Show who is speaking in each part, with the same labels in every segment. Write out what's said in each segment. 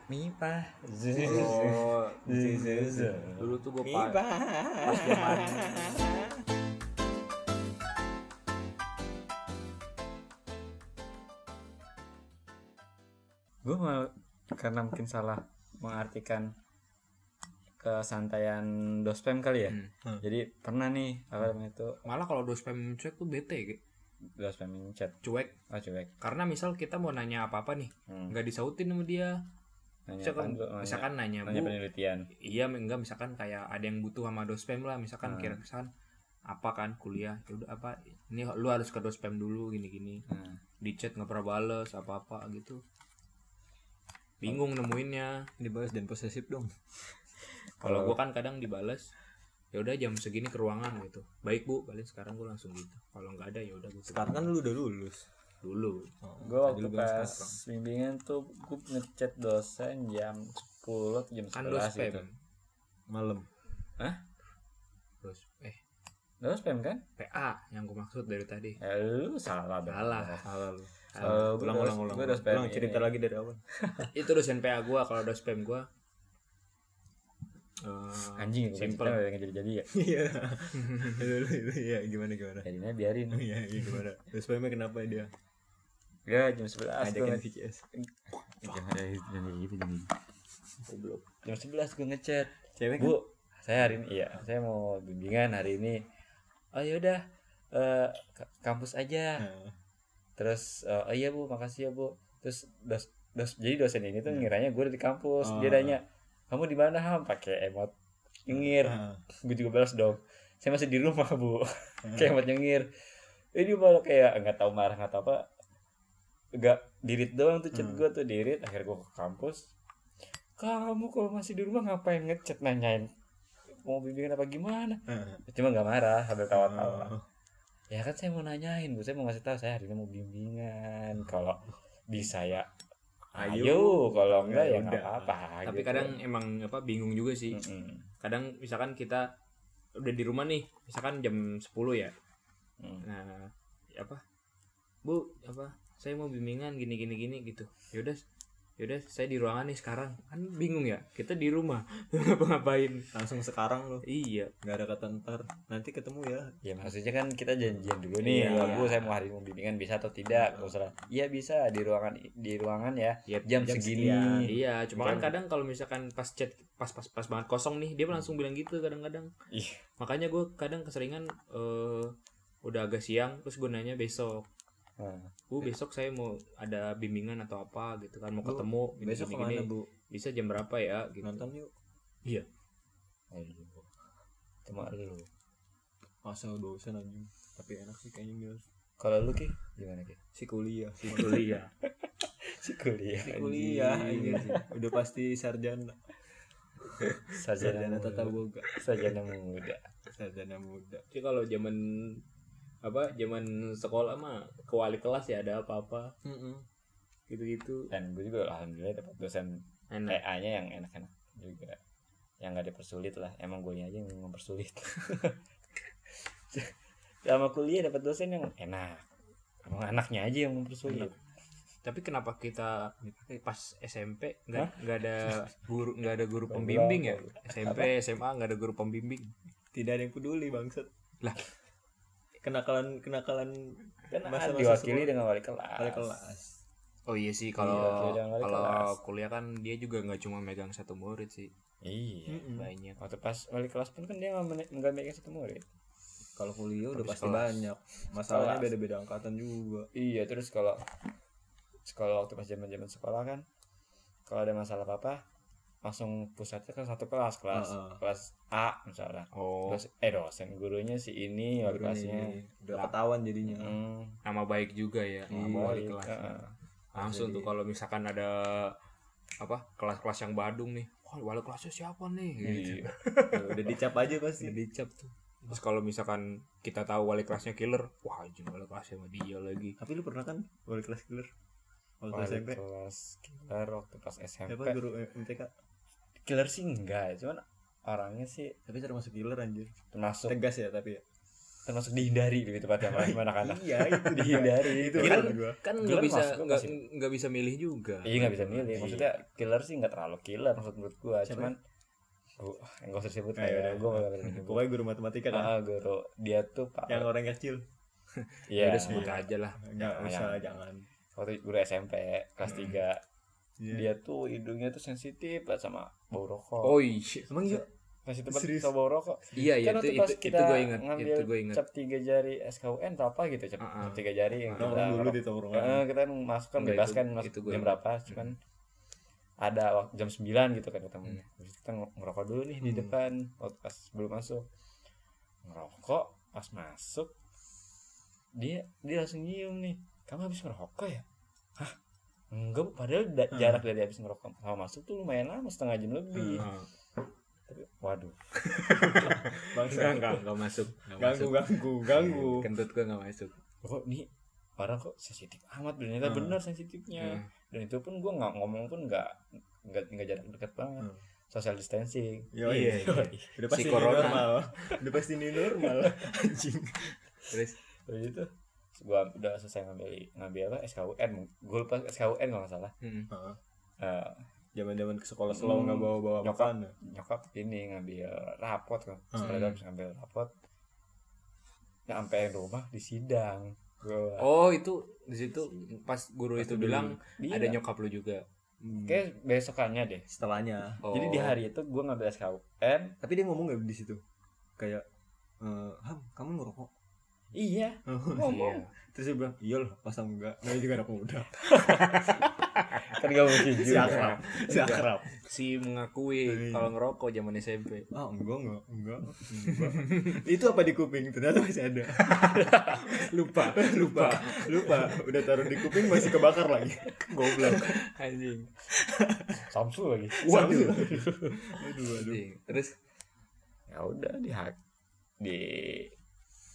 Speaker 1: Mipa. Iya,
Speaker 2: Oh, dulu tuh gue pas,
Speaker 1: Mipa.
Speaker 2: pas zaman
Speaker 1: Gue mal karena mungkin salah mengartikan kesantaian dospem kali ya.
Speaker 3: Hmm.
Speaker 1: Jadi pernah nih apa namanya itu
Speaker 3: Malah kalau dos spam cuek tuh bete gitu.
Speaker 1: dospem chat.
Speaker 3: Cuek
Speaker 1: Oh cuek.
Speaker 3: karena misal kita mau nanya apa-apa nih,
Speaker 1: Hmm.
Speaker 3: nggak disautin sama dia.
Speaker 1: Nanya apaan
Speaker 3: Misalkan,
Speaker 1: tuh? Nanya-
Speaker 3: misalkan nanya,
Speaker 1: nanya
Speaker 3: Bu,
Speaker 1: penelitian.
Speaker 3: iya enggak misalkan kayak ada yang butuh sama dospem lah
Speaker 1: Hmm.
Speaker 3: misalkan kira misalkan apa kan kuliah ya udah apa ini lu harus ke dospem dulu gini-gini
Speaker 1: Hmm.
Speaker 3: di chat nggak pernah bales apa-apa gitu bingung nemuinnya
Speaker 2: dibahas dan posesif dong.
Speaker 3: kalau gua kan kadang dibales ya udah jam segini ke ruangan gitu baik bu paling sekarang gua langsung gitu kalau nggak ada ya udah gua
Speaker 2: Sekarang kan lu udah lulus.
Speaker 3: dulu
Speaker 1: Gue waktu
Speaker 2: Oh, Tadi lu bilang
Speaker 1: pas bimbingan tuh gue ngechat dosen jam 10 atau jam 11
Speaker 3: kan lu spam
Speaker 1: gitu.
Speaker 2: malam.
Speaker 3: terus eh
Speaker 1: Lu spam kan?
Speaker 3: PA yang gua maksud dari tadi
Speaker 1: Ya lu salah dong.
Speaker 3: salah
Speaker 2: Salah lu.
Speaker 1: Eh, gua
Speaker 2: ulang,
Speaker 1: udah-
Speaker 2: ulang, ulang,
Speaker 1: gua udah spam
Speaker 2: Ulang,
Speaker 1: ini.
Speaker 2: cerita lagi dari awal.
Speaker 3: itu dosen PA gua kalau ada spam gua eh,
Speaker 1: Anjing gue
Speaker 3: Simple.
Speaker 1: cerita udah jadi ya.
Speaker 2: Iya. Lu, lu, lu, Iya, gimana gimana.
Speaker 1: Jadinya biarin.
Speaker 2: Iya, iya gimana. Terus spamnya kenapa dia?
Speaker 1: Ya jam 11 gue
Speaker 2: Ajakin VCS. eh, gitu, Goblok.
Speaker 1: Jam 11 gue ngechat.
Speaker 2: Cewek kan?
Speaker 1: Bu, saya hari ini iya, saya mau bimbingan hari ini. Oh yaudah eh k- kampus aja.
Speaker 2: Nah,
Speaker 1: Terus eh, oh iya Bu, makasih ya Bu. Terus dos, dos, jadi dosen ini tuh
Speaker 2: Hmm.
Speaker 1: ngiranya gue di kampus. Dia
Speaker 2: Oh.
Speaker 1: nanya, "Kamu di mana, Ham?" pakai emot nyengir.
Speaker 2: ah,
Speaker 1: gue juga balas dong saya masih di rumah bu kayak amat nyengir ini malah kayak nggak tahu marah nggak tahu apa nggak dirit doang tuh chat
Speaker 2: Hmm.
Speaker 1: gue tuh dirit akhirnya gue ke kampus kamu kalau masih di rumah ngapain ngechat nanyain mau bimbingan apa gimana
Speaker 2: ah.
Speaker 1: cuma nggak marah sambil tawa-tawa
Speaker 2: Oh,
Speaker 1: ya kan saya mau nanyain bu saya mau ngasih tahu saya hari ini mau bimbingan kalau bisa ya
Speaker 2: Ayo.
Speaker 1: ayo kalau enggak
Speaker 2: Ya
Speaker 1: ya nggak
Speaker 2: udah.
Speaker 1: apa-apa gitu.
Speaker 3: tapi kadang emang apa bingung juga sih
Speaker 1: Mm-mm.
Speaker 3: kadang misalkan kita udah di rumah nih misalkan jam 10 ya
Speaker 1: Mm.
Speaker 3: nah apa bu apa saya mau bimbingan gini gini gini gitu yaudah yaudah saya di ruangan nih sekarang kan bingung ya kita di rumah ngapa ngapain
Speaker 2: Langsung sekarang lu.
Speaker 3: iya
Speaker 2: Gak ada kata ntar. Nanti ketemu ya.
Speaker 1: Ya maksudnya kan kita janjian dulu nih,
Speaker 3: Iya.
Speaker 1: kalau Bu saya mau hari ini mau bimbingan bisa atau tidak? Gak usah. Iya bisa di ruangan di ruangan ya.
Speaker 3: Yap,
Speaker 1: jam,
Speaker 2: jam
Speaker 1: segini.
Speaker 2: sekian.
Speaker 3: iya cuma
Speaker 1: Bukan.
Speaker 3: kan kadang kalau misalkan pas chat pas pas pas banget kosong nih dia langsung bilang gitu kadang-kadang
Speaker 1: Ih.
Speaker 3: makanya gue kadang keseringan eh, udah agak siang terus gue nanya besok
Speaker 1: Hmm.
Speaker 2: Nah.
Speaker 3: bu besok saya mau ada bimbingan atau apa gitu kan mau
Speaker 2: Bu,
Speaker 3: ketemu gini,
Speaker 2: Besok
Speaker 3: gini,
Speaker 2: kemana
Speaker 3: gini.
Speaker 2: bu?
Speaker 3: bisa jam berapa ya gitu
Speaker 2: Nonton yuk.
Speaker 1: Aduh. Cuma lu.
Speaker 2: Masa dosen anjing. Tapi enak sih kayaknya Mil.
Speaker 1: Kalau lu Ki, gimana Ki?
Speaker 2: Si kuliah.
Speaker 3: Di kuliah
Speaker 1: Si kuliah.
Speaker 2: Si kuliah.
Speaker 1: anjing.
Speaker 2: anjing. Udah pasti sarjana.
Speaker 1: Sarjana
Speaker 2: Sarjana tata
Speaker 1: muda.
Speaker 2: boga.
Speaker 1: Sarjana muda.
Speaker 2: Sarjana muda.
Speaker 3: jadi kalau zaman apa zaman sekolah mah ke wali kelas ya ada apa-apa gitu-gitu
Speaker 1: Dan gue juga alhamdulillah dapat dosen
Speaker 3: enak
Speaker 1: TA-nya yang enak-enak juga. Yang gak dipersulit lah. Emang gue aja yang mempersulit. Sama kuliah dapat dosen yang enak. Emang anaknya aja yang mempersulit.
Speaker 3: tapi kenapa kita pas SMP nggak
Speaker 1: Hah?
Speaker 3: nggak ada guru nggak ada guru
Speaker 1: Belum,
Speaker 3: pembimbing ya
Speaker 1: belum.
Speaker 3: SMP SMA nggak ada guru pembimbing
Speaker 2: Tidak ada yang peduli bangsat.
Speaker 3: Lah.
Speaker 2: Kenakalan kenakalan
Speaker 1: kan
Speaker 2: Masa-masa
Speaker 1: diwakili
Speaker 2: sekolah.
Speaker 1: dengan wali kelas.
Speaker 2: kali kelas.
Speaker 3: oh iya sih
Speaker 1: Iya,
Speaker 3: kalau
Speaker 1: beda wali
Speaker 3: kalau
Speaker 1: kelas.
Speaker 3: kuliah kan dia juga nggak cuma megang satu murid sih
Speaker 1: Iya.
Speaker 2: Mm-mm.
Speaker 3: banyak
Speaker 1: Waktu pas wali kelas pun kan dia nggak men- nggak megang satu murid.
Speaker 2: Kalau kuliah
Speaker 3: Habis
Speaker 2: udah pasti
Speaker 3: kelas.
Speaker 2: banyak. Masalahnya
Speaker 1: Kelas.
Speaker 2: beda-beda angkatan juga.
Speaker 1: Iya terus kalau sekolah waktu pas zaman zaman sekolah kan kalau ada masalah apa apa langsung pusatnya ke satu kelas kelas
Speaker 2: Heeh.
Speaker 1: kelas A misalnya.
Speaker 3: oh
Speaker 1: Terus eh dosen gurunya si ini wali
Speaker 2: Baru
Speaker 1: kelasnya.
Speaker 2: nih, udah ketahuan jadinya.
Speaker 1: Hmm,
Speaker 3: nama baik juga ya nama
Speaker 2: Iya,
Speaker 3: wali
Speaker 1: baik.
Speaker 3: kelas
Speaker 1: Heeh.
Speaker 3: langsung
Speaker 2: Jadi-
Speaker 3: tuh kalau misalkan ada apa kelas-kelas yang Badung nih wah wali kelasnya siapa nih gitu.
Speaker 1: Iya.
Speaker 2: Ya, udah dicap aja pasti.
Speaker 3: Udah dicap tuh Iya. terus kalau misalkan kita tahu wali kelasnya killer wah anjing wali kelasnya sama dia lagi
Speaker 2: Tapi lu pernah kan wali kelas killer? Wali kelas
Speaker 1: Wali
Speaker 2: SMP.
Speaker 1: kelas killer waktu pas SMP.
Speaker 2: Siapa guru eh, MTK?
Speaker 1: Killer sih enggak, ya, cuman orangnya sih
Speaker 2: Tapi termasuk killer anjir.
Speaker 1: termasuk
Speaker 2: Tegas ya tapi ya.
Speaker 1: termasuk dihindari lebih tepatnya sama sama anak-anak
Speaker 2: iya itu dia.
Speaker 1: dihindari
Speaker 2: itu
Speaker 1: Killer-
Speaker 2: maksud gua
Speaker 3: kan
Speaker 1: Gelar
Speaker 3: nggak bisa
Speaker 1: masuk, gua
Speaker 3: nggak
Speaker 1: masih-
Speaker 3: nggak bisa milih juga
Speaker 1: iya nggak bisa milih maksudnya killer sih nggak terlalu killer maksud menurut gua
Speaker 2: Siapa?
Speaker 1: cuman gua nggak usah sebut
Speaker 2: Ah, iya.
Speaker 1: kayak gua nggak berani nyebut
Speaker 2: pokoknya guru matematika lah
Speaker 1: ah guru dia tuh pak
Speaker 2: yang orang kecil
Speaker 1: iya
Speaker 3: Ya udah sebut aja lah
Speaker 2: nggak
Speaker 1: Jangan.
Speaker 2: usah jangan
Speaker 1: waktu guru SMP kelas 3
Speaker 2: Iya.
Speaker 1: dia tuh hidungnya tuh sensitif lah sama bau rokok
Speaker 3: oh iya
Speaker 2: emang iya
Speaker 1: pas itu pas
Speaker 2: serius?
Speaker 1: sama bau rokok
Speaker 3: iya iya,
Speaker 1: kan waktu
Speaker 3: itu itu
Speaker 1: pas
Speaker 3: itu
Speaker 1: kita
Speaker 3: gue inget
Speaker 1: ngambil
Speaker 3: itu gue inget
Speaker 1: cap tiga jari SKUN berapa gitu cap,
Speaker 3: Ah, ah.
Speaker 1: cap tiga jari yang kita
Speaker 2: nongkrong Ah. dulu di tongkrongan
Speaker 1: Eh, kita kan masuk kan
Speaker 3: Enggak,
Speaker 1: bebas
Speaker 3: itu-
Speaker 1: kan masuk
Speaker 3: itu gua
Speaker 1: jam
Speaker 3: ingat.
Speaker 1: berapa cuman ada waktu jam 9 gitu kan ketemunya
Speaker 3: Hmm.
Speaker 1: Terus kita ng- ngerokok dulu nih di
Speaker 2: Hmm.
Speaker 1: depan waktu pas belum masuk ngerokok pas masuk dia dia langsung nyium nih kamu habis ngerokok ya hah enggak Bu. padahal da-
Speaker 2: Hmm.
Speaker 1: jarak dari habis ngerokok sama masuk tuh lumayan lama setengah jam lebih
Speaker 3: Ah,
Speaker 1: Tapi, waduh
Speaker 2: bangsa
Speaker 3: nggak nggak nggak masuk nggak masuk.
Speaker 2: ganggu
Speaker 3: Iya,
Speaker 2: ganggu ganggu
Speaker 3: kentut gue nggak masuk
Speaker 1: kok nih parah kok sensitif amat ternyata
Speaker 2: Hmm.
Speaker 1: bener sensitifnya
Speaker 3: Hmm.
Speaker 1: dan itu pun gue nggak ngomong pun nggak nggak nggak jarak dekat banget
Speaker 2: Hmm.
Speaker 1: social distancing
Speaker 2: Yoi.
Speaker 3: Iya, iya.
Speaker 2: udah pasti
Speaker 3: Si
Speaker 2: ini
Speaker 3: corona.
Speaker 2: normal udah pasti ini normal anjing
Speaker 3: terus
Speaker 1: Udah itu gue udah selesai ngambil ngambil apa SKUN gue lupa SKUN kalau nggak salah
Speaker 3: mm,
Speaker 1: Eh,
Speaker 2: zaman zaman ke sekolah selalu nggak ya?
Speaker 1: Hmm.
Speaker 2: bawa bawa
Speaker 1: Nyokap.
Speaker 2: makan
Speaker 1: nyokap ini ngambil rapot kan setelah
Speaker 2: Hmm.
Speaker 1: itu habis ngambil rapot nah sampai rumah di sidang gue
Speaker 3: oh itu di situ pas guru itu bilang ada
Speaker 1: nyokap
Speaker 3: nyokap lu juga
Speaker 2: Hmm.
Speaker 1: kayak besokannya deh
Speaker 2: setelahnya
Speaker 3: Oh.
Speaker 1: jadi di hari itu gue ngambil SKUN
Speaker 2: tapi dia ngomong nggak di situ kayak eh, ham kamu ngerokok
Speaker 1: iya ngomong
Speaker 3: Iya.
Speaker 2: terus dia bilang iya loh pasang enggak nah juga anak muda
Speaker 1: kan gak mungkin
Speaker 2: si
Speaker 1: juga
Speaker 2: akrab si akrab
Speaker 3: si mengakui
Speaker 2: Iya.
Speaker 3: kalau ngerokok zaman SMP
Speaker 2: ah enggak enggak enggak, enggak. itu apa di kuping ternyata masih ada
Speaker 3: lupa
Speaker 2: lupa lupa udah taruh di kuping masih kebakar lagi goblok
Speaker 3: anjing
Speaker 1: Samsul lagi
Speaker 2: waduh aduh aduh
Speaker 3: Anjing. terus
Speaker 1: ya udah di hak- di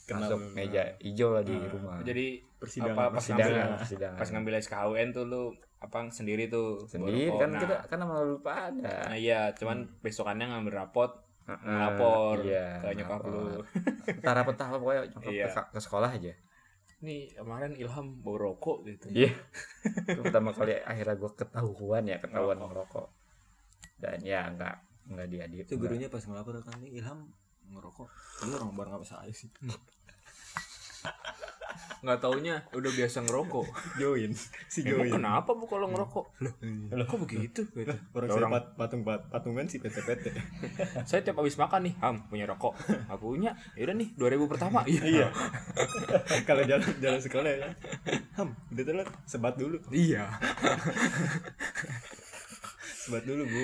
Speaker 2: Kena
Speaker 1: masuk
Speaker 2: bener.
Speaker 1: meja hijau lah di
Speaker 2: Ah,
Speaker 1: rumah
Speaker 3: jadi
Speaker 2: persidangan
Speaker 3: Apa- pas
Speaker 2: persidangan.
Speaker 1: persidangan
Speaker 3: ngambil-
Speaker 1: persidangan
Speaker 3: pas ngambil SKUN tuh lu apa sendiri tuh
Speaker 1: Ah. sendiri
Speaker 3: ngerokok.
Speaker 1: kan
Speaker 3: Nah,
Speaker 1: kita Hmm. kan sama lupa ada
Speaker 3: nah iya cuman besokannya ngambil rapot
Speaker 1: Heeh,
Speaker 3: ngelapor
Speaker 1: iya,
Speaker 3: Nah, ke nyokap
Speaker 1: ngelapor.
Speaker 3: lu
Speaker 1: antara petah apa pokoknya nyokap
Speaker 3: Iya.
Speaker 1: ke, ke sekolah aja
Speaker 3: nih kemarin Ilham bau rokok gitu
Speaker 1: iya Itu pertama kali akhirnya gue ketahuan ya ketahuan ngerokok dan ya nggak nggak diadil
Speaker 2: itu gurunya pas ngelapor kan "Nih, Ilham ngerokok Tapi orang bareng apa saya sih
Speaker 3: nggak taunya udah biasa ngerokok
Speaker 2: join si
Speaker 1: Iya,
Speaker 3: Emang
Speaker 2: join
Speaker 3: kenapa bu kalau ngerokok loh
Speaker 2: Iya.
Speaker 3: kok begitu gitu.
Speaker 2: orang,
Speaker 3: Orang-
Speaker 2: saya pat- patung pat- patungan si PT PT
Speaker 3: saya tiap habis makan nih ham punya rokok nggak punya yaudah nih 2000 pertama iya
Speaker 2: kalau jalan jalan sekolah ya ham udah telat sebat dulu
Speaker 3: iya
Speaker 2: sebat dulu bu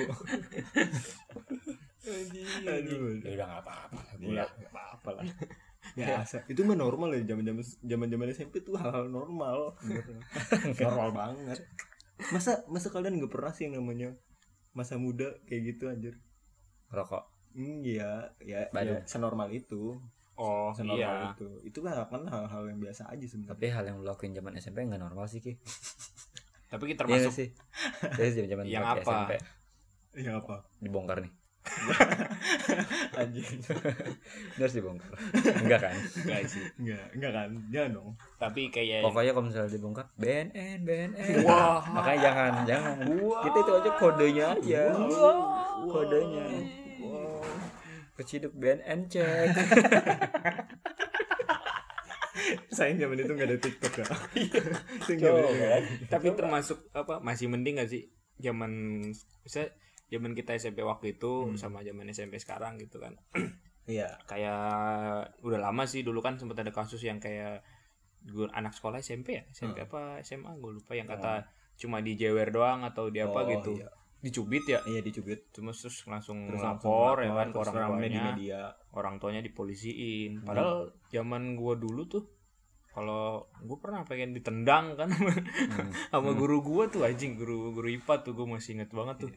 Speaker 3: Iya,
Speaker 2: aduh
Speaker 1: ya udah nggak apa-apa lah, gua.
Speaker 2: Iya, nggak apa-apa lah. Biasa. Itu mah normal ya zaman-zaman zaman-zaman SMP tuh hal-hal normal. normal banget. Masa masa kalian nggak pernah sih yang namanya masa muda kayak gitu anjir.
Speaker 1: ngerokok
Speaker 2: Hmm, iya, ya, ya
Speaker 1: Baru.
Speaker 2: senormal itu,
Speaker 3: oh
Speaker 2: senormal
Speaker 3: iya
Speaker 2: itu. Itu kan kan hal-hal yang biasa aja sebenarnya.
Speaker 1: tapi hal yang lu lakuin zaman SMP nggak normal sih ki
Speaker 3: tapi kita
Speaker 1: Iya nggak
Speaker 3: termasuk
Speaker 1: sih Jadi zaman zaman
Speaker 3: Yang apa?
Speaker 1: SMP
Speaker 2: Iya apa?
Speaker 1: dibongkar nih
Speaker 2: Anjir.
Speaker 1: Ini harus dibongkar enggak kan
Speaker 3: guys sih
Speaker 2: Enggak, enggak kan? Jangan dong.
Speaker 3: tapi kayak
Speaker 1: pokoknya kalau misalnya dibongkar BNN BNN
Speaker 3: Iya. Wah.
Speaker 1: makanya jangan
Speaker 2: Ah.
Speaker 1: jangan kita itu aja kodenya aja kodenya keciduk BNN cek
Speaker 2: Sayang zaman itu enggak ada TikTok ya. Sayang zaman itu.
Speaker 1: Coba.
Speaker 3: tapi termasuk apa masih mending gak sih zaman bisa zaman kita SMP waktu itu
Speaker 2: Hmm.
Speaker 3: sama zaman SMP sekarang gitu kan
Speaker 2: Iya.
Speaker 3: kayak udah lama sih dulu kan sempat ada kasus yang kayak gue anak sekolah SMP ya SMP
Speaker 2: Hmm.
Speaker 3: apa SMA gue lupa yang kata cuma dijewer doang atau di apa
Speaker 2: Ah. Oh,
Speaker 3: gitu
Speaker 2: iya.
Speaker 3: dicubit ya
Speaker 2: Iya dicubit.
Speaker 3: cuma terus langsung
Speaker 2: Terus
Speaker 3: lapor ya
Speaker 2: langsung
Speaker 3: kan ke
Speaker 2: terus
Speaker 3: orang
Speaker 2: rame di
Speaker 3: tuanya Hmm.
Speaker 2: media. Hmm.
Speaker 3: orang tuanya dipolisiin padahal zaman gua dulu tuh kalau gue pernah pengen ditendang kan sama-
Speaker 1: Hmm.
Speaker 3: sama guru gua tuh anjing guru guru IPA tuh gue masih inget banget tuh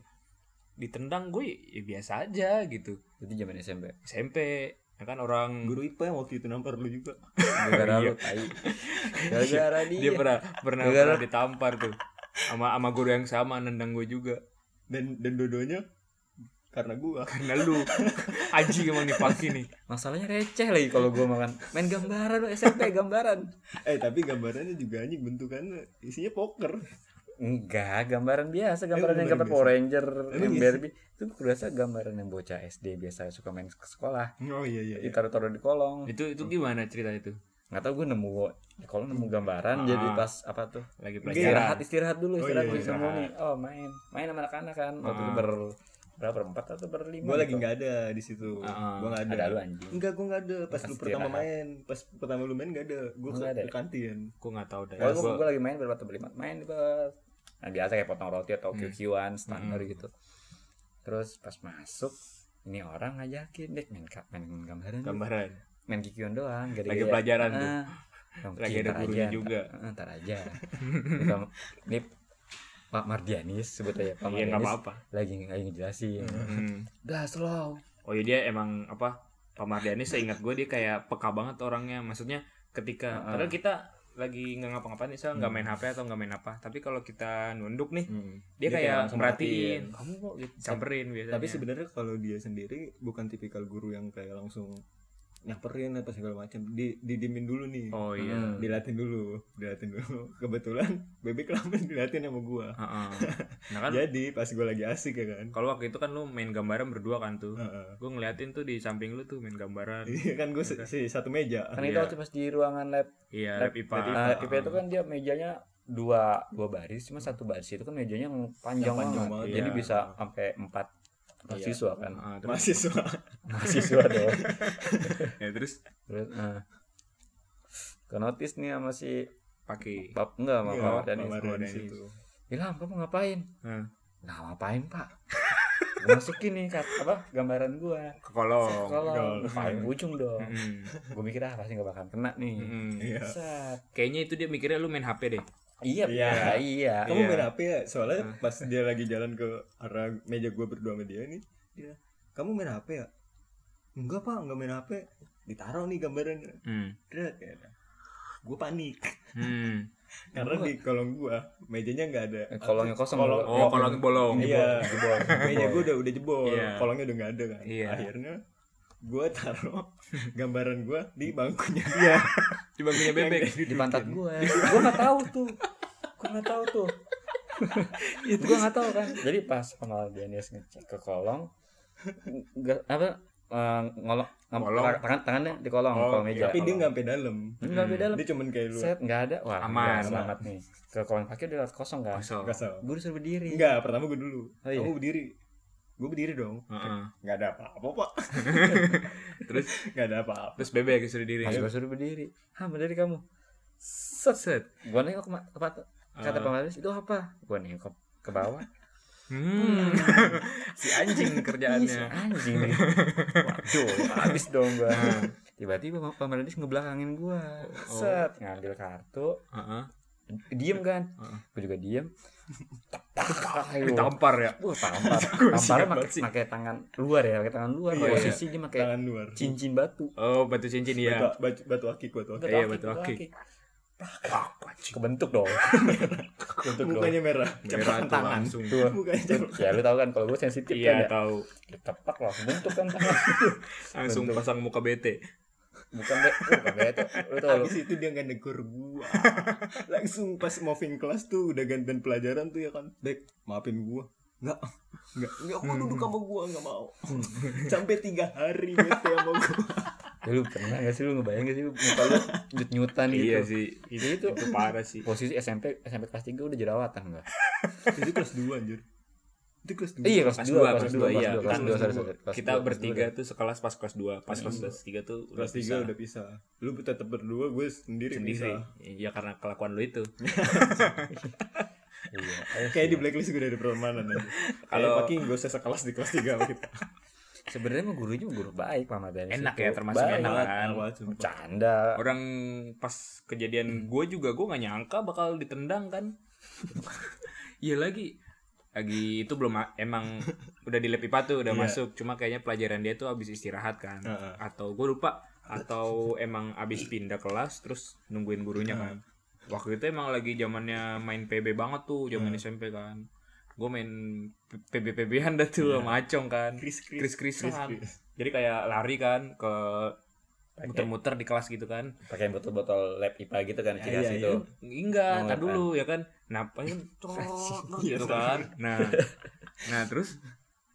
Speaker 3: ditendang gue ya biasa aja gitu
Speaker 1: itu zaman SMP
Speaker 3: SMP ya kan orang
Speaker 2: Guru IPA yang waktu itu nampar lu juga.
Speaker 1: gara-gara
Speaker 2: Iya.
Speaker 1: lu tai gara-gara dia,
Speaker 3: dia pernah pernah,
Speaker 1: Gara-gara-
Speaker 3: pernah ditampar tuh sama sama guru yang sama nendang gue juga
Speaker 2: Dan dan dodonya karena gua
Speaker 3: karena lu aji emang nih pagi nih
Speaker 1: Masalahnya receh lagi kalau gua makan. Main gambaran lu SMP gambaran.
Speaker 2: eh tapi gambarannya juga anjing bentukannya isinya poker
Speaker 1: Enggak, gambaran biasa, gambaran yang gambar
Speaker 2: Emang Iya, gambaran
Speaker 1: Power Ranger,
Speaker 2: Emang
Speaker 1: yang
Speaker 2: iya
Speaker 1: Barbie. Itu biasa gambaran yang bocah SD biasa suka main ke sekolah.
Speaker 2: oh iya iya, iya.
Speaker 1: Ditaruh-taruh di kolong.
Speaker 3: itu itu gimana cerita itu
Speaker 1: Nggak tahu gue nemu di kolong nemu gambaran
Speaker 3: Ah.
Speaker 1: jadi pas apa tuh?
Speaker 3: lagi
Speaker 1: Istirahat,
Speaker 3: pelajaran
Speaker 1: istirahat dulu,
Speaker 2: Oh,
Speaker 1: istirahat
Speaker 2: iya,
Speaker 1: dulu
Speaker 2: iya.
Speaker 1: nemu nih. Oh, main. Main sama anak-anak kan. Waktu itu
Speaker 3: Ah.
Speaker 1: ber berapa? Berempat atau berlima?
Speaker 2: gua lagi
Speaker 1: gitu.
Speaker 2: nggak ada di situ
Speaker 3: Ah.
Speaker 2: gua nggak ada,
Speaker 1: Ada lu anjing.
Speaker 2: Enggak, gua nggak ada. Pas
Speaker 1: Pas
Speaker 2: lu pertama
Speaker 1: istirahat.
Speaker 2: main, pas pertama lu main nggak ada. Gua
Speaker 1: Oh,
Speaker 2: ke,
Speaker 1: nggak ada
Speaker 2: ke
Speaker 1: ya?
Speaker 2: kantin.
Speaker 3: gue nggak tahu deh
Speaker 1: Kalau gue,
Speaker 3: Gua-
Speaker 1: lagi main berempat atau berlima, main di bus. Nah, biasa kayak potong roti atau
Speaker 3: Hmm.
Speaker 1: QQ-an standar
Speaker 3: Hmm.
Speaker 1: gitu. Terus pas masuk, ini orang ngajakin deh main ka- main gambaran. yuk."
Speaker 3: gambaran
Speaker 1: Main QQ-an doang, Ah. gak
Speaker 3: Lagi pelajaran tuh. Lagi
Speaker 1: Lagi
Speaker 3: ada gurunya juga.
Speaker 1: Ntar aja. Bukan, Ini Pak Mardianis sebut aja Pak
Speaker 3: iya nggak
Speaker 1: Mardianis.
Speaker 3: apa-apa
Speaker 1: lagi lagi ngejelasin.
Speaker 3: Hmm.
Speaker 1: Gas slow.
Speaker 3: oh iya dia emang apa Pak Mardhani seingat gue dia kayak peka banget orangnya maksudnya ketika
Speaker 1: Heeh.
Speaker 3: padahal kita lagi nggak ngapa-ngapain misal nggak main HP atau nggak main apa tapi kalau kita nunduk nih dia, kayak
Speaker 2: langsung
Speaker 3: merhatiin
Speaker 2: perhatiin.
Speaker 3: kamu kok gitu samperin biasanya
Speaker 2: Tapi sebenarnya kalau dia sendiri bukan tipikal guru yang kayak langsung nyamperin apa segala macam. Di didimin dulu nih.
Speaker 3: oh iya
Speaker 1: Hmm.
Speaker 2: Dilatin dulu, dilatin dulu. Kebetulan bebek lama dilatin sama gua.
Speaker 3: Heeh. nah kan
Speaker 2: Jadi pas gua lagi asik ya kan.
Speaker 3: kalau waktu itu kan lu main gambaran berdua kan tuh
Speaker 2: Heeh.
Speaker 3: gue ngeliatin tuh di samping lu tuh main gambaran
Speaker 2: Iya kan gua se- se- satu meja.
Speaker 1: Kan itu
Speaker 3: Iya.
Speaker 1: waktu pas di ruangan lab
Speaker 3: iya
Speaker 1: Lab
Speaker 3: lab IPA
Speaker 1: Nah, lab IPA itu kan dia mejanya dua dua baris, cuma satu baris itu kan mejanya yang panjang,
Speaker 2: Yang panjang
Speaker 1: banget.
Speaker 2: banget, Iya.
Speaker 1: Jadi
Speaker 3: iya.
Speaker 1: bisa sampai empat mahasiswa kan.
Speaker 3: Heeh, terus,
Speaker 2: Mahasiswa.
Speaker 1: mahasiswa dong.
Speaker 3: ya, terus
Speaker 1: Terus eh, ke notice nih sama si
Speaker 3: pakai
Speaker 1: Bab enggak sama
Speaker 2: Iya,
Speaker 1: Pak
Speaker 2: Pak
Speaker 1: Wardani.
Speaker 2: Mardhani
Speaker 3: Mardhani.
Speaker 2: situ.
Speaker 1: Ilham, kamu ngapain?
Speaker 3: Heeh.
Speaker 1: Nggak ngapain, Pak. Gua masukin nih kat, apa gambaran gua.
Speaker 3: ke
Speaker 2: Oh,
Speaker 3: kolong
Speaker 1: Kalau
Speaker 2: Kolong.
Speaker 1: paling ujung dong.
Speaker 3: Heeh.
Speaker 1: Gua mikir ah pasti nggak bakalan kena nih.
Speaker 3: Heeh.
Speaker 2: Iya.
Speaker 1: Set.
Speaker 3: kayaknya itu dia mikirnya lu main HP deh
Speaker 1: Iya,
Speaker 2: Iya.
Speaker 1: Pak, iya. Ah.
Speaker 2: Kamu
Speaker 3: Iya.
Speaker 2: main HP ya? Soalnya pas dia lagi jalan ke arah meja gua berdua sama dia nih, dia, "Kamu main HP ya?" "Enggak, Pak, enggak main HP." Ditaruh nih gambarannya.
Speaker 3: Hmm.
Speaker 2: Dret, ya. Gue panik
Speaker 3: Hmm.
Speaker 2: karena di kolong gua mejanya enggak ada.
Speaker 1: Eh, kolongnya kosong.
Speaker 2: Kolong-
Speaker 1: Bro.
Speaker 3: Oh, kolong bolong.
Speaker 2: Iya,
Speaker 1: Jebol, jebol.
Speaker 2: meja gua udah udah jebol,
Speaker 3: Iya.
Speaker 2: kolongnya udah enggak ada kan.
Speaker 3: Iya.
Speaker 2: Akhirnya gua taruh gambaran gua di bangkunya
Speaker 1: Iya.
Speaker 2: dia.
Speaker 3: Di bangkunya bebek.
Speaker 1: di pantat gue gue nggak tahu tuh gue nggak tahu tuh gue nggak tahu kan jadi pas Amal Daniels ngecek ke kolong nggak apa eh, ngolong ngam-
Speaker 3: Kolong.
Speaker 1: tang- tangan tangannya di kolong
Speaker 3: Oh,
Speaker 1: kolong meja
Speaker 2: Tapi dia
Speaker 1: kolong.
Speaker 2: enggak sampai dalam.
Speaker 1: nggak beda lah
Speaker 2: Dia cuman kayak lu.
Speaker 1: set nggak ada wah udah
Speaker 3: Aman, aman.
Speaker 1: selamat nih ke kolong kaki udah kosong kan
Speaker 3: Kosong.
Speaker 2: Kesel.
Speaker 1: gue disuruh berdiri
Speaker 2: Enggak, pertama gua dulu.
Speaker 1: Oh, iya.
Speaker 2: Kamu berdiri. Gua berdiri dong.
Speaker 3: Heeh.
Speaker 2: Enggak ada apa-apa, Pak.
Speaker 3: Terus
Speaker 2: Enggak ada apa-apa.
Speaker 3: terus bebek disuruh diri. Eh.
Speaker 1: pas gue suruh berdiri hah berdiri kamu set
Speaker 3: Set.
Speaker 1: gue nengok ke, ma- ke pat- kata
Speaker 3: Ah.
Speaker 1: Pak Mardionis, itu apa gue nengok ke bawah
Speaker 3: Hmm. si anjing
Speaker 1: Ih, si
Speaker 3: kerjaannya.
Speaker 1: Iya, anjing nih. Waduh, habis dong gua. Tiba-tiba Pak Pak Mardis ngebelakangin gua.
Speaker 3: Nah. Oh.
Speaker 1: Set, ngambil kartu,
Speaker 3: Heeh.
Speaker 1: diem kan?
Speaker 3: Heeh.
Speaker 1: Gua juga diem. Ayo.
Speaker 3: Ditampar ya.
Speaker 1: Wah, tampar. Tamparnya pakai pakai tangan luar ya, pakai tangan luar.
Speaker 2: Iya,
Speaker 1: Posisi dia pakai
Speaker 2: Tangan luar.
Speaker 1: cincin batu.
Speaker 3: Oh, batu cincin ya.
Speaker 2: Batu, batu, batu akik, batu akik.
Speaker 3: Iya,
Speaker 1: akik,
Speaker 3: batu akik.
Speaker 1: Kebentuk dong. Kebentuk dong.
Speaker 2: Mukanya merah.
Speaker 3: Merah
Speaker 2: Capekan
Speaker 3: tuh
Speaker 2: tangan.
Speaker 3: langsung.
Speaker 1: Tuh.
Speaker 2: Mukanya capekan.
Speaker 1: Ya lu tau kan kalau gue sensitif
Speaker 3: Iya,
Speaker 1: kan ya.
Speaker 3: tahu.
Speaker 1: Tepak lah, bentuk kan tangan.
Speaker 3: Langsung pasang muka bete.
Speaker 1: Bukan deh, bukan deh itu. Lu tau lu.
Speaker 2: Habis itu dia nggak negur gua. Langsung pas moving kelas tuh udah gantian pelajaran tuh ya kan. Dek, maafin gua. Enggak. Enggak, enggak mau duduk sama gua enggak mau. Sampai tiga hari bete sama gua.
Speaker 1: Ya, lu pernah gak sih lu ngebayang gak sih lu muka lu nyut-nyutan gitu.
Speaker 3: Iya sih.
Speaker 1: Itu itu
Speaker 3: Itu parah sih.
Speaker 1: posisi SMP SMP kelas 3 udah jerawatan enggak?
Speaker 2: itu kelas 2 anjir. Itu kelas 2.
Speaker 1: Iya kelas 2,
Speaker 3: Kelas dua,
Speaker 1: kelas
Speaker 3: kelas
Speaker 1: 2,
Speaker 3: dua,
Speaker 1: kelas 2,
Speaker 3: iya.
Speaker 1: kelas 2,
Speaker 2: Kan
Speaker 1: sorry,
Speaker 2: kelas dua.
Speaker 1: sorry. Kelas
Speaker 3: Kita
Speaker 1: dua, kelas
Speaker 3: bertiga tuh sekelas pas kelas 2. Pas kelas kelas 3 tuh udah
Speaker 2: kelas 3 udah pisah. Lu tetap berdua, gue sendiri,
Speaker 3: sendiri.
Speaker 2: pisah.
Speaker 3: Ya karena kelakuan lu itu.
Speaker 1: dua. Iya. ayo
Speaker 2: Kayak
Speaker 1: sih.
Speaker 2: di blacklist gue dari permanen aja.
Speaker 3: Kalau-
Speaker 2: Kalau Paki gak usah sekelas di kelas 3 sama kita.
Speaker 1: Sebenarnya mah gurunya guru baik Mama Dani.
Speaker 3: Enak
Speaker 1: situ.
Speaker 3: ya, termasuk
Speaker 1: Baik.
Speaker 3: enak kan.
Speaker 2: Awal sumpah.
Speaker 1: Bercanda.
Speaker 3: Orang pas kejadian gue juga gue nggak nyangka bakal ditendang kan. Iya lagi lagi itu belum a- emang udah di lab IPA tuh udah
Speaker 2: Iya.
Speaker 3: masuk cuma kayaknya pelajaran dia tuh abis istirahat kan
Speaker 2: Heeh.
Speaker 3: atau gue lupa atau emang abis pindah kelas terus nungguin gurunya kan waktu itu emang lagi zamannya main PB banget tuh zaman SMP kan gue main PB-PB-an dah tuh sama Acong kan.
Speaker 2: Kris kris.
Speaker 3: Kris krisan. Jadi kayak lari kan ke
Speaker 1: Pakai-
Speaker 3: muter-muter di kelas gitu kan.
Speaker 1: pakai botol-botol lab IPA gitu kan
Speaker 2: Ya,
Speaker 1: Cigasi
Speaker 2: iya,
Speaker 1: itu.
Speaker 3: Enggak,
Speaker 1: Oh,
Speaker 3: ntar
Speaker 1: kan.
Speaker 3: dulu ya kan. Kenapa ya? Cok,
Speaker 2: Iya,
Speaker 3: gitu kan. Nah, nah terus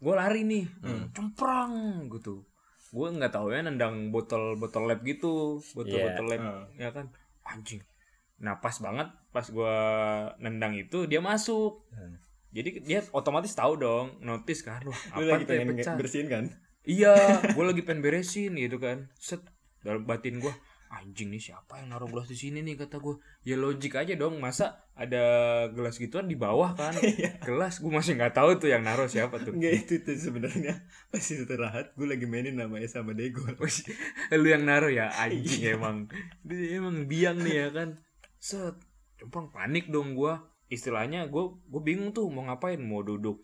Speaker 3: gue lari nih,
Speaker 2: Hmm.
Speaker 3: cemprang gitu. Gue nggak tahu ya nendang botol-botol lab gitu, botol-botol lab
Speaker 2: Heeh.
Speaker 3: ya kan. Anjing. Nah pas banget pas gue nendang itu dia masuk.
Speaker 1: Hmm.
Speaker 3: Jadi dia otomatis tahu dong, notice kan. Wah,
Speaker 2: Lu
Speaker 3: apa
Speaker 2: lagi
Speaker 3: tuh yang
Speaker 2: pengen
Speaker 3: pecah?
Speaker 2: nge- bersihin kan?
Speaker 3: Iya, gue lagi pengen beresin gitu kan. Set dalam batin gue, anjing nih siapa yang naruh gelas di sini nih kata gue. Ya logik aja dong, masa ada gelas gituan di bawah kan? gelas gue masih nggak tahu tuh yang naruh siapa tuh.
Speaker 2: Enggak itu tuh sebenarnya pas istirahat gue lagi mainin namanya sama Dego.
Speaker 3: Wih, Lu yang naruh ya, anjing emang. Dia emang biang nih ya kan. Set, cempang panik dong gue. Istilahnya gue gue bingung tuh mau ngapain, mau duduk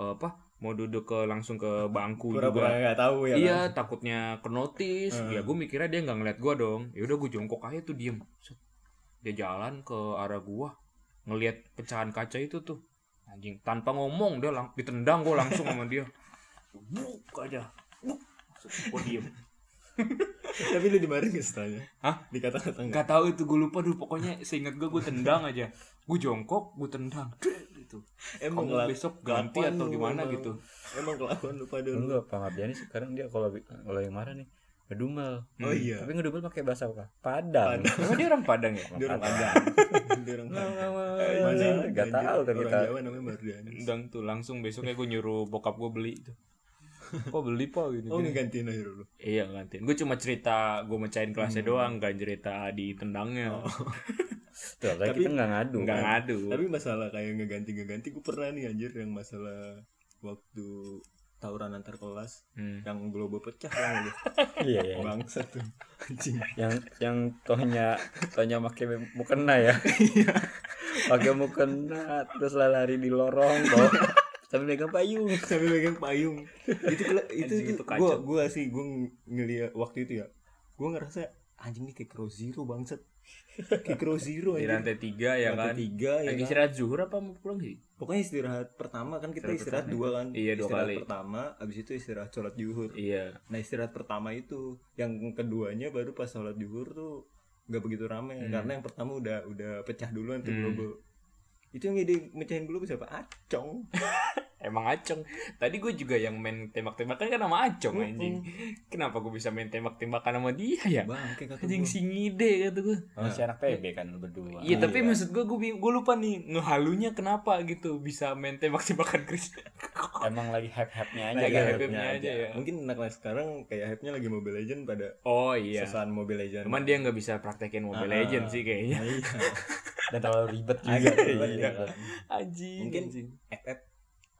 Speaker 3: eh, apa? Mau duduk ke langsung ke bangku juga.
Speaker 2: Pura-pura nggak tahu ya.
Speaker 3: iya
Speaker 2: kan?
Speaker 3: takutnya ke notice ya gue mikirnya dia nggak ngeliat gue dong ya udah gue jongkok aja tuh diem Set. dia jalan ke arah gue ngeliat pecahan kaca itu tuh anjing tanpa ngomong dia lang- ditendang gue langsung sama dia buk aja buk gue diem
Speaker 2: Tapi lu dimarahin nggak setelahnya?
Speaker 3: Hah?
Speaker 2: Dikata-kata enggak?
Speaker 3: nggak tahu itu gue lupa dulu pokoknya seingat gue gue tendang aja gue jongkok gue tendang Dek, gitu
Speaker 2: Emang
Speaker 3: Kamu
Speaker 2: kelak-
Speaker 3: besok ganti
Speaker 2: kelakuan
Speaker 3: atau
Speaker 2: lu
Speaker 3: gimana
Speaker 2: emang.
Speaker 3: gitu.
Speaker 2: Emang kelakuan lupa dulu.
Speaker 1: Enggak, Pak Mardiani sekarang dia kalau kalau yang marah nih ngedumel. Hmm.
Speaker 2: Oh iya.
Speaker 1: Tapi ngedumel pakai bahasa apa? Padang.
Speaker 3: Emang dia orang Padang ya
Speaker 2: Dia orang Padang. Dia orang Padang.
Speaker 3: Iya,
Speaker 1: Padang. Gak tahu kan kita.
Speaker 2: Orang Jawa namanya Mardian.
Speaker 3: Tendang tuh langsung besoknya gue nyuruh bokap gue beli itu kok beli pak gini,
Speaker 2: Oh ngegantiin aja dulu.
Speaker 3: Iya gantiin. Gue cuma cerita gue mecahin kelasnya
Speaker 2: Hmm.
Speaker 3: doang, gak cerita di tendangnya.
Speaker 2: Oh,
Speaker 1: Tuh, apalagi
Speaker 2: Tapi-
Speaker 1: kita nggak ngadu.
Speaker 3: Nggak
Speaker 1: kan.
Speaker 3: ngadu.
Speaker 2: Tapi masalah kayak ngeganti-ngeganti gue pernah nih anjir yang masalah waktu tawuran antar kelas
Speaker 3: Hmm.
Speaker 2: yang globo pecah kan lu.
Speaker 1: Iya, iya.
Speaker 2: Bangsa tuh. Anjing.
Speaker 1: Yang yang tohnya tohnya pakai mukena ya.
Speaker 2: Iya.
Speaker 1: pakai mukena terus lah lari di lorong toh. Sambil megang payung.
Speaker 2: sambil megang payung itu kela- itu
Speaker 3: Anjing,
Speaker 2: itu
Speaker 3: itu kacau.
Speaker 2: gua gua sih gua ng- ngeliat waktu itu ya gua ngerasa anjing nih kayak Crow Zero bangset kayak Crow Zero
Speaker 3: Di
Speaker 2: anjing
Speaker 3: lantai tiga ya
Speaker 2: Oh, iya. Lantai
Speaker 3: kan.
Speaker 2: tiga ya
Speaker 3: Lagi
Speaker 2: kan?
Speaker 3: istirahat zuhur apa mau pulang sih?
Speaker 2: pokoknya istirahat pertama kan kita
Speaker 3: Istirahat
Speaker 2: istirahat,
Speaker 3: pertama.
Speaker 2: dua kan
Speaker 3: Iya, dua
Speaker 2: istirahat
Speaker 3: kali.
Speaker 2: pertama abis itu istirahat sholat zuhur
Speaker 3: Iya.
Speaker 2: nah istirahat pertama itu yang keduanya baru pas sholat zuhur tuh nggak begitu rame
Speaker 3: Hmm.
Speaker 2: karena yang pertama udah udah pecah duluan tuh globo itu yang ide mecahin globo siapa Ah, acong
Speaker 3: Emang acong. Tadi gue juga yang main tembak-tembakan kan sama acong
Speaker 2: Hmm.
Speaker 3: anjing. Kenapa gue bisa main tembak-tembakan sama dia ya?
Speaker 2: bang kayak kata
Speaker 3: Anjing singide kata gue.
Speaker 1: Oh, si anak PB kan lu berdua.
Speaker 3: Iya tapi maksud gue gue bing- gue lupa nih ngehalunya kenapa gitu bisa main tembak-tembakan Chris.
Speaker 1: Emang lagi hype-hype-nya aja.
Speaker 3: Lagi
Speaker 1: kan.
Speaker 3: hype-nya aja ya.
Speaker 2: Mungkin anak-anak sekarang kayak hype-nya lagi Mobile Legend pada
Speaker 3: Oh iya.
Speaker 2: sesaan Mobile Legend. Nah,
Speaker 3: Cuman dia nggak bisa praktekin Mobile
Speaker 2: Ah,
Speaker 3: Legends sih kayaknya.
Speaker 1: Dan terlalu ribet juga.
Speaker 2: Iya.
Speaker 3: Anjing.
Speaker 2: Mungkin
Speaker 3: anjing.
Speaker 2: FF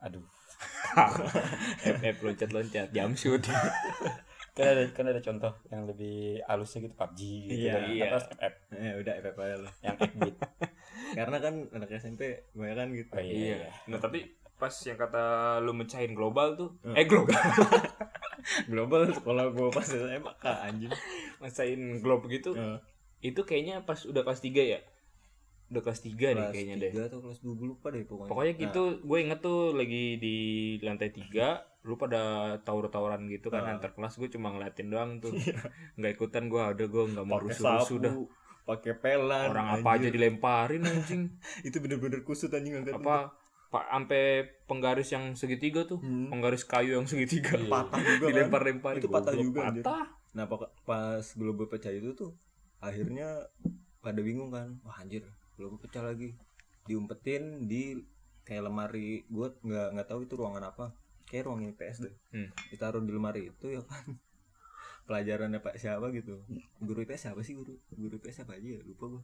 Speaker 1: Aduh.
Speaker 3: FF loncat-loncat jam shoot.
Speaker 1: Kan ada, kan ada contoh yang lebih halusnya gitu PUBG gitu
Speaker 2: Iya,
Speaker 1: kan.
Speaker 3: iya.
Speaker 1: Apa, app
Speaker 2: eh udah FF aja lah.
Speaker 1: yang 8 bit.
Speaker 2: Karena kan anak SMP banyak kan gitu.
Speaker 1: Oh, iya.
Speaker 3: iya. Nah, tapi pas yang kata lu mecahin global tuh,
Speaker 2: Hmm.
Speaker 3: eh global.
Speaker 2: Global sekolah gua pas SMA kak anjing.
Speaker 3: mecahin globe gitu.
Speaker 2: Eh,
Speaker 3: Itu kayaknya pas udah kelas 3 ya. Udah kelas 3 deh
Speaker 2: kelas
Speaker 3: kayaknya deh.
Speaker 2: tiga Nah. atau kelas 2 gua lupa deh pokoknya.
Speaker 3: Pokoknya gitu, gue inget tuh lagi di lantai 3 lu pada tawur-tawuran gitu kan
Speaker 2: Nah.
Speaker 3: antar kelas gue cuma ngeliatin doang tuh nggak ikutan gue udah gue nggak mau
Speaker 2: Iya. Pakai
Speaker 3: rusuh-rusuh
Speaker 2: sapu,
Speaker 3: dah
Speaker 2: pakai pelan.
Speaker 3: orang apa aja
Speaker 2: anjir.
Speaker 3: dilemparin anjing
Speaker 2: Itu bener-bener kusut anjing angkat.
Speaker 3: apa pak sampai penggaris yang segitiga tuh penggaris kayu yang segitiga
Speaker 2: Hmm. Patah juga kan?
Speaker 3: dilempar-lempar
Speaker 2: Itu patah
Speaker 3: Goblok,
Speaker 2: juga, anjir.
Speaker 3: patah
Speaker 2: Nah pok- pas globo pecah itu tuh akhirnya pada bingung kan, wah anjir globo pecah lagi, diumpetin di kayak lemari gue nggak nggak tahu itu ruangan apa, kayak ruang IPS deh,
Speaker 3: Hmm.
Speaker 2: ditaruh di lemari itu ya kan pelajarannya pak siapa gitu, guru IPS siapa sih guru guru IPS siapa aja ya lupa gue,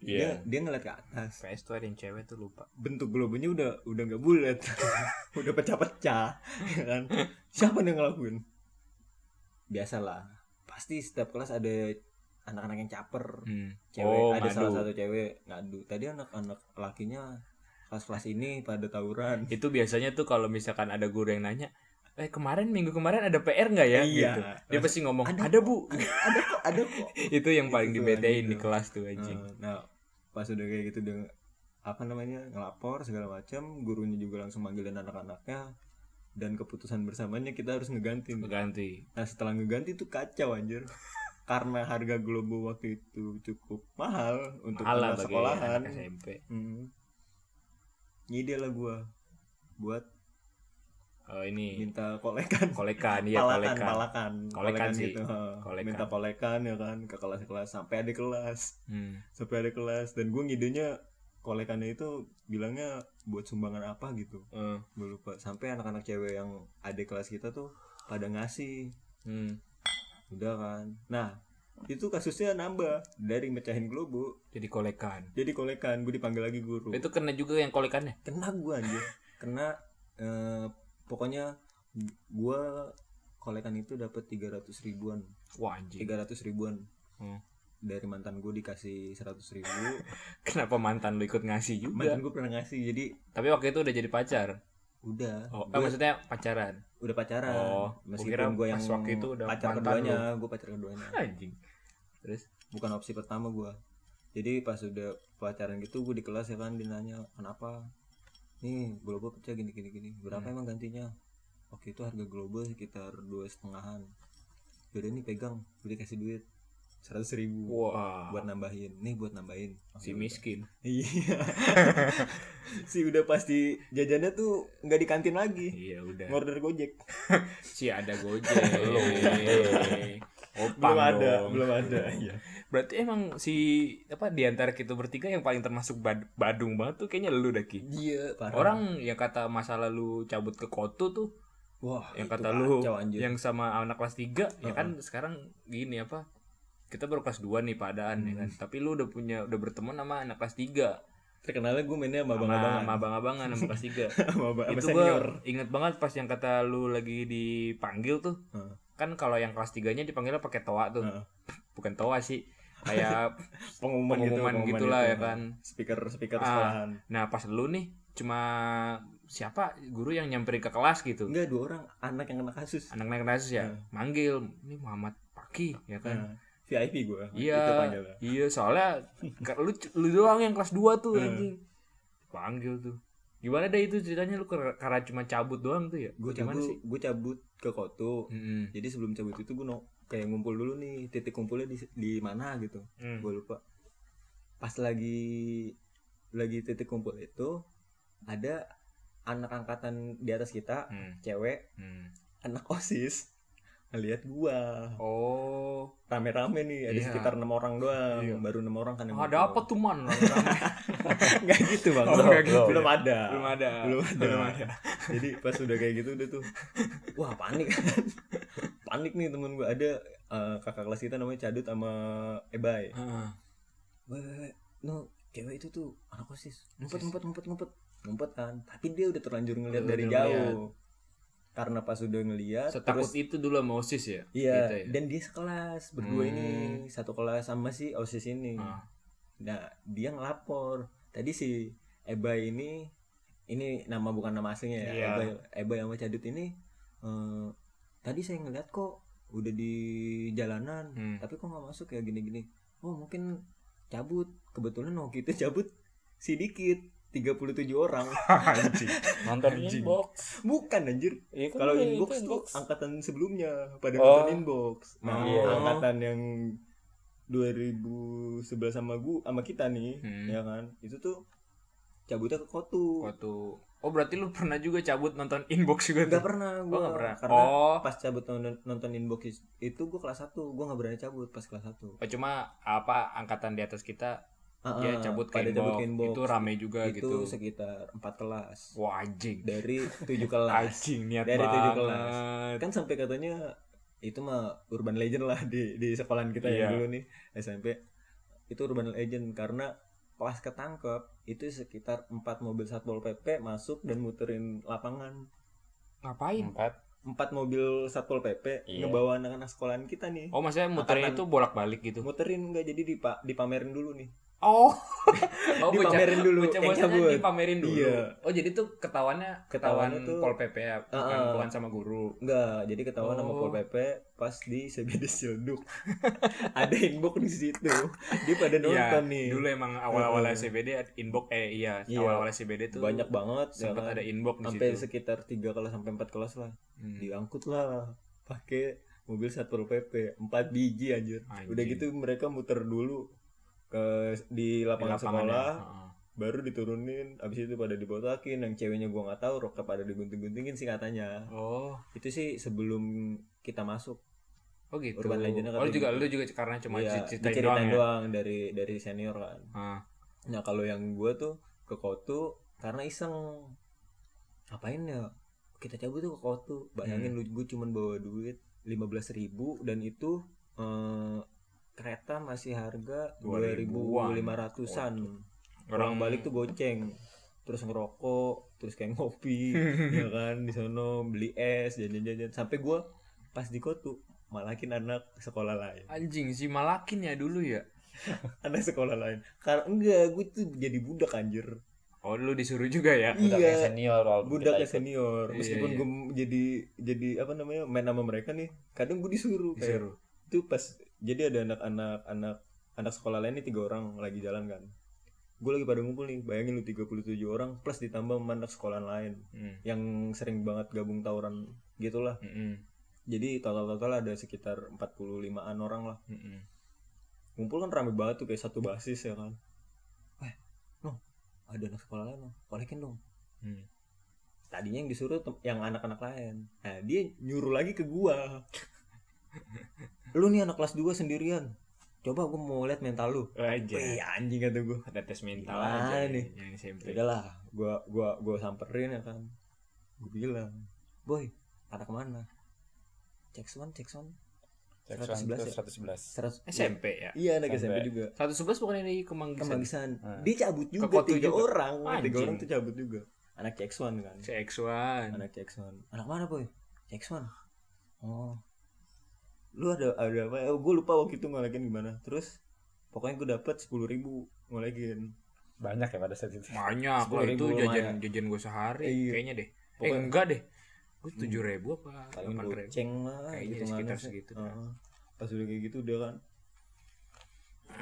Speaker 2: dia
Speaker 3: Iya.
Speaker 2: dia ngeliat ke atas,
Speaker 3: PS tuh ada yang cewek tuh lupa
Speaker 2: bentuk globonya udah udah nggak bulat, udah pecah-pecah, ya kan? Siapa yang ngelakuin? Biasalah, pasti setiap kelas ada anak-anak yang caper, cewek
Speaker 3: oh
Speaker 2: ada salah
Speaker 3: ngadu.
Speaker 2: satu cewek ngadu. Tadi anak-anak lakinya kelas-kelas ini pada tawuran.
Speaker 3: itu biasanya tuh kalau misalkan ada guru yang nanya eh kemarin minggu kemarin ada PR nggak ya
Speaker 2: Iya.
Speaker 3: gitu dia pasti ngomong ada, bu
Speaker 2: ada kok, ada kok. nah,
Speaker 3: itu yang paling
Speaker 2: Itu tuh,
Speaker 3: dibedain di
Speaker 2: anjing.
Speaker 3: kelas tuh anjing
Speaker 2: Nah, pas udah kayak gitu udah apa namanya ngelapor segala macam gurunya juga langsung manggilin anak-anaknya dan keputusan bersamanya kita harus ngeganti
Speaker 3: ganti
Speaker 2: nah setelah ngeganti itu kacau anjir karena harga globo waktu itu cukup mahal untuk
Speaker 3: Malah
Speaker 2: anak
Speaker 3: bagi
Speaker 2: sekolahan
Speaker 3: anak SMP.
Speaker 2: Hmm. Ngide lah gua buat
Speaker 3: Oh, ini
Speaker 2: minta kolekan
Speaker 3: kolekan ya
Speaker 2: Gitu. palakan,
Speaker 3: kolekan.
Speaker 2: palakan
Speaker 3: Kolekan sih.
Speaker 2: gitu ha.
Speaker 3: Kolekan.
Speaker 2: minta kolekan ya kan ke kelas-kelas sampai ada kelas
Speaker 3: Hmm.
Speaker 2: sampai ada kelas dan gue ngidenya kolekannya itu bilangnya buat sumbangan apa gitu
Speaker 3: Eh,
Speaker 2: gue lupa sampai anak-anak cewek yang ada kelas kita tuh pada ngasih
Speaker 3: hmm.
Speaker 2: udah kan nah itu kasusnya nambah dari mecahin globo
Speaker 3: Jadi kolekan.
Speaker 2: jadi kolekan gue dipanggil lagi guru
Speaker 3: Itu kena juga yang kolekannya.
Speaker 2: kena gue anjir kena eh, pokoknya gue kolekan itu dapat 300 ribuan
Speaker 3: Wah anjing.
Speaker 2: 300 ribuan
Speaker 3: Hmm.
Speaker 2: dari mantan gue dikasih 100 ribu
Speaker 3: Kenapa mantan lu ikut ngasih juga?
Speaker 2: mantan gue pernah ngasih jadi
Speaker 3: Tapi waktu itu udah jadi pacar.
Speaker 2: udah
Speaker 3: Oh, eh,
Speaker 2: Gua
Speaker 3: maksudnya pacaran.
Speaker 2: udah pacaran
Speaker 3: Oh, gua kira
Speaker 2: meskipun gue yang
Speaker 3: pas waktu itu udah
Speaker 2: pacar
Speaker 3: mantan
Speaker 2: keduanya gue pacar keduanya
Speaker 3: Anjing. Terus
Speaker 2: bukan opsi pertama gue jadi pas udah pacaran gitu gue di kelas ya kan dia nanya kenapa nih globo pecah gini gini gini berapa
Speaker 3: Iya.
Speaker 2: emang gantinya oke itu harga globo sekitar dua setengahan yaudah nih pegang gue dikasih duit seratus ribu
Speaker 3: wah
Speaker 2: buat nambahin nih buat nambahin
Speaker 3: si
Speaker 2: Oke,
Speaker 3: miskin.
Speaker 2: iya si udah pasti jajannya tuh nggak di kantin lagi
Speaker 3: Iya udah.
Speaker 2: ngorder gojek
Speaker 3: Si ada Gojek. Opang
Speaker 2: belum ada
Speaker 3: dong.
Speaker 2: belum ada iya
Speaker 3: Berarti emang si apa di antara kita bertiga yang paling termasuk bad- badung banget tuh kayaknya lu Daki.
Speaker 2: iya parah
Speaker 3: Orang yang kata masa lalu cabut ke Koto tuh,
Speaker 2: wah
Speaker 3: yang
Speaker 2: itu
Speaker 3: kata lu
Speaker 2: kacau, anjir.
Speaker 3: yang sama anak kelas 3 ya kan sekarang gini apa? Kita baru kelas 2 nih padaan ya kan. Tapi lu udah punya udah berteman sama anak kelas 3.
Speaker 2: terkenalnya gue mainnya
Speaker 3: Sama
Speaker 2: sama abang-abangan
Speaker 3: sama abang-abangan sama kelas 3.
Speaker 2: sama abang- sama
Speaker 3: itu
Speaker 2: senior
Speaker 3: gua inget banget pas yang kata lu lagi dipanggil tuh
Speaker 2: Heeh.
Speaker 3: kan kalau yang kelas tiganya dipanggilnya pakai toa tuh
Speaker 2: Heeh.
Speaker 3: bukan toa sih kayak
Speaker 2: pengumuman, gitu,
Speaker 3: pengumuman
Speaker 2: pengumuman
Speaker 3: gitulah
Speaker 2: gitu.
Speaker 3: ya kan
Speaker 2: speaker speaker
Speaker 3: Ah.
Speaker 2: sekolahan
Speaker 3: nah pas lu nih cuma siapa guru yang nyamperin ke kelas gitu
Speaker 2: enggak dua orang anak yang kena kasus
Speaker 3: anak naik kasus ya manggil ini Muhammad Paki ya kan
Speaker 2: Nah, VIP gue itu
Speaker 3: iya
Speaker 2: panggilnya
Speaker 3: iya soalnya ke- lu lu doang yang kelas 2 tuh anjing panggil tuh gimana deh itu ceritanya lu kar- karena cuma cabut doang tuh ya
Speaker 2: gue
Speaker 3: gimana
Speaker 2: cabut gue cabut ke koto
Speaker 3: Mm-mm.
Speaker 2: jadi sebelum cabut itu gue no, kayak ngumpul dulu nih titik kumpulnya di di mana gitu
Speaker 3: Mm.
Speaker 2: gue lupa pas lagi lagi titik kumpul itu ada anak angkatan di atas kita
Speaker 3: Mm.
Speaker 2: cewek
Speaker 3: Mm.
Speaker 2: anak osis ngeliat gua
Speaker 3: oh
Speaker 2: rame-rame nih ada
Speaker 3: Iya.
Speaker 2: sekitar enam orang doang
Speaker 3: Iya.
Speaker 2: baru enam orang kan yang
Speaker 3: ada
Speaker 2: ngumpul.
Speaker 3: apa tuh man Rame-rame.
Speaker 2: nggak gitu bang
Speaker 3: Oh, nggak gitu.
Speaker 2: belum ada
Speaker 3: belum ada
Speaker 2: belum ada
Speaker 3: Belum ada.
Speaker 2: jadi pas udah kayak gitu udah tuh wah panik kan panik nih temen gue ada eh, kakak kelas kita namanya Cadut sama Ebay
Speaker 3: Heeh.
Speaker 2: Weh, weh, weh, no cewek itu tuh anak osis ngumpet ngumpet ngumpet ngumpet ngumpet kan tapi dia udah terlanjur ngeliat
Speaker 3: Udah
Speaker 2: dari
Speaker 3: ngeliat.
Speaker 2: jauh karena pas udah ngeliat
Speaker 3: setakut itu dulu sama osis ya
Speaker 2: Iya,
Speaker 3: Gitu ya?
Speaker 2: dan dia sekelas berdua
Speaker 3: Hmm.
Speaker 2: ini satu kelas sama si osis ini.
Speaker 3: Ah.
Speaker 2: Nah, dia ngelapor. Tadi si Eba ini ini nama bukan nama aslinya ya.
Speaker 3: Iya.
Speaker 2: Eba, Eba sama Cadut ini eh, tadi saya ngeliat kok udah di jalanan,
Speaker 3: Hmm.
Speaker 2: tapi kok nggak masuk ya gini-gini. Oh, mungkin cabut. Kebetulan oh kita cabut sedikit 37 orang.
Speaker 3: Anjing.
Speaker 1: nonton
Speaker 3: Anjing.
Speaker 1: inbox
Speaker 2: Bukan anjir.
Speaker 1: Iya kan,
Speaker 2: Kalau
Speaker 1: iya,
Speaker 2: inbox
Speaker 1: itu
Speaker 2: tuh
Speaker 1: inbox.
Speaker 2: angkatan sebelumnya pada
Speaker 1: Oh.
Speaker 2: nonton inbox. Nah,
Speaker 3: Oh.
Speaker 2: angkatan yang 2011 sama gua sama kita nih,
Speaker 3: Hmm.
Speaker 2: ya kan? Itu tuh cabutnya ke Kotu.
Speaker 3: waktu oh berarti lu pernah juga cabut nonton inbox juga
Speaker 2: Enggak
Speaker 3: tuh?
Speaker 2: pernah
Speaker 3: oh,
Speaker 2: gua.
Speaker 3: nggak pernah
Speaker 2: Karena
Speaker 3: oh
Speaker 2: pas cabut nonton, nonton inbox is- itu gua kelas 1, gua nggak berani cabut pas kelas 1.
Speaker 3: oh, cuma apa angkatan di atas kita
Speaker 2: Ah,
Speaker 3: ya
Speaker 2: ah,
Speaker 3: cabut ke
Speaker 2: pada
Speaker 3: inbox. itu rame juga
Speaker 2: itu
Speaker 3: gitu
Speaker 2: sekitar 4 kelas
Speaker 3: wah anjing
Speaker 2: dari 7 kelas.
Speaker 3: anjing niat
Speaker 2: Dari tujuh
Speaker 3: banget
Speaker 2: kelas. kan sampai katanya itu mah urban legend lah di di sekolahan kita
Speaker 3: Iya.
Speaker 2: yang dulu nih SMP itu urban legend karena pas ketangkep itu sekitar empat mobil satpol pp masuk dan muterin lapangan
Speaker 3: ngapain
Speaker 1: empat
Speaker 2: empat mobil satpol pp
Speaker 1: Iya.
Speaker 2: ngebawa
Speaker 3: Hmm.
Speaker 2: anak-anak sekolahan kita nih
Speaker 3: oh maksudnya muternya itu
Speaker 2: Angkatan-
Speaker 3: bolak balik gitu
Speaker 2: muterin nggak jadi dipa dipamerin dulu nih
Speaker 3: Oh. oh
Speaker 2: Dipamerin
Speaker 3: bocah-
Speaker 2: dulu,
Speaker 3: Bocah
Speaker 2: yang
Speaker 3: bocahnya
Speaker 2: cabut.
Speaker 3: dipamerin dulu.
Speaker 2: Iya.
Speaker 3: Oh, jadi tuh ketahuannya
Speaker 2: Ketahuannya
Speaker 3: ketahuan
Speaker 2: tuh-
Speaker 3: Pol PP ya, bukan,
Speaker 2: Ah, ah.
Speaker 3: bukan sama guru.
Speaker 2: Enggak, Eh, jadi ketahuan sama
Speaker 3: Oh.
Speaker 2: Pol PP pas di CBD Silduk. ada inbox di situ. Dia pada
Speaker 3: Iya,
Speaker 2: nonton nih.
Speaker 3: dulu emang awal-awal
Speaker 2: Heeh.
Speaker 3: CBD ada inbox eh iya,
Speaker 2: Iya.
Speaker 3: awal-awal CBD tuh
Speaker 2: banyak banget ya
Speaker 3: sempat
Speaker 2: kan.
Speaker 3: ada inbox di
Speaker 2: Sampai
Speaker 3: situ.
Speaker 2: sekitar 3 kelas sampai 4 kelas lah.
Speaker 3: Hmm.
Speaker 2: Diangkut lah pakai mobil Satpol PP 4 biji anjir.
Speaker 3: Anjing.
Speaker 2: Udah gitu mereka muter dulu ke
Speaker 3: Di
Speaker 2: di
Speaker 3: lapangan
Speaker 2: lapangan,
Speaker 3: ya.
Speaker 2: sekolah,
Speaker 3: Heeh.
Speaker 2: baru diturunin, abis itu pada dibotakin, yang ceweknya gua nggak tahu, roknya pada digunting-guntingin sih katanya.
Speaker 3: Oh,
Speaker 2: Itu sih sebelum kita masuk.
Speaker 3: oh gitu.
Speaker 2: Urban Legendnya
Speaker 3: oh,
Speaker 2: katanya
Speaker 3: juga
Speaker 2: gitu.
Speaker 3: lu juga karena cuma
Speaker 2: Iya,
Speaker 3: cerita
Speaker 2: diceritain
Speaker 3: doang ya.
Speaker 2: doang dari dari senior kan.
Speaker 3: Heeh.
Speaker 2: Nah kalau yang gua tuh ke Kotu karena iseng ngapain ya kita cabut tuh ke Kotu bayangin lu gue cuman bawa duit 15.000 ribu dan itu eh, kereta masih harga
Speaker 3: 2.000-an.
Speaker 2: 2.500an
Speaker 3: Orang-
Speaker 2: orang balik tuh goceng terus ngerokok terus kayak ngopi ya kan di sono beli es jajan-jajan sampai gua pas di Kotu malakin anak sekolah lain
Speaker 3: Anjing si Malakin ya dulu ya.
Speaker 2: anak sekolah lain karena enggak gue tuh jadi budak anjir
Speaker 3: Oh, lu disuruh juga ya.
Speaker 1: budaknya senior walaupun kita ikut.
Speaker 2: budaknya Iya. ya, senior
Speaker 3: Iya,
Speaker 2: meskipun
Speaker 3: iya.
Speaker 2: gue jadi jadi apa namanya main sama mereka nih kadang gue disuruh kayak
Speaker 3: Disuruh.
Speaker 2: itu pas jadi ada anak-anak anak anak sekolah lain nih tiga orang lagi jalan kan gue lagi pada ngumpul nih bayangin lu 37 orang plus ditambah sama anak sekolah lain
Speaker 3: Hmm.
Speaker 2: yang sering banget gabung tawuran gitulah
Speaker 3: Mm-mm.
Speaker 2: jadi total-total ada sekitar 45an orang lah
Speaker 3: Mm-mm.
Speaker 2: ngumpul kan rame banget tuh kayak satu basis ya kan eh no ada anak sekolah lain no kolekin dong
Speaker 3: Hmm.
Speaker 2: tadinya yang disuruh tem- yang anak-anak lain nah dia nyuruh lagi ke gua lu nih anak kelas 2 sendirian coba gua mau lihat mental lu
Speaker 3: Aja.
Speaker 2: Wih, anjing kata gua
Speaker 3: Ada tes mental
Speaker 2: Gimana
Speaker 3: aja
Speaker 2: nih?
Speaker 3: nih. yang SMP.
Speaker 2: udahlah gua gua gua samperin ya kan gua bilang boy anak mana cek sound cek sound
Speaker 1: Cek
Speaker 2: 111 ya?
Speaker 1: 111
Speaker 2: seratus
Speaker 3: SMP ya.
Speaker 2: iya anak
Speaker 1: Sampai.
Speaker 2: SMP juga
Speaker 3: 111 bukan yang di Kemanggisan.
Speaker 2: kemanggisan
Speaker 1: Hmm.
Speaker 2: dia cabut Ah. juga
Speaker 3: Kekotu
Speaker 2: tiga
Speaker 3: juga.
Speaker 2: orang tiga
Speaker 3: Anjing.
Speaker 2: orang tuh cabut juga anak CX1 kan
Speaker 3: Si X1.
Speaker 2: anak CX1 anak mana boy CX1 oh lu ada ada apa eh, gue lupa waktu itu ngolekin gimana terus pokoknya gue dapet sepuluh ribu ngolekin
Speaker 1: banyak ya pada saat itu
Speaker 3: Banyak gua itu jajan
Speaker 2: 10.000 lumayan.
Speaker 3: jajan gua sehari
Speaker 2: Iya.
Speaker 3: kayaknya deh. Eh
Speaker 2: Pokoknya- Hmm.
Speaker 3: enggak deh. Gua 7000 apa
Speaker 2: paling
Speaker 3: 8000.
Speaker 2: goceng lah
Speaker 3: Kayaknya
Speaker 2: gitu
Speaker 3: sekitar segitu dah.
Speaker 2: pas udah kayak gitu udah kan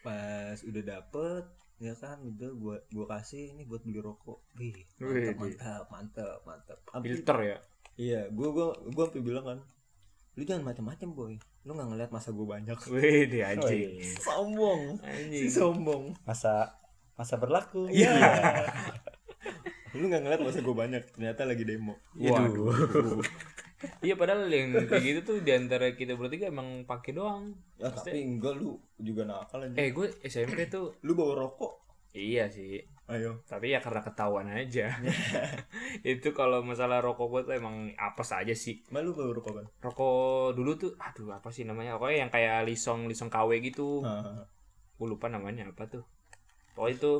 Speaker 2: pas udah dapet ya kan udah gua gua kasih ini buat beli rokok wih
Speaker 3: Wih,
Speaker 2: mantap mantap mantap mantap Hampir-
Speaker 3: Filter ya.
Speaker 2: iya gua gua gua sampai bilang kan lu jangan macam-macam boy lu nggak ngeliat masa gua banyak Iya.
Speaker 3: Wih, dia anjing.
Speaker 2: sombong
Speaker 3: Anjing.
Speaker 2: Oh, iya. si sombong
Speaker 1: masa masa berlaku
Speaker 2: iya lu nggak ngeliat masa gue banyak ternyata lagi demo
Speaker 3: Waduh. Iya padahal yang kayak gitu tuh diantara kita bertiga emang pakai doang.
Speaker 2: ya tapi enggak lu juga nakal aja
Speaker 3: Eh gue SMP tuh
Speaker 2: lu bawa rokok
Speaker 3: iya sih.
Speaker 2: ayo
Speaker 3: Tapi ya karena ketahuan aja. itu kalau masalah rokok gue tuh emang apa saja sih.
Speaker 2: Mbak lu bawa rokok kan
Speaker 3: Rokok dulu tuh aduh apa sih namanya? Pokoknya yang kayak lisong lisong KW gitu.
Speaker 2: Ah,
Speaker 3: Gue lupa namanya apa tuh. Pokoknya itu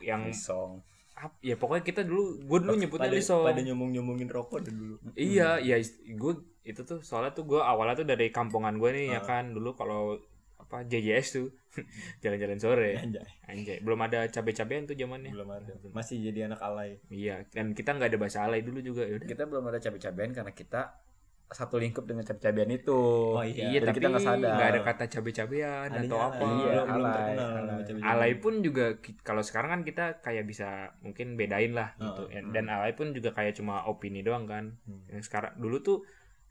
Speaker 1: Iya.
Speaker 3: yang
Speaker 1: song
Speaker 3: ap- ya pokoknya kita dulu gue
Speaker 1: Oh,
Speaker 3: dulu nyebutnya
Speaker 2: pada,
Speaker 3: lisong.
Speaker 2: pada nyomong nyomongin rokok dah dulu
Speaker 1: Hmm.
Speaker 3: Iya, iya gue itu tuh soalnya tuh gue awalnya tuh dari kampungan gue nih ya kan dulu kalau apa JJS tuh jalan-jalan sore
Speaker 2: Eh, anjay
Speaker 3: anjay belum ada cabe-cabean tuh
Speaker 1: Hmm.
Speaker 3: zamannya
Speaker 2: belum ada masih jadi anak alay
Speaker 3: iya dan kita nggak ada bahasa alay dulu juga ya yaudah
Speaker 1: kita belum ada cabai-cabean karena kita satu lingkup dengan cabai-cabean itu
Speaker 2: Oh, iya.
Speaker 1: Jadi
Speaker 3: tapi
Speaker 1: kita nggak sadar
Speaker 3: nggak ada kata cabe-cabean
Speaker 2: Adanya
Speaker 3: atau apa
Speaker 2: alay.
Speaker 1: Iya,
Speaker 2: belum, belum
Speaker 1: alay,
Speaker 2: terkenal
Speaker 1: alay.
Speaker 2: nama cabai-cabai.
Speaker 3: alay pun juga ki- kalau sekarang kan kita kayak bisa mungkin bedain lah gitu
Speaker 2: Heeh.
Speaker 3: dan alay pun juga kayak cuma opini doang kan
Speaker 2: Hmm.
Speaker 3: yang sekarang dulu tuh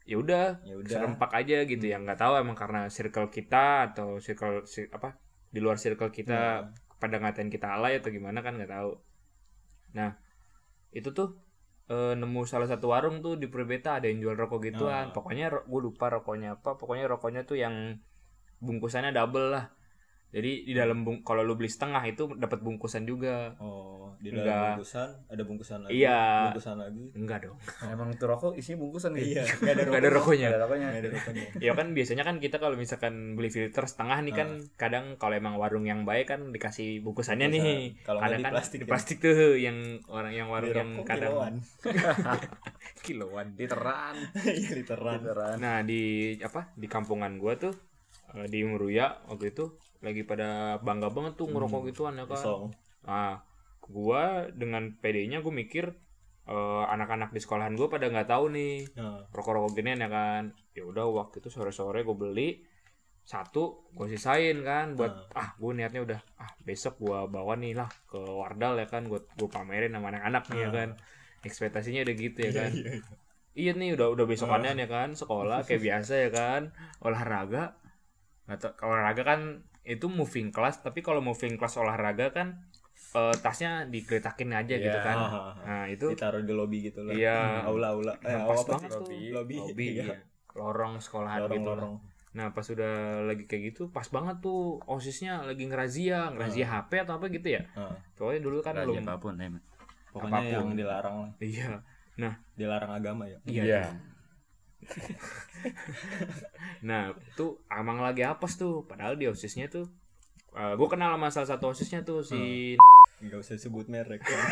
Speaker 3: ya udah
Speaker 2: ya udah Hmm.
Speaker 3: serempak aja gitu yang nggak tahu emang karena circle kita atau circle si- apa di luar circle
Speaker 2: Hmm.
Speaker 3: kita pada ngatain kita alay atau gimana kan nggak tahu nah itu tuh eh, nemu salah satu warung tuh di Purweta ada yang jual rokok gituan
Speaker 2: Ah.
Speaker 3: pokoknya gue lupa rokoknya apa pokoknya rokoknya tuh yang bungkusannya double lah jadi di dalam bung kalau lu beli setengah itu dapat bungkusan juga
Speaker 2: oh di dalam
Speaker 3: Enggak.
Speaker 2: bungkusan ada bungkusan lagi
Speaker 3: Iya.
Speaker 2: bungkusan lagi
Speaker 3: enggak dong
Speaker 1: Nah, emang itu rokok isinya bungkusan gitu
Speaker 2: iya nggak ada
Speaker 3: enggak ada rokoknya
Speaker 1: ada rokoknya
Speaker 2: nggak ada rokoknya
Speaker 3: ya kan biasanya kan kita kalau misalkan beli filter setengah nih
Speaker 2: Ah.
Speaker 3: kan kadang kalau emang warung yang baik kan dikasih bungkusannya
Speaker 2: Bungkusan.
Speaker 3: nih
Speaker 2: Kalau nggak
Speaker 3: kadang
Speaker 2: di
Speaker 3: kan di
Speaker 2: plastik ya. Iya,
Speaker 3: plastik tuh yang orang yang warung
Speaker 2: Beli
Speaker 3: yang
Speaker 2: rokok
Speaker 3: kadang
Speaker 2: kiloan
Speaker 3: kiloan
Speaker 1: literan
Speaker 2: Iya, literan
Speaker 1: literan
Speaker 3: Gitu. nah di apa di kampungan gua tuh eh, di Meruya waktu itu lagi pada bangga banget tuh ngerokok
Speaker 2: Hmm,
Speaker 3: gituan ya kan.
Speaker 2: Song.
Speaker 3: Nah, gua dengan PD-nya gue mikir eh, anak-anak di sekolahan gue pada nggak tahu nih
Speaker 2: Nah,
Speaker 3: rokok-rokok ginian ya kan. Ya udah waktu itu sore-sore gue beli satu gue sisain kan buat
Speaker 2: Hmm.
Speaker 3: ah gue niatnya udah ah besok gue bawa nih lah ke Wardal ya kan gue gue pamerin sama anak-anak nih ya
Speaker 2: Hmm.
Speaker 3: kan ekspektasinya udah gitu ya
Speaker 2: iya,
Speaker 3: kan
Speaker 2: iya, iya.
Speaker 3: iya nih udah udah besokannya nih ya kan sekolah kayak biasa ya kan olahraga nggak tau- kalau olahraga kan itu moving class tapi kalau moving class olahraga kan eh, tasnya digeletakin aja gitu
Speaker 1: Iya.
Speaker 3: kan
Speaker 2: Ah, ah, ah.
Speaker 3: nah itu
Speaker 2: Ditaruh di lobby gitu lah.
Speaker 3: Iya.
Speaker 2: Aula aula. Eh,
Speaker 3: Nah,
Speaker 2: aula
Speaker 3: pas
Speaker 2: apa
Speaker 3: banget
Speaker 2: sih?
Speaker 3: tuh.
Speaker 2: Lobby.
Speaker 3: lobby
Speaker 2: Iya.
Speaker 3: iya. lorong sekolahan
Speaker 2: Lorong
Speaker 3: gitu lah.
Speaker 2: lorong.
Speaker 3: nah pas udah lagi kayak gitu pas banget tuh osisnya lagi ngerazia ngerazia HP atau apa gitu ya
Speaker 2: Ah.
Speaker 3: pokoknya dulu kan
Speaker 1: Raja
Speaker 3: belum
Speaker 1: apapun emang.
Speaker 2: Pokoknya
Speaker 3: Apapun.
Speaker 2: yang dilarang lah.
Speaker 3: iya
Speaker 2: Dilarang agama ya.
Speaker 3: Iya.
Speaker 1: Iya.
Speaker 3: Nah, tuh Amang lagi apes tuh. Padahal di OSISnya tuh gue kenal sama salah satu OSISnya tuh si
Speaker 2: Hmm. Enggak usah sebut merek.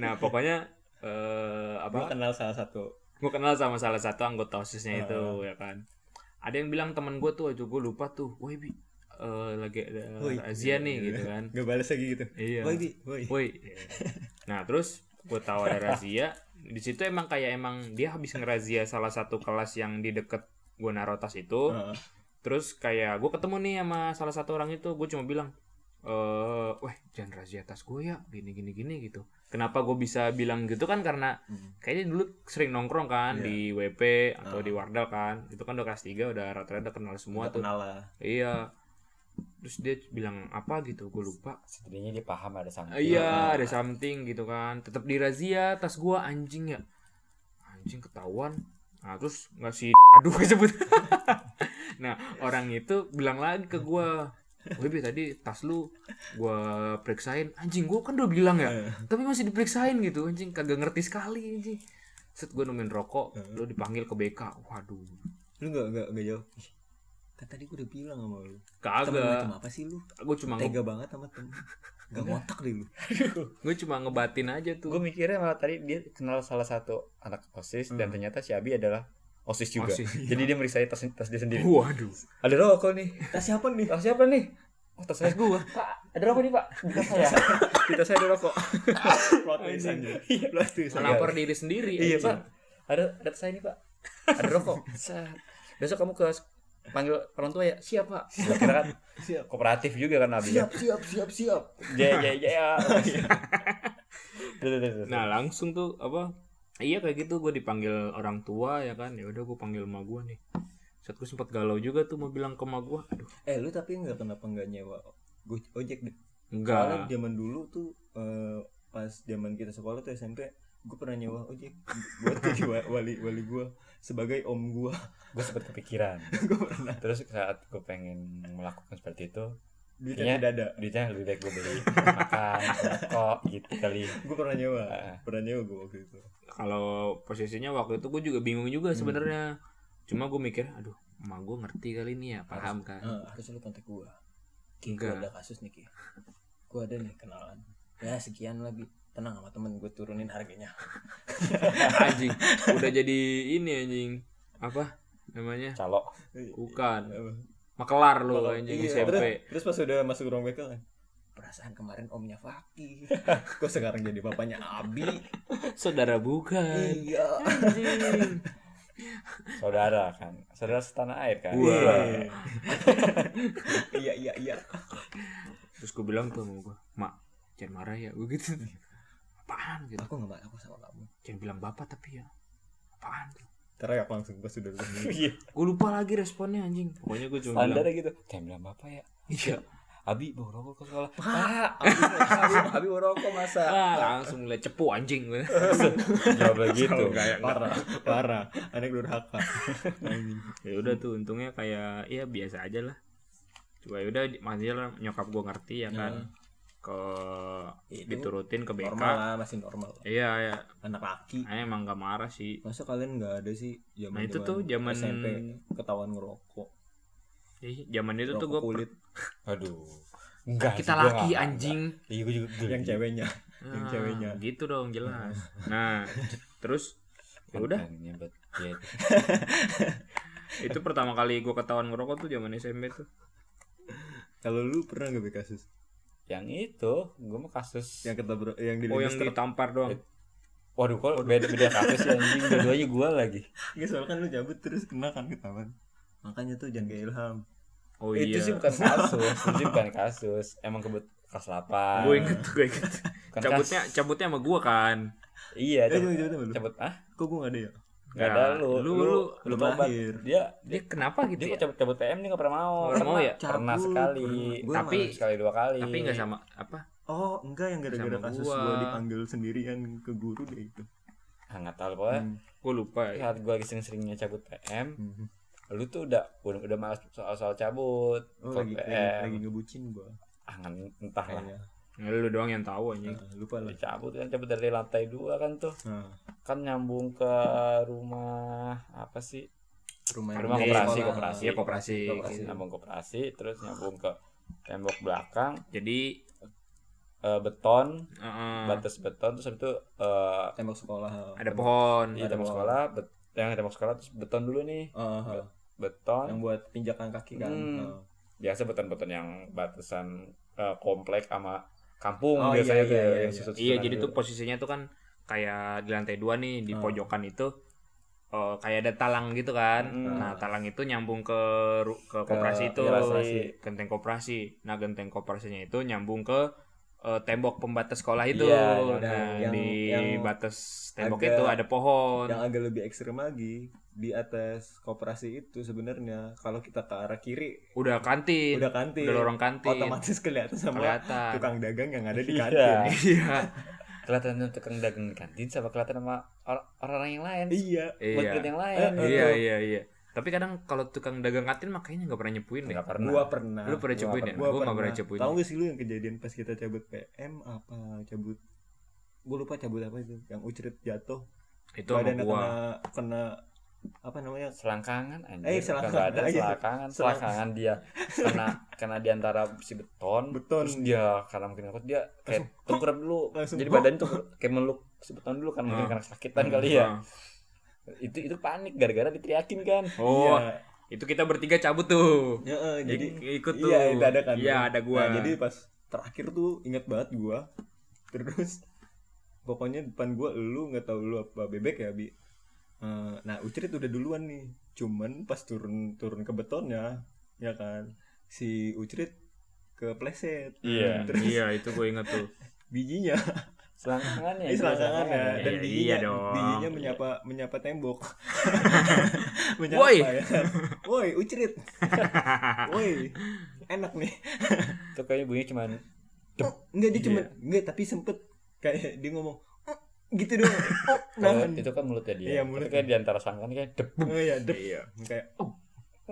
Speaker 3: Nah, pokoknya eh
Speaker 2: Gua Hmm.
Speaker 3: apa?
Speaker 2: kenal salah satu.
Speaker 3: Gue kenal sama salah satu anggota OSISnya itu
Speaker 2: Heeh.
Speaker 3: ya kan. Ada yang bilang temen gue tuh, aduh gue lupa tuh. Woi, Bi, eh, lagi ada
Speaker 2: Woi.
Speaker 3: razia nih gitu kan.
Speaker 2: Gak balas lagi gitu.
Speaker 3: Iya.
Speaker 2: Woi, Bi, woi.
Speaker 3: Woi. Nah, terus gue tahu ada razia. Di situ emang kayak emang dia habis ngerazia salah satu kelas yang di deket gue narotas itu.
Speaker 2: Ah,
Speaker 3: Terus kayak gue ketemu nih sama salah satu orang itu, gue cuma bilang, eh, weh jangan razia tas gue ya, gini gini gini gitu. Kenapa gue bisa bilang gitu kan karena
Speaker 2: Hmm.
Speaker 3: kayaknya dulu sering nongkrong kan
Speaker 2: Iya.
Speaker 3: di WP atau
Speaker 2: Ah.
Speaker 3: di Wardal kan, itu kan udah kelas 3 udah rata-rata kenal semua
Speaker 2: udah
Speaker 3: tuh.
Speaker 2: kenal lah.
Speaker 3: Iya. Terus dia bilang apa gitu, gue lupa.
Speaker 1: Setidaknya dia paham ada sama.
Speaker 3: Iya, ada something gitu kan. Tetap dirazia tas gua anjing ya. Anjing ketahuan. Nah, terus ngasih aduh kesebut. nah, orang itu bilang lagi ke gua, "Woi, Bi, tadi tas lu gua periksain. Anjing, gua kan udah bilang ya,
Speaker 2: Eh,
Speaker 3: tapi masih diperiksain gitu. Anjing kagak ngerti sekali anjing." Set gua nemuin rokok, lu dipanggil ke BK. Waduh.
Speaker 2: Lu gak gak gak jauh. Ih, Kan tadi gue udah bilang sama lu. Temen macam
Speaker 3: Kagak.
Speaker 2: apa sih lu?
Speaker 3: Gua cuma
Speaker 2: Tega banget sama temen. Gak ngotak deh lu.
Speaker 3: gua cuma ngebatin aja tuh.
Speaker 1: Gue mikirnya malah tadi dia kenal salah satu anak osis dan ternyata si Abi adalah osis iya. juga.
Speaker 3: Osis.
Speaker 1: Jadi dia meriksa tas tas dia sendiri.
Speaker 3: Waduh.
Speaker 1: Ada rokok nih.
Speaker 2: Tas siapa nih?
Speaker 1: Tas siapa nih? Oh, tas saya gua. Pak, ada rokok nih, Pak. Di tas saya. Di tas saya ada rokok.
Speaker 2: Plot twist aja. Plot twist.
Speaker 3: Melapor diri sendiri.
Speaker 1: Iya,
Speaker 3: anjing.
Speaker 1: Pak. Ada ada tas saya nih, Pak. Ada rokok. Set. Besok kamu ke panggil orang tua ya. Siap, Pak. Gua kira kan
Speaker 2: Siap.
Speaker 1: kooperatif juga kan Abi.
Speaker 2: Siap, siap, siap, siap.
Speaker 1: Ya ya ya. Tuh, tuh, tuh, tuh.
Speaker 3: Nah langsung tuh apa? Iya kayak gitu gue dipanggil orang tua ya kan. Ya udah gue panggil emak gue nih. Saat gue sempat galau juga tuh mau bilang ke emak gue. Aduh
Speaker 2: Eh lu tapi nggak kenapa nggak nyewa go- ojek deh? Soalnya
Speaker 3: enggak.
Speaker 2: zaman dulu tuh eh, pas zaman kita sekolah tuh SMP gue pernah nyewa ojek buat jadi wa- wali wali gue sebagai om gue
Speaker 1: gue sempat kepikiran
Speaker 2: gue pernah
Speaker 1: terus saat gue pengen melakukan seperti itu
Speaker 2: duitnya tidak ada
Speaker 1: duitnya lebih baik gue beli makan rokok gitu kali
Speaker 2: gue pernah nyewa
Speaker 1: Ah.
Speaker 2: pernah nyewa gue waktu itu
Speaker 3: Kalau posisinya waktu itu gue juga bingung juga
Speaker 2: Hmm.
Speaker 3: sebenarnya. Cuma gue mikir, aduh emak gue ngerti kali ini ya paham kan.
Speaker 2: Ah, harus lu kontak gue Ki gue
Speaker 3: Enggak.
Speaker 2: ada kasus nih Ki gue ada nih kenalan ya sekian lagi tenang sama temen gue turunin harganya
Speaker 3: anjing udah jadi ini anjing apa namanya?
Speaker 1: calo
Speaker 3: Bukan
Speaker 2: Iya. Apa?
Speaker 3: makelar lo
Speaker 2: Kalau-
Speaker 3: anjing
Speaker 2: iya,
Speaker 3: SMP.
Speaker 2: Terus, terus pas udah masuk ruang BK kan perasaan kemarin omnya Fakih kok sekarang jadi bapaknya Abi
Speaker 3: Saudara bukan.
Speaker 2: iya
Speaker 3: Anjing.
Speaker 1: saudara kan saudara setanah air kan
Speaker 3: Wah.
Speaker 2: Iya. iya iya iya
Speaker 3: Terus gue bilang tuh sama gue, mak jangan marah ya. Gue gitu. Apaan gitu?
Speaker 2: aku nggak marah aku sama kamu
Speaker 3: jangan bilang bapak tapi ya apaan tuh
Speaker 2: teriak langsung pas udah ketemu.
Speaker 1: Iya.
Speaker 3: gue lupa lagi responnya anjing pokoknya gue cuma bilang
Speaker 1: standarnya gitu kayak bilang bapak ya
Speaker 3: iya
Speaker 1: Abi bawa rokok ke sekolah
Speaker 2: pak Abi, Abi, Abi mau rokok masa
Speaker 3: ah, langsung mulai cepu anjing gue
Speaker 1: jawab gitu
Speaker 2: parah parah anak durhaka Anjing.
Speaker 3: ya udah tuh untungnya kayak ya biasa aja lah coba ya udah masih lah nyokap gue ngerti ya kan ke
Speaker 2: Hmm. Itu
Speaker 3: diturutin ke BK
Speaker 2: normal lah masih normal
Speaker 3: iya ya
Speaker 2: anak laki
Speaker 3: emang gak marah sih
Speaker 2: masa kalian nggak ada sih zaman
Speaker 3: Nah, itu tuh zaman-
Speaker 2: SMP ketahuan ngerokok
Speaker 3: Ih, zaman itu tuh
Speaker 2: rokok
Speaker 3: gue
Speaker 2: kulit
Speaker 1: aduh enggak
Speaker 3: kita
Speaker 1: sih, gua
Speaker 3: laki
Speaker 1: nggak-
Speaker 3: anjing
Speaker 1: nggak. iya gue juga geli.
Speaker 2: yang ceweknya yang
Speaker 3: Ah,
Speaker 2: ceweknya
Speaker 3: gitu dong jelas nah terus ya udah
Speaker 1: Yang nyebet, ya.
Speaker 3: itu pertama kali gue ketahuan ngerokok tuh zaman SMP tuh
Speaker 2: Kalau lu pernah gak Be, kasus?
Speaker 1: yang itu gue mah kasus
Speaker 2: Yang ketabrak yang di
Speaker 3: oh yang
Speaker 2: Lancaster.
Speaker 3: ditampar doang
Speaker 1: Eh, waduh kok beda beda kasus ya anjing dua-duanya gue lagi
Speaker 2: Nggak, soalnya kan lu cabut terus kena kan ke taman. Makanya tuh jangan kayak Ilham.
Speaker 3: oh
Speaker 1: itu
Speaker 3: iya
Speaker 1: sih bukan kasus itu bukan kasus emang kebut kelas 8
Speaker 3: gue inget gue inget
Speaker 1: Bukan
Speaker 3: cabutnya
Speaker 1: kas-
Speaker 3: cabutnya sama gue kan
Speaker 1: iya
Speaker 2: Eh,
Speaker 1: cabut,
Speaker 2: jangan cabut sama lu.
Speaker 1: cabut ah
Speaker 2: Kok gue gak ada ya?
Speaker 1: nggak
Speaker 3: Ya,
Speaker 1: ada lu
Speaker 3: lu- lu-
Speaker 2: lu
Speaker 1: tobat.
Speaker 2: lahir.
Speaker 1: dia
Speaker 3: dia kenapa
Speaker 1: dia
Speaker 3: gitu ya
Speaker 1: kok cabut-cabut PM dia nggak pernah mau
Speaker 3: Nggak pernah mau ya?
Speaker 1: pernah
Speaker 2: Cabut,
Speaker 1: sekali
Speaker 2: pernah. Gua
Speaker 1: tapi
Speaker 3: malah-
Speaker 1: sekali dua kali
Speaker 3: tapi nggak sama apa
Speaker 2: Oh, enggak yang gara-gara
Speaker 3: Sama
Speaker 2: kasus
Speaker 3: gua.
Speaker 2: gua dipanggil sendirian ke guru deh itu.
Speaker 1: ah, nggak tahu pokoknya
Speaker 2: Hmm.
Speaker 3: gue lupa ya.
Speaker 1: saat gue lagi sering-seringnya cabut PM
Speaker 2: Mhm.
Speaker 1: lu tuh udah udah, udah malas soal-soal cabut
Speaker 2: Oh,
Speaker 1: soal
Speaker 2: lagi,
Speaker 1: PM
Speaker 2: lagi, lagi ngebucin gua.
Speaker 1: ah nggak- entah lah
Speaker 2: Kayaknya.
Speaker 3: Nah, lu doang yang tahu anjing
Speaker 2: Ah, lupa lah.
Speaker 1: dicabut kan cabut dari lantai dua kan tuh
Speaker 2: Nah,
Speaker 1: kan nyambung ke rumah apa sih
Speaker 2: rumah
Speaker 1: Rumah
Speaker 2: di
Speaker 1: koperasi,
Speaker 2: sekolah.
Speaker 1: koperasi.
Speaker 3: Iya, koperasi.
Speaker 2: Koperasi.
Speaker 1: nyambung koperasi terus nyambung ke tembok belakang
Speaker 3: jadi
Speaker 1: eh, beton
Speaker 3: eh,
Speaker 2: Hmm.
Speaker 3: eh,
Speaker 1: batas beton terus habis itu eh,
Speaker 2: Tembok sekolah.
Speaker 3: ada pohon
Speaker 1: iya, tembok
Speaker 2: tembok.
Speaker 1: sekolah bet- yang tembok sekolah terus beton dulu nih
Speaker 2: Ah, ah.
Speaker 1: beton
Speaker 2: yang buat pinjakan kaki kan.
Speaker 1: Hmm.
Speaker 2: Ah.
Speaker 1: biasa beton-beton yang batasan eh, komplek sama kampung
Speaker 2: Oh,
Speaker 1: biasanya
Speaker 2: iya,
Speaker 1: tuh ya,
Speaker 2: iya,
Speaker 1: yang gitu.
Speaker 2: iya, iya.
Speaker 1: susut-susutan
Speaker 3: Iya, jadi tuh
Speaker 1: dulu.
Speaker 3: posisinya tuh kan kayak di lantai dua nih di
Speaker 2: Ah.
Speaker 3: pojokan itu eh, kayak ada talang gitu kan.
Speaker 1: Hmm.
Speaker 3: Nah, talang itu nyambung ke ru- ke koperasi itu,
Speaker 1: iya, koperasi.
Speaker 3: genteng koperasi. Nah, genteng koperasinya itu nyambung ke eh, tembok pembatas sekolah itu.
Speaker 1: Iya,
Speaker 2: iya,
Speaker 3: nah,
Speaker 2: yang-
Speaker 3: di
Speaker 2: yang
Speaker 3: batas tembok
Speaker 2: agak-
Speaker 3: itu ada pohon.
Speaker 2: yang agak lebih ekstrem lagi di atas koperasi itu sebenarnya kalau kita ke arah kiri
Speaker 3: udah kantin.
Speaker 2: udah kantin,
Speaker 3: Udah lorong kantin.
Speaker 2: otomatis kelihatan sama
Speaker 3: Kelihatan.
Speaker 2: tukang dagang yang ada di
Speaker 1: Iya.
Speaker 2: kantin
Speaker 3: Iya.
Speaker 1: kelihatan sama tukang dagang di kantin sama kelihatan sama or- orang-orang yang lain
Speaker 2: iya
Speaker 1: buat
Speaker 3: Iya.
Speaker 1: yang lain
Speaker 2: Eh,
Speaker 3: Iya, iya, iya. Tapi kadang kalau tukang dagang kantin makanya nggak pernah nyepuin deh.
Speaker 1: iya, nggak pernah
Speaker 2: gua pernah
Speaker 3: Lu pernah
Speaker 1: Gua
Speaker 3: cepuin ya?
Speaker 1: pernah.
Speaker 3: Gua nggak pernah cepuin.
Speaker 2: tahu gak sih lu yang kejadian pas kita cabut PM apa cabut gua lupa cabut apa itu yang ucerit jatuh
Speaker 3: Itu sama
Speaker 2: Badannya
Speaker 3: gua.
Speaker 2: kena kena apa namanya
Speaker 1: selangkangan anjir
Speaker 2: Eh,
Speaker 1: eh,
Speaker 2: selangkangan.
Speaker 1: selangkangan ada
Speaker 2: Ah, iya.
Speaker 1: selangkangan
Speaker 2: Selang-
Speaker 1: selangkangan dia kena kena di antara si beton,
Speaker 2: Beton.
Speaker 1: terus dia karena mungkin takut dia kayak
Speaker 2: Langsung,
Speaker 1: tengkurap dulu
Speaker 2: Langsung,
Speaker 1: jadi
Speaker 2: "Huh."
Speaker 1: badan tuh kayak meluk si beton dulu kan mungkin
Speaker 3: Hmm.
Speaker 1: karena sakitan kali ya
Speaker 3: Ah.
Speaker 1: itu itu panik gara-gara diteriakin kan
Speaker 3: Oh,
Speaker 2: Iya.
Speaker 3: itu kita bertiga cabut tuh.
Speaker 2: Ya, eh, jadi
Speaker 3: Ik- ikut tuh.
Speaker 2: Iya, itu ada kan.
Speaker 3: Iya, ada gua.
Speaker 2: Nah, jadi pas terakhir tuh ingat banget gua. Terus pokoknya depan gua lu nggak tahu lu apa bebek ya, Bi. Eh, nah, Ucrit udah duluan nih. Cuman pas turun turun ke betonnya, ya kan. Si Ucrit ke pleset.
Speaker 1: Iya.
Speaker 2: Terus
Speaker 3: Iya, itu gue inget tuh.
Speaker 2: bijinya,
Speaker 1: selangkangannya gitu.
Speaker 2: eh, selangkangannya
Speaker 1: selangkangannya.
Speaker 2: dan
Speaker 3: Iya,
Speaker 2: bijinya,
Speaker 3: dong.
Speaker 2: bijinya menyapa menyapa tembok. menyapa
Speaker 3: Woi.
Speaker 2: ya kan. Woi, Ucrit. Woi. Enak nih.
Speaker 1: itu kayaknya bunyi cuman
Speaker 2: Oh, enggak dia
Speaker 1: Iya.
Speaker 2: cuma enggak tapi sempet kayak dia ngomong "Oh," gitu doang. Oh,
Speaker 1: kalau
Speaker 2: nahan.
Speaker 1: itu kan mulutnya dia
Speaker 2: Iya,
Speaker 1: Tapi
Speaker 2: mulutnya.
Speaker 1: kayak di antara selangkangan kayak dep
Speaker 2: Oh iya, dep.
Speaker 3: Iya.
Speaker 2: Kayak "Oh,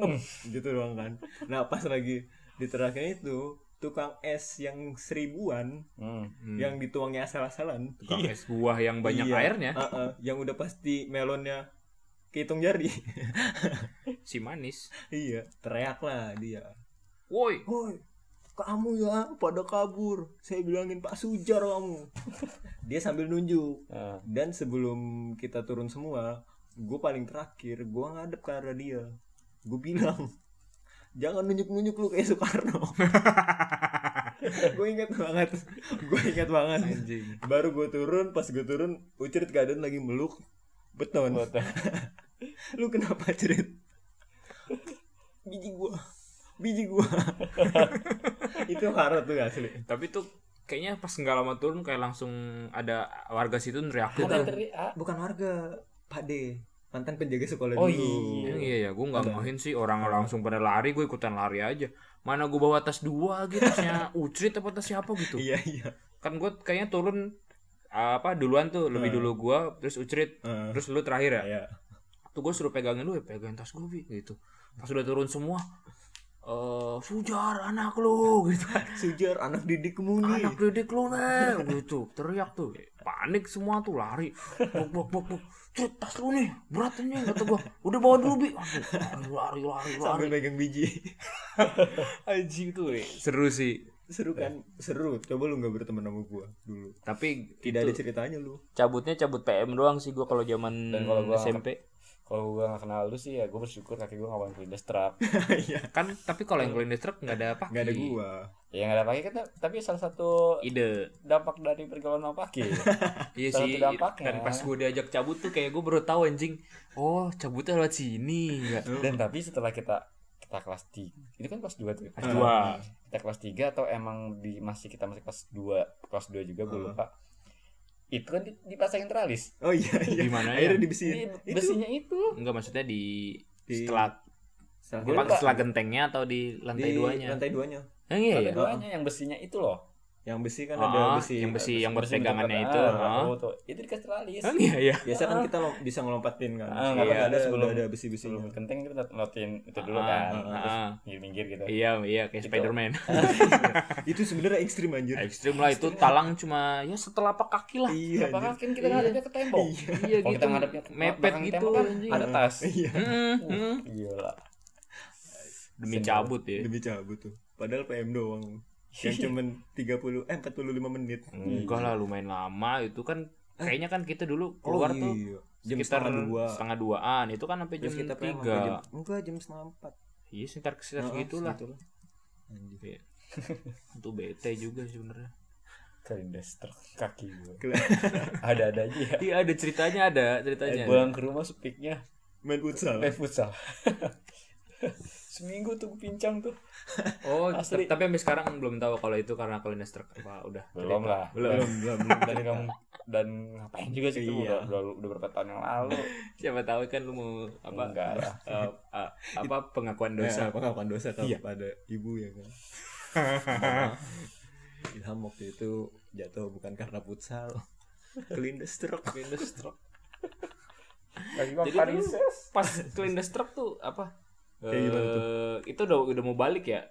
Speaker 1: ngem.
Speaker 3: Hmm.
Speaker 2: gitu doang kan. Nah, pas lagi di terakhir itu tukang es yang seribuan
Speaker 1: hmm.
Speaker 3: Hmm.
Speaker 2: yang dituangnya asal-asalan.
Speaker 3: Tukang es buah yang banyak
Speaker 2: Iya.
Speaker 3: airnya,
Speaker 2: Heeh, yang udah pasti melonnya kehitung jari.
Speaker 3: si manis.
Speaker 2: iya, teriak lah dia.
Speaker 3: Woi,
Speaker 2: Woi, kamu ya pada kabur. Saya bilangin Pak Sujar kamu. dia sambil nunjuk.
Speaker 1: Nah,
Speaker 2: Dan sebelum kita turun semua, gue paling terakhir, gue ngadep ke arah dia. Gue bilang, jangan nunjuk-nunjuk lu kayak Soekarno. gue ingat banget, gue ingat banget.
Speaker 3: anjing.
Speaker 2: Baru gue turun, pas gue turun, Ucrit keadaan lagi meluk beton.
Speaker 1: betul.
Speaker 2: Lu kenapa cerit? Biji gue, biji gue. Itu harus tuh asli.
Speaker 3: Tapi tuh kayaknya pas nggak lama turun kayak langsung ada warga situ neriak
Speaker 1: Ada
Speaker 3: gitu.
Speaker 1: teriak
Speaker 2: Bukan warga, Pak D, mantan penjaga sekolah
Speaker 1: Oh,
Speaker 2: dulu.
Speaker 1: iya.
Speaker 3: Emang Iya ya, gue nggak main sih orang langsung pada lari, gue ikutan lari aja. Mana gue bawa tas dua gitu, tasnya Ucrit apa tas siapa gitu.
Speaker 2: Iya iya.
Speaker 3: Kan gue kayaknya turun ah, apa duluan tuh, lebih dulu gue, terus Ucrit,
Speaker 2: Eh,
Speaker 3: terus lu terakhir ya.
Speaker 2: iya.
Speaker 3: tuh gue suruh pegangin lu ya pegangin tas gue Bi, gitu pas udah turun semua eh sujar anak lu gitu
Speaker 2: Sujar anak didik muni.
Speaker 3: anak didik lu nih gitu teriak tuh panik semua tuh lari bok bok bok bok Cet, tas lu nih berat ini kata gue udah bawa dulu bi Aduh, lari lari lari
Speaker 2: Sambil megang biji.
Speaker 3: anjing tuh Bi. seru sih
Speaker 2: seru kan? Seru. Coba lu nggak berteman sama gua dulu.
Speaker 3: tapi
Speaker 2: Tidak ada
Speaker 3: itu,
Speaker 2: ceritanya lu.
Speaker 3: cabutnya cabut PM doang sih gue kalau zaman
Speaker 1: Dan kalau gua-
Speaker 3: SMP
Speaker 1: kalau gue gak kenal lu sih ya gue bersyukur kaki gue gak bakal kelindes truk
Speaker 2: Iya.
Speaker 3: kan tapi kalau yang kelindes truk nggak ada paki
Speaker 2: Gak ada gua.
Speaker 1: ya gak ada pakai kan tapi salah satu
Speaker 3: ide
Speaker 1: dampak dari pergaulan sama pakai
Speaker 3: iya
Speaker 1: Ah, Salah
Speaker 3: sih
Speaker 1: satu dampaknya. kan?
Speaker 3: dan pas gue diajak cabut tuh kayak gue baru tahu anjing oh cabutnya lewat sini nggak
Speaker 1: dan tapi setelah kita kita kelas 3 itu kan kelas 2 tuh
Speaker 3: Kelas dua.
Speaker 1: kita kelas 3 atau emang di masih kita masih kelas 2 kelas 2 juga gue
Speaker 2: Hmm.
Speaker 1: lupa itu kan di- dipasangin teralis
Speaker 2: Oh iya
Speaker 3: Di
Speaker 2: iya.
Speaker 3: mana ya?
Speaker 2: Akhirnya dibesiin.
Speaker 1: Ini besinya itu
Speaker 3: nggak maksudnya di,
Speaker 2: Di-
Speaker 3: setelah
Speaker 1: Gua
Speaker 3: Pak,
Speaker 1: lupa.
Speaker 3: setelah gentengnya atau di lantai
Speaker 2: di
Speaker 3: duanya
Speaker 2: lantai duanya.
Speaker 3: Eh, iya
Speaker 1: Tapi
Speaker 3: ya
Speaker 1: duanya yang besinya itu loh
Speaker 2: Yang besi kan
Speaker 3: Ah,
Speaker 2: ada besi.
Speaker 3: yang besi yang
Speaker 1: Besi bentuk
Speaker 3: berpegangannya
Speaker 1: apa?
Speaker 3: itu
Speaker 1: Ah,
Speaker 3: ah.
Speaker 1: tahu tuh. itu dikasih teralis
Speaker 3: Eh, iya ya
Speaker 2: Biasa kan kita lo- bisa ngelompatin kan.
Speaker 1: Ah,
Speaker 2: Sekarang
Speaker 1: iya,
Speaker 2: ada sebelum
Speaker 1: sebelum-
Speaker 2: ada besi-besinya.
Speaker 3: Iya.
Speaker 1: sebelum kenteng kita notin itu dulu
Speaker 3: Ah,
Speaker 1: kan
Speaker 3: ah,
Speaker 1: terus
Speaker 3: ah.
Speaker 1: minggir-minggir gitu
Speaker 3: iya iya kayak
Speaker 1: Itu.
Speaker 3: Spiderman
Speaker 2: Itu sebenarnya ekstrim anjir.
Speaker 3: ekstrim lah itu talang cuma ya setelapak kaki lah
Speaker 2: Iya.
Speaker 1: Kenapa
Speaker 2: anjir.
Speaker 1: kan kita ngadepnya ke tembok
Speaker 2: Iya.
Speaker 3: iya
Speaker 1: kalau
Speaker 3: gitu
Speaker 1: kita ngadepnya ke
Speaker 3: mepet
Speaker 1: belakang
Speaker 3: gitu
Speaker 1: tembok kan
Speaker 3: anjing.
Speaker 1: ada Uh. tas
Speaker 2: Iya.
Speaker 3: Mm, mm.
Speaker 1: gila
Speaker 3: demi
Speaker 1: Sedih.
Speaker 3: cabut ya
Speaker 2: Demi cabut tuh. Padahal PM doang.
Speaker 3: Iya,
Speaker 1: Iya.
Speaker 2: Yang cuman 30 eh 45 menit.
Speaker 3: enggak lah lumayan lama itu kan kayaknya kan kita dulu keluar
Speaker 2: Oh,
Speaker 3: tuh
Speaker 2: iya. jam
Speaker 3: sekitar
Speaker 2: setengah dua.
Speaker 3: setengah duaan itu kan sampai jam
Speaker 2: Terus kita PM
Speaker 3: tiga
Speaker 2: sampai jam enggak jam setengah empat.
Speaker 3: iya sekitar sekitar
Speaker 2: Heeh, gitu.
Speaker 3: segitulah Iya.
Speaker 2: segitulah. Anjir.
Speaker 3: itu bete juga sebenarnya
Speaker 1: kelindes truk kaki gue
Speaker 2: Kela-
Speaker 1: ada-ada aja ya
Speaker 3: iya ada ceritanya ada
Speaker 1: Eh,
Speaker 3: ceritanya
Speaker 1: pulang ke rumah speaknya
Speaker 2: Main futsal.
Speaker 3: Eh,
Speaker 1: main futsal seminggu tuh gue pincang tuh
Speaker 3: oh
Speaker 1: Asli.
Speaker 3: tapi sampai sekarang belum tahu kalau itu karena kelindes truk apa udah
Speaker 1: belum
Speaker 3: cerita.
Speaker 1: lah
Speaker 3: belum
Speaker 2: belum.
Speaker 1: dan kamu dan ngapain juga sih itu udah,
Speaker 2: Iya.
Speaker 1: udah, udah berapa tahun yang lalu
Speaker 3: siapa tahu kan lu mau apa
Speaker 1: enggak lah
Speaker 3: eh, eh, apa pengakuan
Speaker 2: dosa
Speaker 3: dosa
Speaker 2: pengakuan dosa
Speaker 3: Iya.
Speaker 2: kepada ibu ya kan Ilham waktu itu jatuh bukan karena futsal kelindes truk
Speaker 3: kelindes truk
Speaker 1: lagi mau
Speaker 3: Jadi dulu
Speaker 1: Parises
Speaker 3: pas kelindes truk tuh apa
Speaker 2: Kayak gimana
Speaker 3: Eh, itu udah udah mau balik ya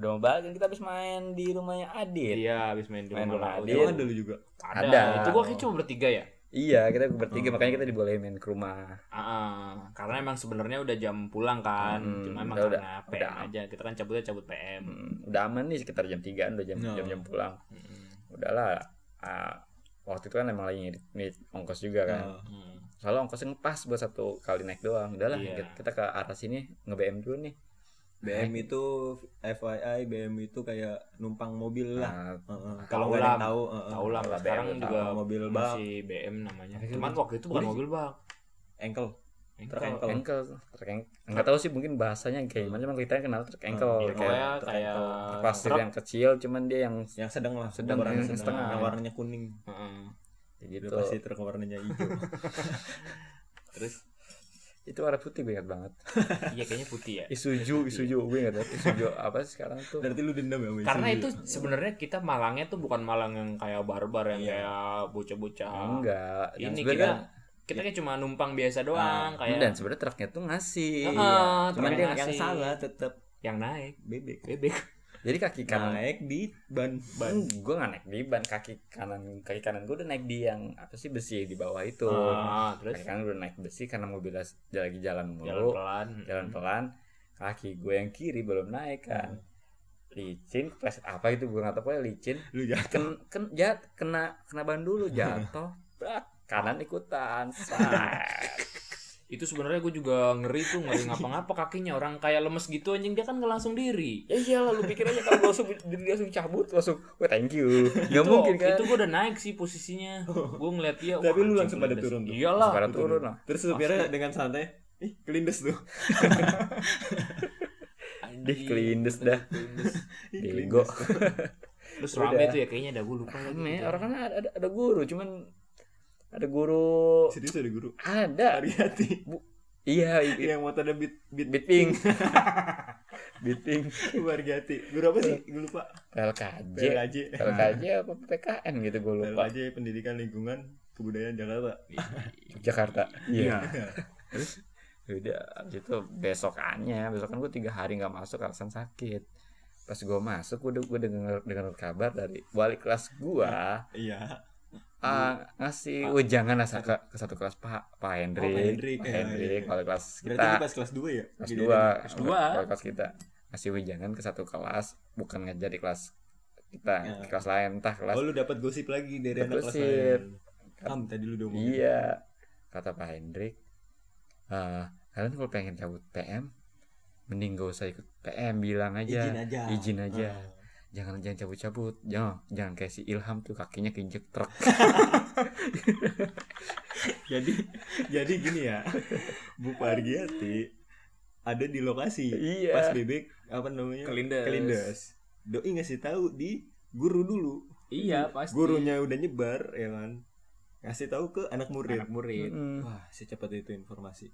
Speaker 1: udah mau balik kan kita habis main di rumahnya Adit
Speaker 3: iya habis main di
Speaker 1: Main rumah
Speaker 3: rumah Laut.
Speaker 1: Adit.
Speaker 2: emang ada lu juga
Speaker 3: ada.
Speaker 1: Ada.
Speaker 3: itu gua kayak cuma bertiga ya
Speaker 1: iya kita bertiga makanya kita dibolehin main ke rumah
Speaker 3: Ah, ah. karena emang sebenarnya udah jam pulang kan
Speaker 1: Hmm,
Speaker 3: cuma emang
Speaker 1: udah, udah.
Speaker 3: karena PM
Speaker 1: Udah.
Speaker 3: aja kita kan cabutnya cabut PM
Speaker 1: Hmm, udah aman nih sekitar jam 3an udah jam
Speaker 2: No.
Speaker 1: jam jam pulang udahlah ah, waktu itu kan emang lagi ngirit ngirit ongkos juga kan
Speaker 2: Nah,
Speaker 3: Hmm.
Speaker 1: soalnya ongkosnya ngepas buat satu kali naik doang udahlah
Speaker 3: Iya.
Speaker 1: kita- kita ke arah sini nge BM dulu nih
Speaker 2: BM itu FYI BM itu kayak numpang
Speaker 3: Ah.
Speaker 2: mobil lah
Speaker 1: nah,
Speaker 2: Heeh,
Speaker 3: Tahu
Speaker 2: kalau nggak ada
Speaker 3: lah.
Speaker 2: yang tahu heeh.
Speaker 3: Tahu lah
Speaker 1: Ah, Kalau
Speaker 3: sekarang
Speaker 1: BM,
Speaker 3: juga
Speaker 2: tahu. Mobil bak.
Speaker 3: masih BM namanya.
Speaker 1: Tapi
Speaker 3: Cuman
Speaker 1: kan-
Speaker 3: waktu itu bukan
Speaker 2: Udah.
Speaker 3: mobil bak.
Speaker 2: engkel
Speaker 3: Engkel.
Speaker 2: Truk engkel
Speaker 1: engkel truk eng- nggak tahu sih mungkin bahasanya kayak gimana cuman kita kenal truk engkel
Speaker 3: Iya,
Speaker 1: kayak
Speaker 3: pokoknya kayak
Speaker 1: plastik
Speaker 3: truk.
Speaker 1: yang kecil cuman dia yang
Speaker 2: yang sedang lah
Speaker 1: Sedang,
Speaker 3: iya,
Speaker 2: warnanya
Speaker 1: yang
Speaker 2: sedang
Speaker 1: setengah.
Speaker 2: yang warnanya kuning
Speaker 3: Heeh.
Speaker 1: ya
Speaker 2: itu
Speaker 1: gitu
Speaker 2: pasti truk warnanya hijau
Speaker 3: Terus
Speaker 1: itu warna putih banyak banget
Speaker 3: iya kayaknya putih ya.
Speaker 1: isuju isuju gue nggak tahu isuju apa sih sekarang tuh
Speaker 2: berarti lu dendam ya sama
Speaker 3: Karena
Speaker 2: Isuzu?
Speaker 3: itu sebenarnya kita Malangnya tuh bukan Malang yang kayak
Speaker 1: Iya.
Speaker 3: barbar yang kayak bocah-bocah.
Speaker 1: enggak Dan
Speaker 3: Ini kita
Speaker 1: sebenarnya-
Speaker 3: kita kayak cuma numpang biasa doang
Speaker 1: Ah,
Speaker 3: kayak
Speaker 1: dan sebenarnya truknya tuh ngasih
Speaker 3: Heeh,
Speaker 1: cuman
Speaker 3: truk
Speaker 1: dia
Speaker 2: yang
Speaker 3: ngasih.
Speaker 2: salah tetap
Speaker 3: yang naik
Speaker 2: bebek
Speaker 3: bebek.
Speaker 1: jadi
Speaker 3: Nah,
Speaker 1: kaki kanan
Speaker 2: naik di ban
Speaker 1: ban gue nggak naik di ban kaki kanan kaki kanan gue udah naik di yang apa sih besi di bawah itu
Speaker 3: Ah, terus
Speaker 1: kaki kanan kan udah naik besi karena mobilnya s- lagi jalan Hmm.
Speaker 3: jalan
Speaker 1: mulu
Speaker 3: pelan.
Speaker 1: jalan pelan kaki gue yang kiri belum naik kan licin kepleset apa itu gue nggak tahu pokoknya licin
Speaker 2: lu jatuh
Speaker 1: ken, ken jat kena kena ban dulu jatuh brak, kanan ikutan Sat.
Speaker 3: Itu sebenarnya gue juga ngeri tuh ngeri ngapa-ngapa kakinya orang kayak lemes gitu anjing dia kan nggak langsung diri.
Speaker 1: ya iyalah lu pikir aja kalau gue langsung diri langsung cabut langsung wah thank you nggak
Speaker 3: Itu-
Speaker 1: mungkin kan
Speaker 3: Itu gue udah naik sih posisinya. Gue ngeliat dia. wah,
Speaker 2: Tapi lu
Speaker 3: anjing,
Speaker 2: langsung pada
Speaker 3: kelindes.
Speaker 2: turun tuh?
Speaker 3: Iyalah.
Speaker 1: sekarang turun lah
Speaker 2: Terus supirnya dengan santai, ih kelindes tuh.
Speaker 1: kan? Dih, kelindes dah.
Speaker 3: Kelindes.
Speaker 2: Ih,
Speaker 1: Bego.
Speaker 2: kelindes.
Speaker 3: Terus
Speaker 1: Udah.
Speaker 3: rame tuh ya kayaknya ada gue lupa. lagi.
Speaker 1: Aneh, orang kan ada, ada, ada guru, cuman ada guru
Speaker 2: Serius ada guru.
Speaker 1: ada.
Speaker 2: Hati-hati.
Speaker 1: Iya, i- i-
Speaker 2: Yang mau tanda bit bit bit
Speaker 1: Bitping. Bitping.
Speaker 2: hati. Guru apa sih? Gue lupa.
Speaker 1: LKJ.
Speaker 2: PLKJ.
Speaker 1: LKJ apa PKN gitu gue lupa.
Speaker 2: PLKJ Pendidikan Lingkungan Kebudayaan Jakarta.
Speaker 1: Jakarta. Iya. Ya Udah, abis itu besokannya, besokan gue tiga hari nggak masuk alasan sakit. Pas gue masuk, gue gue denger denger kabar dari wali kelas gua
Speaker 2: Iya.
Speaker 1: ah, ngasih wejangan lah sa- ke, ke satu kelas Pak Pak Hendrik,
Speaker 2: Hendrik,
Speaker 1: Pak
Speaker 2: ya,
Speaker 1: Hendrik,
Speaker 2: iya.
Speaker 1: wali kelas kita.
Speaker 2: Berarti lu pas kelas 2 ya?
Speaker 1: kelas
Speaker 2: Jadi
Speaker 1: dua
Speaker 3: kelas dua.
Speaker 1: Kalau kelas kita ngasih wejangan ke satu kelas bukan ngajar di kelas kita
Speaker 2: Ya.
Speaker 1: di kelas lain entah
Speaker 2: ada-
Speaker 1: kelas
Speaker 2: Oh lu dapat gosip lagi dari anak
Speaker 1: Dapet
Speaker 2: kelas
Speaker 1: gosip.
Speaker 2: lain. Kam tadi lu udah ngomong.
Speaker 1: iya kata Pak Hendrik eh, kalian kalau pengen cabut PM mending gak usah ikut PM bilang aja
Speaker 2: izin aja Ah.
Speaker 1: izin aja. jangan jangan cabut-cabut jangan jangan kayak si Ilham tuh kakinya keinjek truk
Speaker 2: jadi jadi gini ya Bu Pargiati ada di lokasi
Speaker 1: iya
Speaker 2: pas bebek apa namanya
Speaker 3: Kelindes.
Speaker 2: kelindes doi ngasih tahu di guru dulu
Speaker 3: Iya pasti.
Speaker 2: gurunya udah nyebar ya kan ngasih tahu ke anak murid
Speaker 3: Anak murid.
Speaker 1: Mm.
Speaker 2: wah secepat itu informasi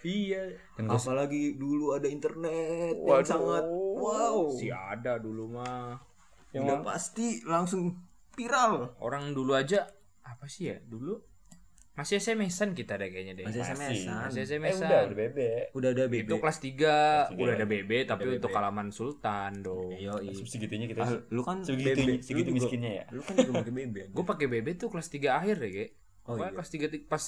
Speaker 3: Iya.
Speaker 1: dan gua-
Speaker 2: apalagi dulu ada internet yang
Speaker 1: Waduh.
Speaker 2: sangat wow
Speaker 3: Si ada dulu mah.
Speaker 1: yang
Speaker 2: udah pasti langsung viral
Speaker 3: Orang dulu aja apa sih ya dulu masih SMS-an kita deh kayaknya deh.
Speaker 2: Masih SMS-an.
Speaker 3: Masih
Speaker 1: eh udah
Speaker 3: SMS-an.
Speaker 1: udah bebek
Speaker 2: udah ada
Speaker 3: itu
Speaker 2: bebek
Speaker 3: kelas 3
Speaker 1: tiga
Speaker 3: udah
Speaker 1: lagi.
Speaker 3: ada BB tapi
Speaker 2: Ada Iya.
Speaker 3: untuk
Speaker 2: BB.
Speaker 3: halaman Sultan dong.
Speaker 2: Yoi.
Speaker 1: segitunya kita
Speaker 2: Ah, lu kan
Speaker 1: segitu
Speaker 2: bebek. Lu
Speaker 1: segitu
Speaker 2: juga-
Speaker 1: miskinnya ya
Speaker 2: lu kan juga pakai bebek
Speaker 3: Gue pakai BB tuh kelas 3 akhir deh, Ge.
Speaker 2: Oh,
Speaker 3: pokoknya
Speaker 2: iya.
Speaker 3: kelas 3 ti- pas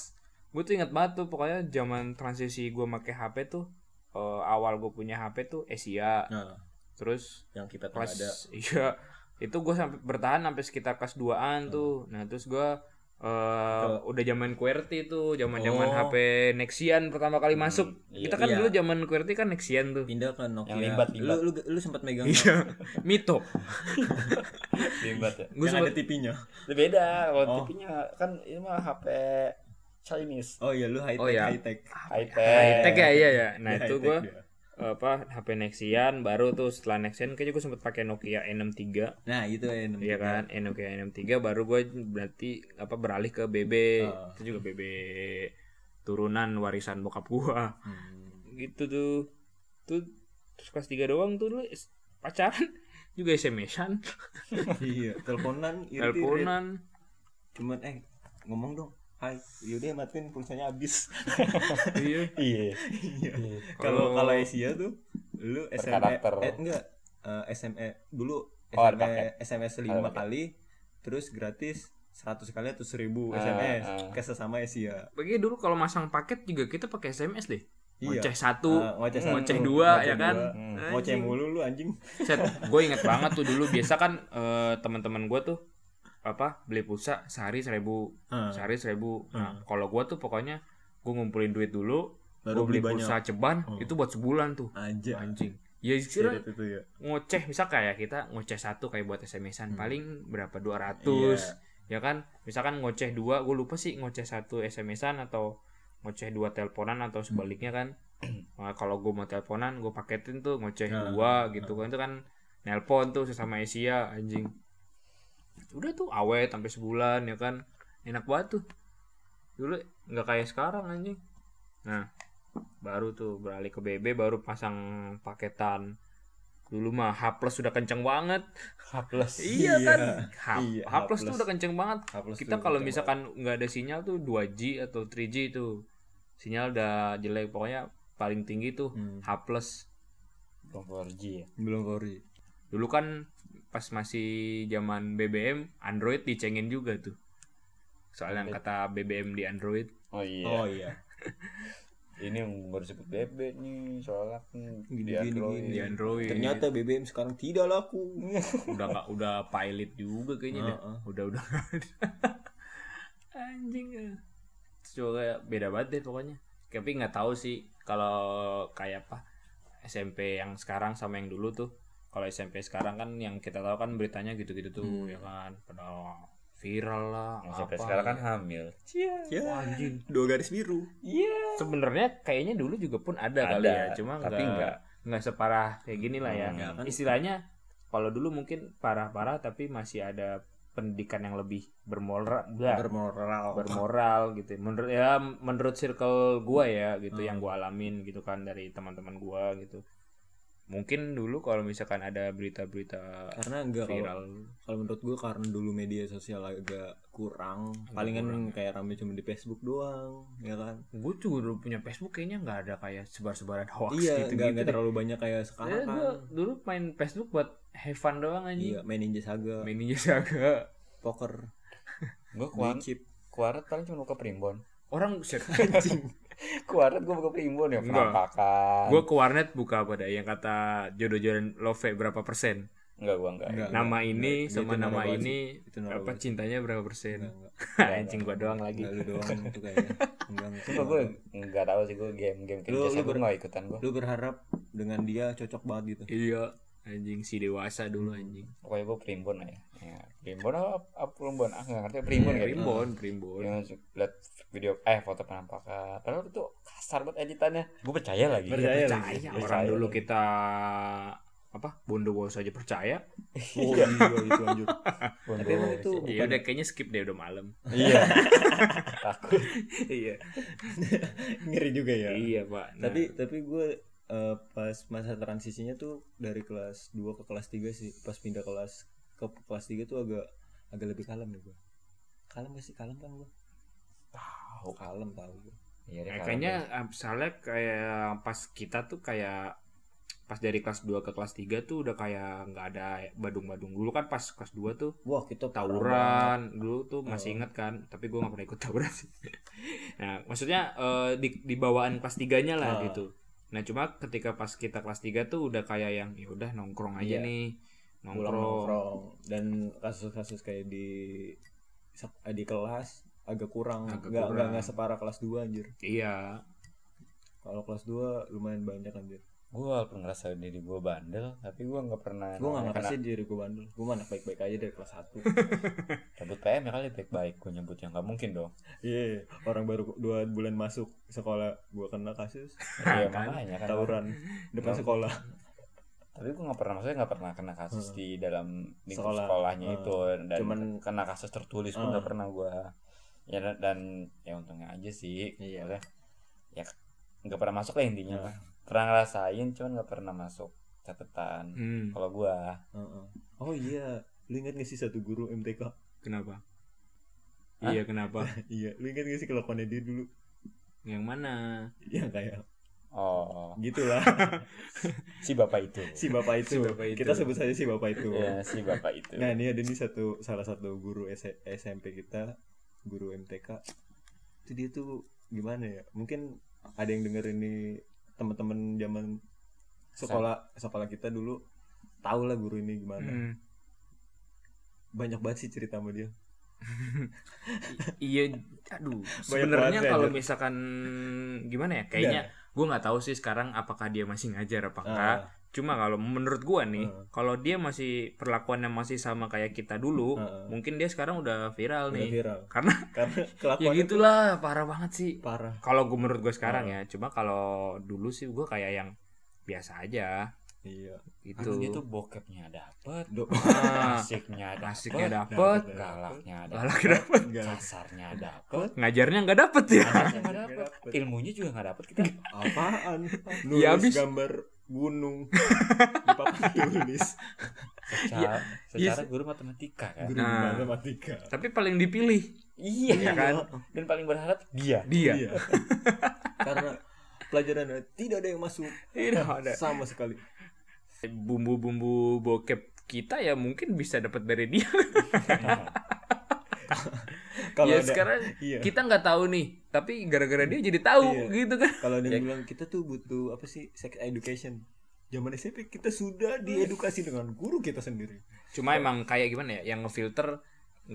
Speaker 3: gue tuh ingat banget tuh pokoknya zaman transisi gue make HP tuh eh, awal gue punya HP tuh Asia.
Speaker 2: nah
Speaker 3: Terus
Speaker 2: yang kita tuh
Speaker 3: kelas
Speaker 2: ada
Speaker 3: iya itu gue sampai bertahan sampai sekitar kelas 2an
Speaker 2: Oh.
Speaker 3: tuh nah terus gue udah zaman QWERTY tuh zaman zaman
Speaker 2: Oh.
Speaker 3: HP Nexian pertama kali masuk
Speaker 1: iya.
Speaker 3: kita kan
Speaker 2: Iya.
Speaker 3: dulu zaman QWERTY kan Nexian tuh
Speaker 2: pindah ke Nokia
Speaker 1: Yang limbat, limbat.
Speaker 2: lu lu lu sempat megang
Speaker 3: iya mito
Speaker 1: Bimbat ya
Speaker 3: gue
Speaker 2: yang ada
Speaker 3: sempet
Speaker 2: TV-nya
Speaker 1: Itu beda kalau
Speaker 2: Oh.
Speaker 1: tipenya kan ini mah HP Chinese
Speaker 2: oh iya lu high tech
Speaker 3: Oh, iya.
Speaker 2: high tech
Speaker 1: high tech
Speaker 3: high tech ya iya ya nah
Speaker 2: Dia
Speaker 3: itu
Speaker 2: high tech
Speaker 3: gue
Speaker 2: dia.
Speaker 3: apa HP Nexian baru tuh setelah Nexian kayaknya gue sempet pakai Nokia N63
Speaker 2: nah itu ya
Speaker 3: Iya kan, eh, Nokia N63 baru gue berarti apa beralih ke BB.
Speaker 2: Ah.
Speaker 3: Itu juga BB turunan warisan bokap gua.
Speaker 2: Hmm.
Speaker 3: Gitu tuh. Tuh terus kelas 3 doang tuh lu es- pacaran juga SMS-an,
Speaker 2: iya teleponan irit-irit.
Speaker 3: teleponan.
Speaker 2: cuman eh ngomong dong hai yaudah matiin pulsanya habis
Speaker 3: Iya.
Speaker 1: iya
Speaker 2: Iya.
Speaker 1: Iya.
Speaker 3: Kalau-
Speaker 2: kalau kalau Asia tuh lu SMA
Speaker 1: karakter.
Speaker 2: eh enggak Eh, SMA dulu E,
Speaker 1: Oh, ada
Speaker 2: SMA, SMS lima
Speaker 1: Ada paket.
Speaker 2: kali terus gratis 100 kali atau 1000
Speaker 1: Ah,
Speaker 2: SMS
Speaker 1: ah.
Speaker 2: E ke sesama Asia
Speaker 3: Bagi dulu kalau masang paket juga kita pakai SMS deh.
Speaker 2: Iya.
Speaker 3: Ngoceh satu,
Speaker 2: Ah, ngoceh satu,
Speaker 3: ngoceh dua,
Speaker 2: ngoceh
Speaker 3: ya kan?
Speaker 2: dua.
Speaker 1: Hmm.
Speaker 3: Anjing.
Speaker 2: ngoceh mulu lu anjing
Speaker 3: Set, gue inget banget tuh dulu biasa kan eh, teman-teman gue tuh apa beli pulsa sehari seribu
Speaker 2: Ah,
Speaker 3: sehari seribu nah
Speaker 2: Hmm.
Speaker 3: kalau gue tuh pokoknya gue ngumpulin duit dulu gue
Speaker 2: baru
Speaker 3: beli
Speaker 2: beli banyak Iya.
Speaker 3: pulsa ceban
Speaker 2: Hmm.
Speaker 3: itu buat sebulan tuh
Speaker 2: aja
Speaker 3: anjing ya
Speaker 2: Irit
Speaker 3: kira
Speaker 2: itu ya
Speaker 3: ngoceh misal kayak kita ngoceh satu kayak buat
Speaker 2: Hmm.
Speaker 3: SMS-an paling berapa
Speaker 2: Iya.
Speaker 3: 200 ya kan misalkan ngoceh dua gue lupa sih ngoceh satu SMS-an atau ngoceh dua teleponan atau sebaliknya kan Nah, kalau gue mau teleponan gue paketin tuh ngoceh
Speaker 2: Nah,
Speaker 3: dua gitu kan itu kan nelpon tuh sesama Asia anjing udah tuh awet sampai sebulan ya kan enak banget tuh dulu nggak kayak sekarang anjing nah baru tuh beralih ke BB baru pasang paketan dulu mah H plus sudah kenceng banget
Speaker 1: hapless
Speaker 3: iya kan H,
Speaker 2: Iya,
Speaker 3: H plus tuh
Speaker 2: H+.
Speaker 3: udah kenceng banget
Speaker 2: Hapus
Speaker 3: kita
Speaker 2: tuh,
Speaker 3: kalau
Speaker 2: coba.
Speaker 3: misalkan nggak ada sinyal tuh 2G atau 3G itu sinyal udah jelek pokoknya paling tinggi tuh
Speaker 2: Hmm.
Speaker 3: H plus
Speaker 1: belum 4G ya
Speaker 2: belum kori
Speaker 3: dulu kan pas masih zaman BBM Android dicengin juga tuh soalnya yang kata BBM di Android
Speaker 1: oh iya
Speaker 2: oh iya
Speaker 1: ini yang baru sebut bebek nih soalnya kan di
Speaker 2: Gini, gini,
Speaker 1: Android
Speaker 3: di Android
Speaker 2: Iya. ternyata BBM sekarang tidak laku
Speaker 3: udah nggak udah pilot juga kayaknya dah.
Speaker 2: Heeh.
Speaker 3: udah udah nggak ada. anjing ah. Terus juga kayak beda banget deh pokoknya tapi nggak tahu sih kalau kayak apa SMP yang sekarang sama yang dulu tuh kalau SMP sekarang kan yang kita tahu kan beritanya gitu-gitu tuh ya kan pada viral lah
Speaker 1: Yang sampai
Speaker 3: apa.
Speaker 1: sekarang kan hamil
Speaker 2: ya
Speaker 3: Wah, anjing.
Speaker 2: dua garis biru
Speaker 3: sebenarnya kayaknya dulu juga pun ada,
Speaker 1: Ada,
Speaker 3: kali ya cuma
Speaker 1: tapi
Speaker 3: nggak
Speaker 1: nggak.
Speaker 3: nggak separah kayak gini lah ya
Speaker 1: Hmm,
Speaker 2: nggak kan.
Speaker 3: istilahnya kalau dulu mungkin parah-parah tapi masih ada pendidikan yang lebih bermoral blah,
Speaker 2: bermoral
Speaker 3: bermoral gitu menurut ya menurut circle gua ya gitu
Speaker 2: Hmm.
Speaker 3: yang gua alamin gitu kan dari teman-teman gua gitu mungkin dulu kalau misalkan ada berita-berita
Speaker 2: karena enggak kalau
Speaker 3: viral
Speaker 2: kalau menurut gue karena dulu media sosial agak kurang palingan kayak rame cuma di Facebook doang ya kan
Speaker 3: gue juga dulu punya Facebook kayaknya nggak ada kayak sebar-sebaran hoax
Speaker 2: iya
Speaker 3: gitu
Speaker 2: nggak
Speaker 3: gitu
Speaker 2: nggak terlalu banyak kayak sekarang kan
Speaker 3: gue dulu main Facebook buat have fun doang aja
Speaker 2: iya main Ninja Saga
Speaker 3: main Ninja Saga
Speaker 2: poker
Speaker 1: gue
Speaker 2: beli
Speaker 1: kuat
Speaker 2: chip
Speaker 1: kuaret paling cuma buka primbon
Speaker 3: orang set
Speaker 1: kuaret gue buka primbon ya
Speaker 3: Enggak.
Speaker 1: penampakan
Speaker 3: gue ke warnet buka pada yang kata jodoh-jodohan love berapa persen
Speaker 1: Enggak gua enggak.
Speaker 2: Enggak,
Speaker 3: Nama
Speaker 2: enggak,
Speaker 3: ini
Speaker 2: enggak. Dia
Speaker 3: sama
Speaker 2: itu
Speaker 3: nama
Speaker 2: narkoba
Speaker 3: ini
Speaker 2: sih. Itu narkoba
Speaker 3: apa
Speaker 2: sih.
Speaker 3: cintanya berapa persen?
Speaker 2: Enggak, enggak.
Speaker 3: Anjing gua doang lagi.
Speaker 2: Enggak, lu doang itu kayaknya. Enggak, enggak.
Speaker 1: Cuma gue enggak tahu sih gue game-game kayak gitu,
Speaker 2: Lu-
Speaker 1: biasa
Speaker 2: lu
Speaker 1: gue
Speaker 2: ber-
Speaker 1: enggak ikutan gue.
Speaker 2: Lu berharap dengan dia cocok banget gitu.
Speaker 3: Iya, anjing si dewasa dulu anjing.
Speaker 1: Pokoknya gue primbon aja. Ya, primbon apa, apa primbon? Ah enggak ngerti
Speaker 3: Iya,
Speaker 1: primbon kayak gitu.
Speaker 3: Primbon, primbon.
Speaker 1: Yang su- liat video eh foto penampakan. Padahal itu kasar banget editannya. Gue percaya lagi.
Speaker 2: Iya, Percaya lagi.
Speaker 3: Iya. Percaya,
Speaker 1: Percaya
Speaker 3: orang dulu
Speaker 1: lagi.
Speaker 3: kita apa bondowoso aja percaya
Speaker 2: Oh iya itu anjir.
Speaker 1: Primbon
Speaker 2: Tapi emang
Speaker 1: doang
Speaker 2: itu
Speaker 1: sih.
Speaker 3: ya udah kayaknya skip deh udah malam
Speaker 1: iya. Takut.
Speaker 3: iya
Speaker 2: ngeri juga ya.
Speaker 3: iya pak Nah,
Speaker 2: Tapi tapi gue eh, pas masa transisinya tuh dari kelas 2 ke kelas 3 sih. Pas pindah kelas ke kelas 3 tuh agak agak lebih kalem nih gue. Kalem gak sih? Kalem kan gue.
Speaker 1: Tahu.
Speaker 2: Kalem tau gue.
Speaker 1: Iya, dia
Speaker 2: Nah,
Speaker 3: eh,
Speaker 1: kalah
Speaker 3: kayaknya
Speaker 1: deh.
Speaker 3: eh, misalnya kayak pas kita tuh kayak pas dari kelas 2 ke kelas 3 tuh udah kayak nggak ada badung-badung dulu kan pas kelas 2 tuh
Speaker 2: Wah, kita parah
Speaker 3: tawuran dulu tuh
Speaker 2: Oh.
Speaker 3: masih inget kan tapi gue nggak pernah ikut tawuran sih nah maksudnya eh, di, di bawaan kelas tiganya lah
Speaker 2: Ah.
Speaker 3: gitu nah cuma ketika pas kita kelas tiga tuh udah kayak yang ya udah nongkrong aja
Speaker 2: Iya.
Speaker 3: nih
Speaker 2: banget. pulang
Speaker 3: nongkrong
Speaker 2: nongkrong dan kasus-kasus kayak di sek- di kelas agak kurang
Speaker 3: Agak
Speaker 2: nggak
Speaker 3: kurang.
Speaker 2: nggak nggak separah kelas 2 anjir
Speaker 3: iya
Speaker 2: kalau kelas 2 lumayan banyak anjir
Speaker 1: gue walaupun ngerasa diri gue bandel, tapi gue nggak
Speaker 3: Nah,
Speaker 1: pernah
Speaker 2: gue
Speaker 1: namanya
Speaker 2: nggak
Speaker 1: kena
Speaker 2: ngerasa diri gue bandel gue mah anak baik-baik aja dari kelas 1
Speaker 1: Cabut PM ya kali baik-baik gue nyebut yang nggak mungkin dong.
Speaker 2: Iya, orang baru dua bulan masuk sekolah gua kena kasus
Speaker 1: Iya
Speaker 3: kan?
Speaker 1: makanya kan.
Speaker 2: tawuran depan
Speaker 1: Nah.
Speaker 2: sekolah.
Speaker 1: Tapi gue nggak pernah maksudnya nggak pernah kena kasus di dalam lingkup
Speaker 2: Hmm. Sekolah.
Speaker 1: sekolahnya
Speaker 2: Hmm.
Speaker 1: itu dan
Speaker 2: Cuman-
Speaker 1: kena kasus tertulis pun
Speaker 2: Hmm.
Speaker 1: nggak pernah gue. Ya dan, dan ya untungnya aja sih.
Speaker 2: Iya.
Speaker 1: Maksudnya, Ya nggak pernah masuk lah intinya. lah.
Speaker 2: Hmm.
Speaker 1: Pernah ngerasain cuman nggak pernah masuk catatan.
Speaker 3: hmm,
Speaker 2: Oh.
Speaker 1: Kalau gue
Speaker 2: Heeh. Oh iya, lu ingat gak sih satu guru MTK?
Speaker 3: kenapa
Speaker 1: Hah?
Speaker 3: iya kenapa
Speaker 2: iya, lu ingat gak sih kelakuannya dia dulu?
Speaker 3: yang mana
Speaker 2: Ya kayak
Speaker 1: oh
Speaker 2: gitulah
Speaker 1: si bapak itu.
Speaker 2: si bapak
Speaker 3: Si
Speaker 2: itu.
Speaker 3: bapak itu. Iya.
Speaker 2: Kita sebut saja si bapak itu.
Speaker 1: Ya, si bapak itu.
Speaker 2: Nah, ini ada nih satu salah satu guru S- SMP kita, guru MTK. Itu dia tuh gimana ya? Mungkin ada yang denger ini teman-teman zaman sekolah sekolah kita dulu tahu lah guru ini gimana.
Speaker 3: Hmm.
Speaker 2: banyak banget sih cerita sama dia
Speaker 3: iya aduh sebenarnya
Speaker 2: banget sih,
Speaker 3: kalau
Speaker 2: anjir. Iya.
Speaker 3: misalkan gimana ya kayaknya gue nggak tahu sih sekarang apakah dia masih ngajar apa enggak
Speaker 2: Ah,
Speaker 3: Cuma kalau menurut gua nih,
Speaker 2: Heeh.
Speaker 3: kalau dia masih perlakuannya masih sama kayak kita dulu,
Speaker 2: Heeh.
Speaker 3: mungkin dia sekarang udah viral
Speaker 2: ah, Hmm. udah
Speaker 3: nih.
Speaker 2: viral
Speaker 3: Karena
Speaker 2: karena
Speaker 3: ya
Speaker 2: kelakuan
Speaker 3: gitulah, parah banget sih.
Speaker 2: parah
Speaker 3: Kalau gua menurut gua sekarang
Speaker 2: Hmm.
Speaker 3: ya, cuma kalau dulu sih gua kayak yang biasa aja
Speaker 2: iya
Speaker 3: gitu.
Speaker 1: Karena dia tuh bokepnya dapet,
Speaker 2: Do-
Speaker 3: Ah,
Speaker 1: asiknya dapet,
Speaker 3: asiknya dapet,
Speaker 2: Oh, dapet.
Speaker 1: galaknya dapet,
Speaker 3: galak dapet,
Speaker 2: enggak
Speaker 1: kasarnya dapet,
Speaker 3: ngajarnya nggak dapet ya.
Speaker 1: asiknya nggak
Speaker 2: Nggak
Speaker 1: dapet,
Speaker 2: dapet.
Speaker 1: ilmunya juga nggak dapet kita.
Speaker 2: apaan nulis
Speaker 3: Ya, abis.
Speaker 2: gambar gunung di papan tulis
Speaker 1: Secara,
Speaker 3: iya
Speaker 1: secara guru matematika kan.
Speaker 2: guru
Speaker 3: Nah.
Speaker 2: matematika
Speaker 3: Tapi paling dipilih
Speaker 1: Iya
Speaker 3: Iya
Speaker 1: kan.
Speaker 3: kan?
Speaker 1: Dan paling berharap dia.
Speaker 3: dia.
Speaker 2: Iya. karena pelajaran tidak ada yang masuk
Speaker 3: Tidak ada.
Speaker 2: sama sekali
Speaker 3: Bumbu-bumbu bokep kita ya mungkin bisa dapat dari dia.
Speaker 2: kalau
Speaker 3: ya
Speaker 2: ada
Speaker 3: sekarang
Speaker 2: iya.
Speaker 3: kita nggak tahu nih, tapi gara-gara dia jadi tahu
Speaker 2: Iya.
Speaker 3: gitu kan.
Speaker 2: kalau ada yang bilang kita tuh butuh apa sih sex education zaman SMP kita sudah diedukasi dengan guru kita sendiri
Speaker 3: Cuma emang kayak gimana ya, yang ngefilter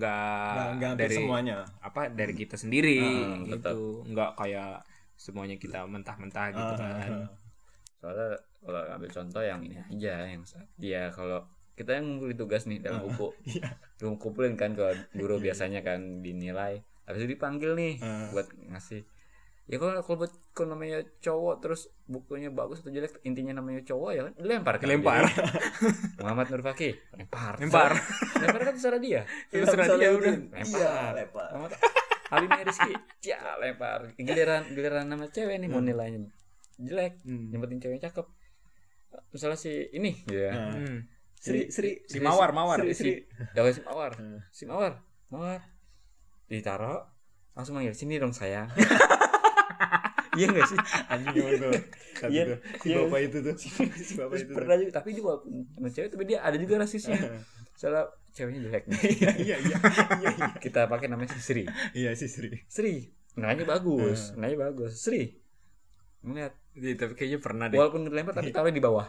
Speaker 3: nggak
Speaker 2: nggak nggak
Speaker 3: Ah,
Speaker 2: hampir ya.
Speaker 3: dari
Speaker 2: semuanya
Speaker 3: apa dari kita sendiri
Speaker 1: Ah,
Speaker 3: gitu, nggak kayak semuanya kita mentah-mentah gitu kan.
Speaker 2: Ah,
Speaker 1: Soalnya kalau ambil contoh yang ini aja yang saat dia kalau kita yang ngumpulin tugas nih dalam buku.
Speaker 2: Iya.
Speaker 1: Lu kumpulin kan ke
Speaker 3: Iya,
Speaker 1: guru biasanya kan dinilai. Habis itu dipanggil nih
Speaker 2: Ah.
Speaker 1: buat ngasih. Ya kalau kalau buat kalau namanya cowok terus bukunya bagus atau jelek intinya namanya cowok ya kan dilempar kan.
Speaker 3: Dilempar.
Speaker 1: Jadi, Muhammad Nur Fakih lempar.
Speaker 3: Lempar.
Speaker 1: Lempar kan terserah dia.
Speaker 3: Ya, terserah dia udah.
Speaker 2: Iya, lempar.
Speaker 1: Muhammad Habibnya Rizky, ya lempar. Giliran giliran nama cewek nih mau nilainya jelek,
Speaker 2: Hmm.
Speaker 1: yang penting cewek cakep. Misalnya si ini, ya.
Speaker 2: Nah,
Speaker 3: Hmm.
Speaker 2: Sri, Sri,
Speaker 3: Si Mawar, Mawar. ya,
Speaker 2: Sri,
Speaker 3: Si-
Speaker 2: Sri.
Speaker 1: Dawai si Mawar,
Speaker 2: Hmm.
Speaker 1: si Mawar, Mawar. Ditaruh, langsung manggil sini dong sayang. Iya gak sih?
Speaker 2: Anjing emang tuh. Satu
Speaker 1: Iya,
Speaker 2: tuh. Si
Speaker 1: iya.
Speaker 2: bapak itu tuh. Si bapak
Speaker 1: Terus
Speaker 2: itu. tuh.
Speaker 1: pernah juga, tapi dia walaupun sama cewek, tapi dia ada juga rasisnya. Soalnya ceweknya jelek nih.
Speaker 2: Iya, iya, iya. Iya, iya.
Speaker 1: Kita pakai namanya si Sri.
Speaker 2: Iya, si Sri.
Speaker 1: Sri, nanya bagus, nanya bagus. Sri, ngeliat
Speaker 3: Iya, tapi kayaknya pernah deh.
Speaker 1: walaupun dilempar tapi taruh di bawah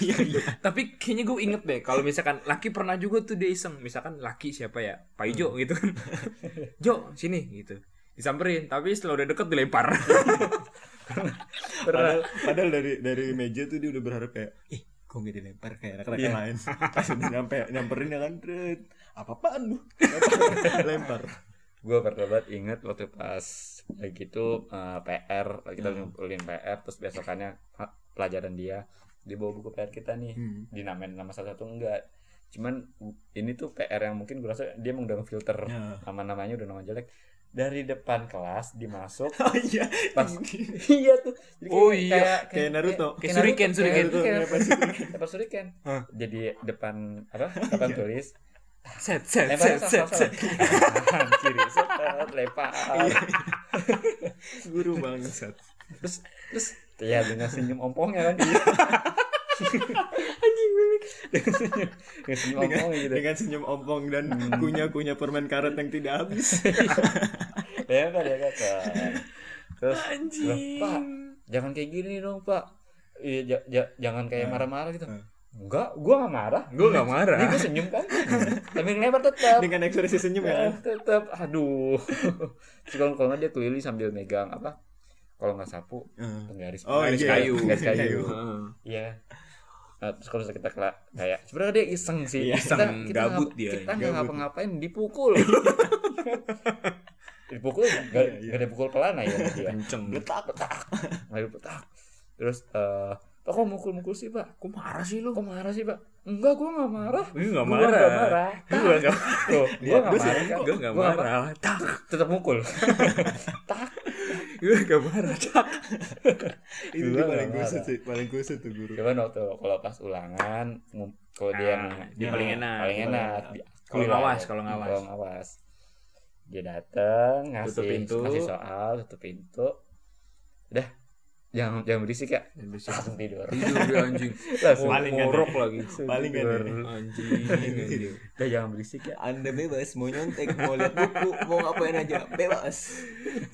Speaker 2: Iya, iya.
Speaker 3: Tapi kayaknya gue inget deh kalau misalkan laki pernah juga tuh dia iseng, misalkan laki siapa ya? Pak Ijo
Speaker 1: Hmm.
Speaker 3: gitu kan. Jo, sini gitu. Disamperin, tapi setelah udah deket dilempar.
Speaker 2: Padahal, padahal dari dari meja tuh dia udah berharap kayak, ih, kok gak dilempar kayak anak-anak yang lain. Pas udah nyampe nyamperin ya kan, tret. Apa-apaan lu? Lempar. Lempar.
Speaker 1: gue pernah banget inget waktu pas lagi itu eh, PR lagi kita
Speaker 3: Hmm.
Speaker 1: ngumpulin PR terus besokannya ha, pelajaran dia dia bawa buku PR kita nih
Speaker 2: Hmm.
Speaker 1: dinamain nama satu-satu enggak cuman ini tuh PR yang mungkin gue rasa dia emang udah filter
Speaker 2: Ya.
Speaker 1: nama-namanya udah nama jelek dari depan kelas dimasuk
Speaker 2: Oh iya.
Speaker 1: pas iya tuh Jadi
Speaker 3: Oh
Speaker 1: kayak-
Speaker 3: iya.
Speaker 1: kayak-
Speaker 2: Kayak Naruto.
Speaker 3: Kayak Shuriken, Shuriken.
Speaker 1: Naruto, kayak
Speaker 2: Kayak
Speaker 1: Lempar Shuriken
Speaker 3: Hah.
Speaker 1: jadi depan apa papan tulis
Speaker 3: Set, set,
Speaker 1: lempar
Speaker 3: set, set, set. Iya.
Speaker 1: ciri set lempar
Speaker 2: Guru bangsat.
Speaker 1: terus terus ya dengan senyum ompongnya kan dengan senyum dengan senyum
Speaker 2: Dengan,
Speaker 1: ompongnya gitu
Speaker 2: dengan senyum ompong dan kunyah-kunyah permen karet yang tidak habis.
Speaker 1: lempar ya kata terus "Loh,
Speaker 3: Anjing.
Speaker 1: pak jangan kayak gini dong pak Iya, ja- ja- jangan kayak marah-marah gitu.
Speaker 2: Hmm.
Speaker 1: Enggak, gua gak marah.
Speaker 3: Gue gak
Speaker 1: Ini
Speaker 3: marah.
Speaker 1: gua senyum kan. Tapi lempar tetap.
Speaker 2: Dengan ekspresi senyum ya
Speaker 1: Ya,
Speaker 2: kan.
Speaker 1: tetap aduh terus kalau kalau nggak dia keliling sambil megang apa kalau nggak sapu
Speaker 2: Hmm.
Speaker 1: penggaris
Speaker 2: Oh,
Speaker 1: penggaris
Speaker 2: iya.
Speaker 1: kayu penggaris kayu
Speaker 2: Kayu.
Speaker 3: Heeh.
Speaker 1: iya Nah, terus kalau misalnya kita kela- kayak sebenarnya dia iseng sih
Speaker 2: Iya,
Speaker 1: kita
Speaker 3: iseng,
Speaker 1: kita
Speaker 3: gabut
Speaker 1: ngapa-
Speaker 3: dia,
Speaker 1: kita nggak
Speaker 2: gabut.
Speaker 1: ngapa-ngapain dipukul dipukul nggak
Speaker 2: Iya, iya.
Speaker 1: nggak dipukul pelana ya sama dia
Speaker 3: Kenceng.
Speaker 2: Letak.
Speaker 1: nggak dipetak terus eh pak kok mukul-mukul sih pak
Speaker 3: Kok marah sih lu?
Speaker 1: kok marah sih pak enggak gua nggak marah
Speaker 3: Gue
Speaker 1: Gua
Speaker 3: gak
Speaker 1: nggak
Speaker 3: marah. Iya,
Speaker 1: marah
Speaker 3: Gue gak
Speaker 1: tuh gua nggak
Speaker 2: gua sih
Speaker 1: marah kan
Speaker 3: Gue gak
Speaker 1: Gua nggak
Speaker 3: marah. Tak.
Speaker 1: tetap mukul tak
Speaker 3: Gue gak marah. Tak.
Speaker 1: Gua
Speaker 2: Itu dia
Speaker 1: nggak
Speaker 2: paling
Speaker 1: marah.
Speaker 2: kusut sih, paling kusut tuh guru.
Speaker 1: cuman waktu kalau pas ulangan ngum- kalau dia yang
Speaker 3: Nah, dia paling enak.
Speaker 1: paling enak Di-
Speaker 3: Kalau
Speaker 1: di-
Speaker 3: ngawas, kalau ngawas.
Speaker 1: kalau ngawas dia dateng ngasih
Speaker 3: Tutup pintu.
Speaker 1: ngasih soal tutup pintu udah jangan jangan berisik ya langsung tidur
Speaker 3: Tidur dia anjing.
Speaker 1: langsung
Speaker 2: Paling enak.
Speaker 3: Ngorok lagi.
Speaker 2: Paling
Speaker 1: tidur.
Speaker 2: enak.
Speaker 3: Anjing. anjing.
Speaker 1: udah jangan berisik ya
Speaker 2: iya. Anda bebas mau nyontek, mau lihat buku, mau ngapain aja, bebas.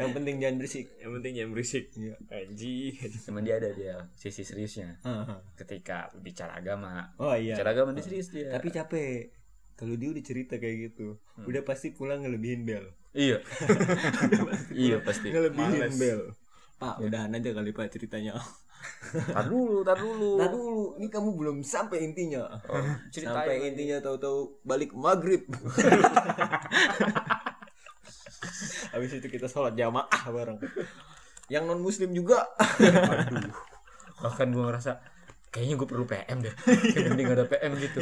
Speaker 2: Yang penting jangan berisik.
Speaker 3: Yang penting jangan berisik.
Speaker 2: Iya.
Speaker 3: Anjing.
Speaker 1: cuman dia ada dia sisi seriusnya ketika bicara agama
Speaker 2: Oh iya.
Speaker 1: bicara agama dia serius dia
Speaker 2: Tapi capek. Kalau dia udah cerita kayak gitu, udah pasti pulang ngelebihin bel.
Speaker 1: iya iya pasti
Speaker 2: Ngelebihin bel. Ya. Pak, udahan aja kali Pak ceritanya.
Speaker 1: tar dulu tar dulu
Speaker 2: Nah dulu, ini kamu belum sampai intinya.
Speaker 1: Oh,
Speaker 2: sampai
Speaker 1: ceritain
Speaker 2: intinya tahu-tahu balik maghrib. Habis itu kita sholat jamaah bareng. Yang non muslim juga.
Speaker 1: bahkan gue ngerasa kayaknya gue perlu PM deh kayak mending ada PM gitu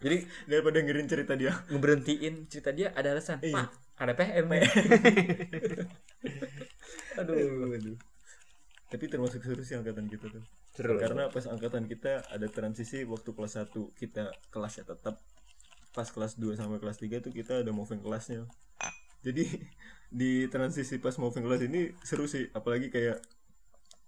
Speaker 1: jadi
Speaker 2: Daripada ngirin cerita dia.
Speaker 1: ngeberhentiin cerita dia ada alasan pak ada PM ya aduh
Speaker 2: Aduh, aduh. Tapi termasuk seru sih angkatan kita tuh.
Speaker 3: Seru.
Speaker 2: Karena pas angkatan kita ada transisi waktu kelas 1 kita kelasnya tetap pas kelas 2 sampai kelas 3 tuh kita ada moving kelasnya. Jadi di transisi pas moving kelas ini seru sih, apalagi kayak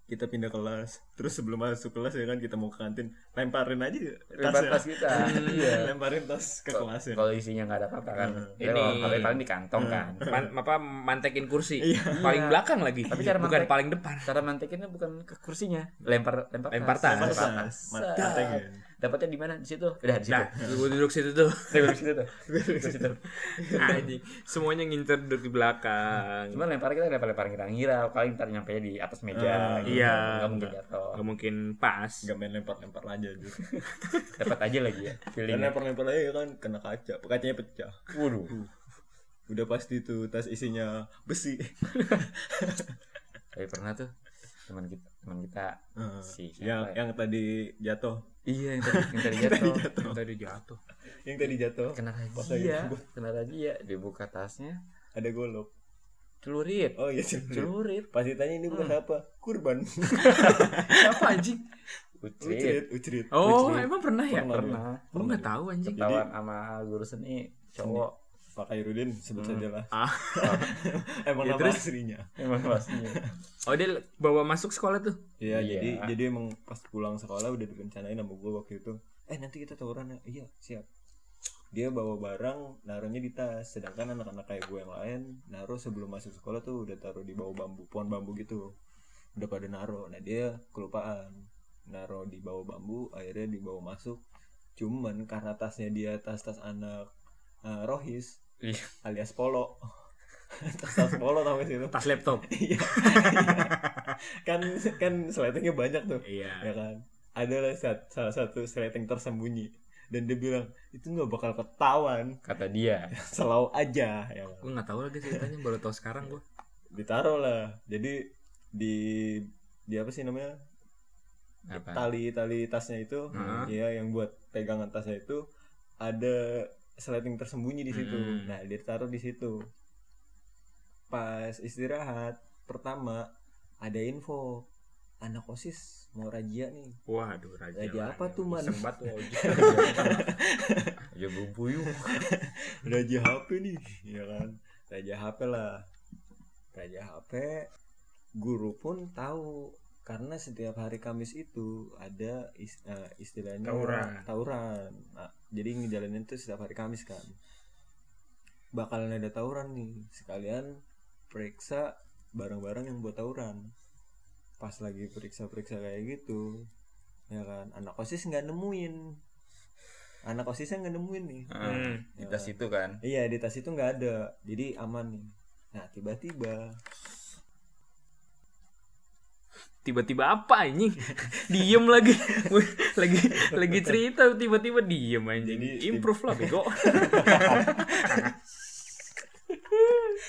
Speaker 2: kita pindah kelas, terus sebelum masuk kelas ya kan kita mau ke kantin, lemparin aja
Speaker 1: Lempar tas
Speaker 2: ya.
Speaker 1: kita iya
Speaker 2: lemparin tas ke kelas ya.
Speaker 1: kalau isinya nggak ada apa-apa kan
Speaker 3: Ini-
Speaker 1: ini kalau kalian di kantong kan
Speaker 3: Man, apa mantekin kursi paling belakang lagi
Speaker 1: Tapi cara
Speaker 3: bukan
Speaker 1: mantek-
Speaker 3: paling depan
Speaker 1: cara mantekinnya bukan ke kursinya lempar lempar tas.
Speaker 3: Lempar tas.
Speaker 1: Lempar tas.
Speaker 2: Tas, mat- mateng ya.
Speaker 1: dapatnya di mana di situ udah di situ
Speaker 3: nah gue duduk situ tuh
Speaker 1: Saya duduk situ tuh Duduk situ
Speaker 3: anjing semuanya ngincer duduk di belakang
Speaker 1: Cuma lempar kita lempar lempar ngira ngira paling ntar nyampe di atas meja
Speaker 2: Ah,
Speaker 1: gitu.
Speaker 3: iya.
Speaker 1: nggak mungkin jatuh
Speaker 3: nggak mungkin pas
Speaker 2: Gak main lempar-lempar aja gitu.
Speaker 1: dapat aja lagi ya feeling
Speaker 2: Dan lempar-lempar aja kan kena kaca, kacanya pecah.
Speaker 1: waduh
Speaker 2: Udah pasti tuh tas isinya besi.
Speaker 1: tapi pernah tuh teman kita teman kita
Speaker 2: Eh,
Speaker 1: Si siapa
Speaker 2: yang
Speaker 1: ya?
Speaker 2: yang tadi jatuh,
Speaker 1: iya yang tadi yang tadi jatuh
Speaker 3: tadi jatuh
Speaker 2: yang tadi jatuh
Speaker 1: kena
Speaker 2: Pas lagi
Speaker 1: razia
Speaker 2: disebut.
Speaker 1: kena razia dibuka tasnya
Speaker 2: ada golok.
Speaker 1: celurit
Speaker 2: Oh iya celurit.
Speaker 1: celurit
Speaker 2: Pas ditanya ini bukan apa? Kurban.
Speaker 3: siapa anjing
Speaker 1: ucrit
Speaker 2: ucrit, Iya. ucrit.
Speaker 3: oh
Speaker 1: Kucing.
Speaker 3: emang pernah ya
Speaker 2: Pernah.
Speaker 1: pernah
Speaker 3: gue nggak tahu anjing
Speaker 1: ketahuan sama guru seni cowok
Speaker 2: Pak Khairuddin sebut saja lah.
Speaker 3: ah
Speaker 2: Emang
Speaker 3: Ya,
Speaker 2: nama
Speaker 3: terus?
Speaker 2: aslinya.
Speaker 1: emang pastinya
Speaker 3: oh dia bawa masuk sekolah tuh
Speaker 2: Iya,
Speaker 1: Iya.
Speaker 2: jadi jadi emang pas pulang sekolah udah direncanain sama gue waktu itu. Eh nanti kita tawuran ya. Iya, siap. Dia bawa barang, naruhnya di tas. Sedangkan anak-anak kayak gue yang lain, naruh sebelum masuk sekolah tuh udah taruh di bawah bambu, pohon bambu gitu. udah pada naro nah dia kelupaan naro di bawah bambu akhirnya dibawa masuk cuman karena tasnya dia tas tas anak eh, rohis
Speaker 1: Iya.
Speaker 2: alias polo tas tas polo tau gak sih lu?
Speaker 3: Tas laptop.
Speaker 2: Iya. kan kan sletingnya banyak tuh ya
Speaker 3: Iya.
Speaker 2: kan adalah sat- salah satu sleting tersembunyi dan dia bilang itu nggak bakal ketahuan
Speaker 1: kata dia
Speaker 2: selalu aja ya kan?
Speaker 3: Gue nggak tahu lagi ceritanya baru tahu sekarang gue.
Speaker 2: ditaruh lah jadi di di apa sih namanya
Speaker 1: apa
Speaker 2: tali tali tasnya itu
Speaker 3: Heeh.
Speaker 2: ya yang buat pegangan tasnya itu ada sleting tersembunyi di situ
Speaker 3: Mm-mm.
Speaker 2: nah dia taruh di situ pas istirahat pertama ada info anak osis mau razia nih
Speaker 3: Waduh, raja.
Speaker 2: Lagi
Speaker 3: lah,
Speaker 2: apa
Speaker 3: dia.
Speaker 2: tuh, Man?
Speaker 3: Iseng banget tuh, Oji.
Speaker 1: ya bubuyu
Speaker 2: Raja HP nih, ya kan? Raja HP lah. Raja HP guru pun tahu karena setiap hari Kamis itu ada is- eh, istilahnya
Speaker 3: Tauran.
Speaker 2: tauran. Nah, jadi ngejalanin tuh setiap hari Kamis kan. Bakalan ada tauran nih. Sekalian periksa barang-barang yang buat tauran. Pas lagi periksa-periksa kayak gitu, ya kan? Anak OSIS nggak nemuin. Anak OSISnya nggak nemuin nih.
Speaker 3: Hmm.
Speaker 1: di tas itu kan
Speaker 2: Iya di tas itu nggak ada, jadi aman nih. Nah tiba-tiba
Speaker 3: Tiba-tiba apa anjing? diem lagi. Gua lagi lagi cerita tiba-tiba diem anjing.
Speaker 2: Jadi,
Speaker 3: Improve lah bego.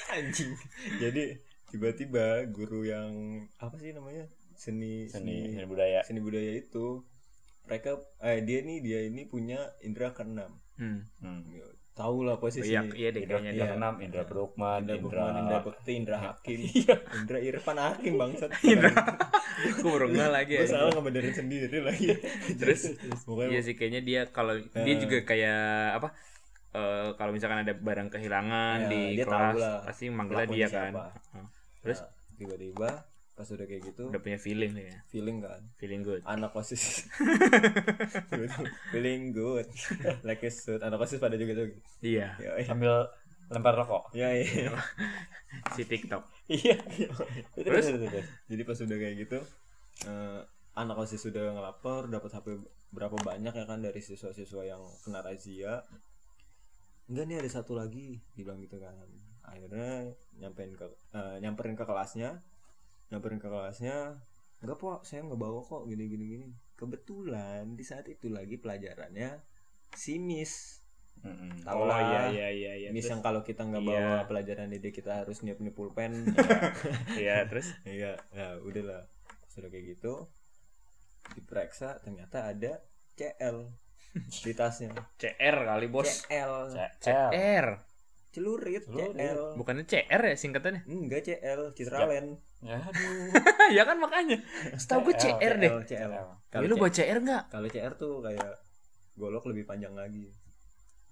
Speaker 2: anjing. jadi tiba-tiba guru yang apa sih namanya seni
Speaker 1: seni
Speaker 2: seni
Speaker 1: seni budaya
Speaker 2: seni budaya itu mereka eh dia nih dia ini punya indera keenam.
Speaker 3: Hmm.
Speaker 1: hmm.
Speaker 2: Tahu lah posisi
Speaker 3: Iya, iya deh
Speaker 1: Indra,
Speaker 3: kayaknya.
Speaker 1: Indra
Speaker 3: dia.
Speaker 1: Kenam, Indra Brukman,
Speaker 2: Indra
Speaker 1: Indra,
Speaker 2: Bukman, Indra Bekti, Indra Hakim, Iya. Indra Irfan Hakim bangsat.
Speaker 3: Gue baru ngeh lagi.
Speaker 2: Gue
Speaker 3: anjing.
Speaker 2: salah ngebenerin sendiri lagi. Terus,
Speaker 3: Iya
Speaker 2: pokoknya
Speaker 3: sih kayaknya dia kalau dia juga kayak apa eh, kalau misalkan ada barang kehilangan
Speaker 2: Ya,
Speaker 3: di
Speaker 2: dia
Speaker 3: kelas
Speaker 2: tahu lah
Speaker 3: pasti manggilnya
Speaker 2: pelakunya
Speaker 3: dia
Speaker 2: siapa.
Speaker 3: kan. Heeh. Terus
Speaker 2: nah, tiba-tiba pas udah kayak gitu
Speaker 3: kan. udah punya feeling nih ya.
Speaker 2: feeling kan
Speaker 3: Feeling good.
Speaker 2: anak osis feeling good like a suit anak osis pada juga tuh
Speaker 3: Iya,
Speaker 2: ya
Speaker 1: sambil lempar rokok.
Speaker 2: ya iya
Speaker 3: si TikTok.
Speaker 2: iya terus jadi pas udah kayak gitu eh, anak osis sudah ngelapor dapat hp berapa banyak ya kan dari siswa-siswa yang kena razia enggak nih ada satu lagi dibilang gitu kan akhirnya nyampein ke eh, nyamperin ke kelasnya nyamperin ke kelasnya enggak po saya nggak bawa kok gini gini gini kebetulan di saat itu lagi pelajarannya si miss
Speaker 1: Mm-mm.
Speaker 2: tahu
Speaker 3: oh
Speaker 2: lah
Speaker 3: iya iya iya iya.
Speaker 2: miss
Speaker 3: Terus,
Speaker 2: yang kalau kita nggak
Speaker 3: Iya.
Speaker 2: bawa pelajaran dia kita harus niup niup pulpen ya kan?
Speaker 3: iya, terus
Speaker 2: Iya, nah udahlah. Sudah kayak gitu diperiksa ternyata ada CL di tasnya.
Speaker 3: CR kali bos.
Speaker 2: CL,
Speaker 1: CL.
Speaker 3: CR.
Speaker 2: celurit,
Speaker 1: Celurit.
Speaker 2: CL.
Speaker 3: Bukannya CR ya singkatannya?
Speaker 2: Enggak CL, Citralen.
Speaker 1: Ya, aduh.
Speaker 3: ya kan makanya. Setahu gue
Speaker 1: CR,
Speaker 3: CR deh.
Speaker 2: CL, CL.
Speaker 3: Ya
Speaker 2: Kalau
Speaker 3: lu
Speaker 2: C-
Speaker 3: baca CR enggak?
Speaker 2: kalau CR tuh kayak golok lebih panjang lagi.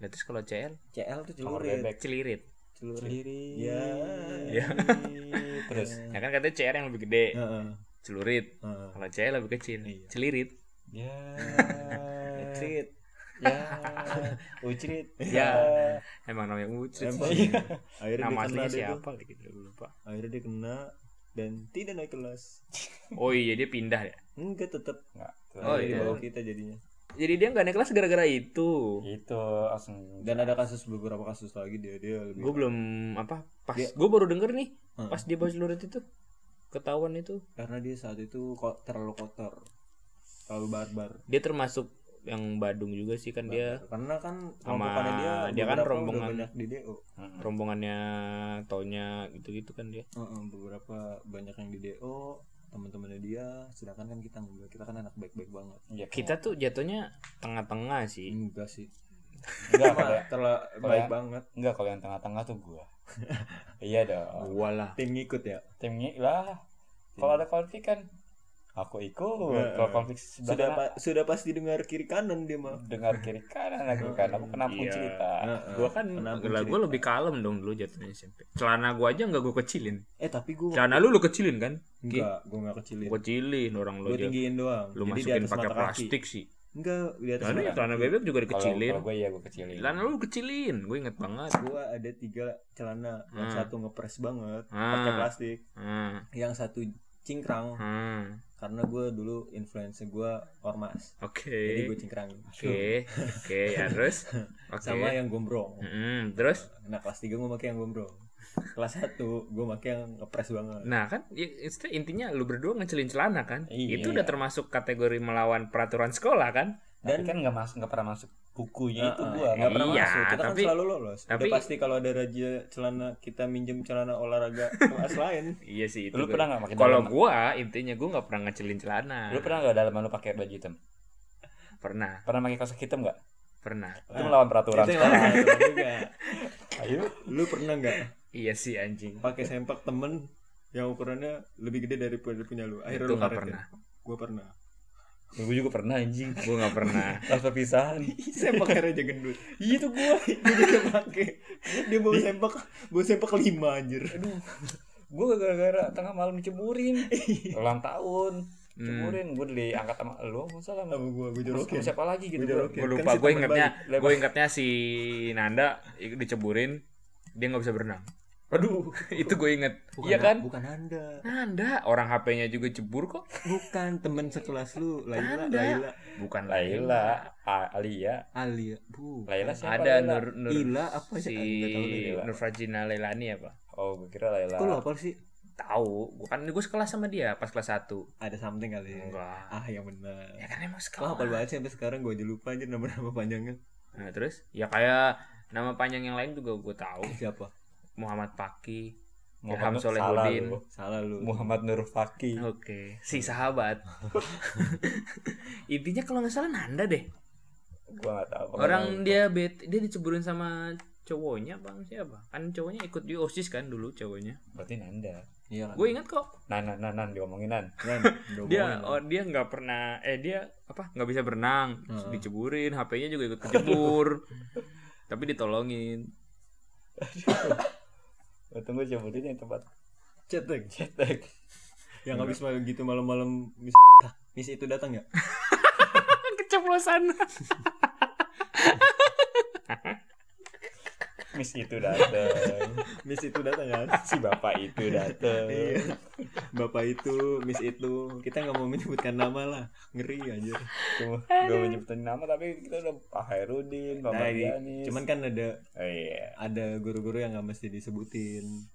Speaker 3: Nah, terus kalau CL
Speaker 2: CL tuh
Speaker 1: Kamar
Speaker 2: celurit,
Speaker 1: bebek.
Speaker 3: celirit.
Speaker 2: celurit.
Speaker 1: Sendiri.
Speaker 2: Ya.
Speaker 1: Ya. Terus
Speaker 3: Ya kan katanya CR yang lebih gede.
Speaker 2: Heeh.
Speaker 3: Celurit.
Speaker 2: heeh.
Speaker 3: Kalau CL lebih kecil.
Speaker 2: Iya.
Speaker 3: Celirit.
Speaker 1: ya.
Speaker 3: Iya.
Speaker 2: Ucrit.
Speaker 1: Ya. Ucrit.
Speaker 3: Ya. Emang namanya Ucrit
Speaker 2: Emang kan
Speaker 3: sih.
Speaker 2: Akhirnya
Speaker 3: Iya. Nama
Speaker 2: dia kena
Speaker 3: aslinya
Speaker 2: deh tuh.
Speaker 3: siapa gitu gue lupa.
Speaker 2: Akhirnya dia kena dan tidak naik kelas.
Speaker 3: Oh iya dia pindah ya.
Speaker 2: Enggak tetap
Speaker 1: Nggak, tuh.
Speaker 3: Oh,
Speaker 2: oh, di
Speaker 3: iya.
Speaker 2: bawah kita jadinya.
Speaker 3: Jadi dia nggak naik kelas gara-gara itu.
Speaker 1: Itu Gitu, langsung
Speaker 2: dan ada kasus beberapa kasus lagi dia dia lebih
Speaker 3: Gue belum apa pas
Speaker 2: Iya. Dia-
Speaker 3: gue baru denger nih
Speaker 2: Heeh.
Speaker 3: pas dia bawa celurit itu ketahuan itu
Speaker 2: karena dia saat itu kok terlalu kotor terlalu barbar
Speaker 3: dia termasuk yang Badung juga sih kan dia
Speaker 2: Barbar. karena kan
Speaker 3: Sama-
Speaker 2: rompongannya dia
Speaker 3: dia kan
Speaker 2: beberapa udah
Speaker 3: rombongan.
Speaker 2: banyak di DO
Speaker 1: Mm-mm.
Speaker 3: rombongannya Tonya gitu-gitu kan dia.
Speaker 2: Heeh, beberapa banyak yang di DO teman-temannya dia sedangkan kan kita enggak kita kan anak baik-baik banget
Speaker 1: Iya,
Speaker 3: Kita tuh jatuhnya tengah-tengah sih.
Speaker 2: enggak sih
Speaker 1: enggak kalau ya.
Speaker 2: Cuma terlalu baik banget
Speaker 1: enggak kalau yang tengah-tengah tuh gua. iya dong.
Speaker 3: Gua lah.
Speaker 2: tim ngikut ya
Speaker 1: Timnya lah. Kalau ada konflik kan aku ikut. Kalau konflik sebelah
Speaker 2: sudah
Speaker 1: kanan,
Speaker 2: pa- sudah pasti dengar kiri kanan dia mah
Speaker 1: dengar kiri kanan aku kan aku kena pun
Speaker 3: Iya.
Speaker 1: cerita.
Speaker 2: Heeh.
Speaker 3: Gua kan
Speaker 2: Kenapa
Speaker 3: lah
Speaker 2: cerita?
Speaker 3: gua lebih kalem dong dulu jatuhnya SMP. Celana gua aja nggak gua kecilin.
Speaker 2: eh tapi gue
Speaker 3: Celana lu lu kecilin kan?
Speaker 2: enggak gue enggak kecilin
Speaker 3: Gua kecilin orang lu
Speaker 2: gue
Speaker 3: aja.
Speaker 2: tinggiin doang
Speaker 3: Lu
Speaker 2: Jadi di
Speaker 3: masukin
Speaker 2: atas
Speaker 3: pakai
Speaker 2: mata kaki.
Speaker 3: plastik sih.
Speaker 2: enggak di atas
Speaker 3: Celana
Speaker 2: mata
Speaker 3: ya celana
Speaker 2: kaki.
Speaker 3: bebek juga
Speaker 1: Kalau
Speaker 3: dikecilin.
Speaker 1: kalau gue ya gue kecilin.
Speaker 3: Celana lu kecilin, gue inget banget.
Speaker 2: gua ada tiga celana yang
Speaker 3: Hmm.
Speaker 2: satu ngepres banget
Speaker 3: Ah.
Speaker 2: pakai plastik
Speaker 3: Ah,
Speaker 2: yang satu cingkrang
Speaker 3: Hmm.
Speaker 2: karena gue dulu influencer gue ormas jadi
Speaker 3: Oke.
Speaker 2: gue cingkrang
Speaker 3: Oke. Oke, ya terus. Oke.
Speaker 1: ya.
Speaker 2: sama yang gombrong
Speaker 3: Mm, terus
Speaker 2: nah kelas 3 gue pakai yang gombrong kelas 1 gue pakai yang ngepres banget
Speaker 3: nah kan i- itu intinya lu berdua ngecelin celana kan?
Speaker 2: Iya.
Speaker 3: Itu udah termasuk kategori melawan peraturan sekolah kan?
Speaker 1: Dan
Speaker 2: Dan-
Speaker 1: kan nggak masuk nggak pernah masuk bukunya itu
Speaker 2: Heeh,
Speaker 1: gua.
Speaker 2: Gitu nggak pernah
Speaker 3: Iya,
Speaker 2: masuk kita
Speaker 3: tapi-
Speaker 2: kan selalu lolos udah
Speaker 3: tapi-
Speaker 2: pasti kalau ada raja celana kita minjem celana olahraga kelas lain
Speaker 3: Iya sih itu.
Speaker 1: Lu
Speaker 3: gua-
Speaker 1: pernah nggak pakai
Speaker 3: Kalau
Speaker 1: dalam-
Speaker 3: gua intinya gua nggak pernah ngecelin celana.
Speaker 1: Lu pernah nggak dalam lu pakai baju hitam?
Speaker 3: Pernah,
Speaker 1: Pernah pakai kaos hitam nggak?
Speaker 3: pernah.
Speaker 1: Itu melawan peraturan.
Speaker 2: itu yang lain juga
Speaker 1: Ayo.
Speaker 2: lu pernah nggak
Speaker 3: Iya sih anjing.
Speaker 2: pakai sempak temen yang ukurannya lebih gede dari pu- punya lu akhirnya
Speaker 3: Itu
Speaker 2: lu
Speaker 3: nggak
Speaker 2: karet
Speaker 3: pernah.
Speaker 2: gue pernah
Speaker 1: Ya, gua juga pernah anjing.
Speaker 3: Gua nggak pernah.
Speaker 1: Pas perpisahan.
Speaker 2: sempak aja gendut
Speaker 1: Iya itu gua.
Speaker 2: dia juga pakai dia bawa sempak bawa sempak lima anjir
Speaker 1: Aduh. Gua gara-gara tengah malam diceburin. Ulang tahun. Ceburin gua diangkat sama lu, masalah
Speaker 2: sama
Speaker 1: sama
Speaker 2: gue gue
Speaker 1: sama
Speaker 2: jorokin
Speaker 1: siapa lagi gitu.
Speaker 2: Gua
Speaker 1: gua.
Speaker 2: jorokin.
Speaker 3: Gue
Speaker 2: Kan
Speaker 3: lupa,
Speaker 2: si
Speaker 3: gue
Speaker 2: teman
Speaker 3: ingatnya,
Speaker 1: balik.
Speaker 3: gue ingatnya Hmm. si Nanda i- diceburin, dia nggak bisa berenang.
Speaker 1: Aduh. ya?
Speaker 3: Itu gue inget. Iya kan?
Speaker 2: bukan anda
Speaker 3: Nanda, orang HP-nya juga cebur kok.
Speaker 2: Bukan temen sekelas lu, Laila,
Speaker 3: Anda.
Speaker 2: Laila,
Speaker 3: Bukan
Speaker 1: Laila, A- Alia,
Speaker 2: Alia, Bu.
Speaker 1: Laila siapa?
Speaker 3: Ada
Speaker 1: Laila?
Speaker 3: Nur Nur
Speaker 2: Ila apa
Speaker 3: si
Speaker 2: sih? Enggak tahu deh.
Speaker 1: Laila.
Speaker 3: Nur Fajina Lailani apa?
Speaker 1: Oh, gue kira Laila.
Speaker 2: Kok lu hafal sih?
Speaker 3: Tahu, gue kan gue sekelas sama dia pas kelas 1.
Speaker 2: Ada something kali ya.
Speaker 3: Enggak.
Speaker 2: Ah, yang
Speaker 3: Ya
Speaker 2: benar.
Speaker 3: kan emang
Speaker 2: Kok hafal
Speaker 3: sekelas.
Speaker 2: banget sih sampai sekarang gua aja lupa aja nama-nama panjangnya.
Speaker 3: Nah, terus ya kayak nama panjang yang lain juga gue tahu.
Speaker 2: Siapa?
Speaker 3: Muhammad Paki, Ilham
Speaker 1: Muhammad salah
Speaker 3: Solehudin.
Speaker 1: lu.
Speaker 2: Salah lu.
Speaker 1: Muhammad Nur Faki.
Speaker 3: Oke, si sahabat. Intinya kalau nggak salah Nanda deh.
Speaker 1: Gua gak tahu.
Speaker 3: Orang dia bet dia diceburin sama cowoknya bang siapa? Kan cowoknya ikut di osis kan dulu cowoknya.
Speaker 1: berarti Nanda.
Speaker 2: Iya kan?
Speaker 3: Gue ingat kok.
Speaker 1: Nan nan nan, nan diomongin nan.
Speaker 2: Ran, udah
Speaker 3: Dia
Speaker 2: bohongin,
Speaker 3: oh, dia nggak pernah eh dia apa nggak bisa berenang terus
Speaker 2: Heeh.
Speaker 3: diceburin HP-nya juga ikut kecebur. Tapi ditolongin.
Speaker 1: Gua tunggu cebutin yang tempat
Speaker 2: Ran. cetek.
Speaker 1: cetek.
Speaker 2: Yang habis malam gitu malam-malam Miss Miss itu datang ya?
Speaker 3: Kan Keceplosan.
Speaker 1: Miss itu dateng.
Speaker 2: Miss itu datang kan?
Speaker 1: si bapak itu dateng.
Speaker 2: Iya. Bapak itu, Miss itu, kita nggak mau menyebutkan nama lah, ngeri aja.
Speaker 1: Cuma gak menyebutin nama tapi kita udah Pak Hairudin, Pak
Speaker 2: Nah, di-
Speaker 1: Mardianis.
Speaker 2: cuman kan ada
Speaker 1: oh, iya.
Speaker 2: ada guru-guru yang nggak mesti disebutin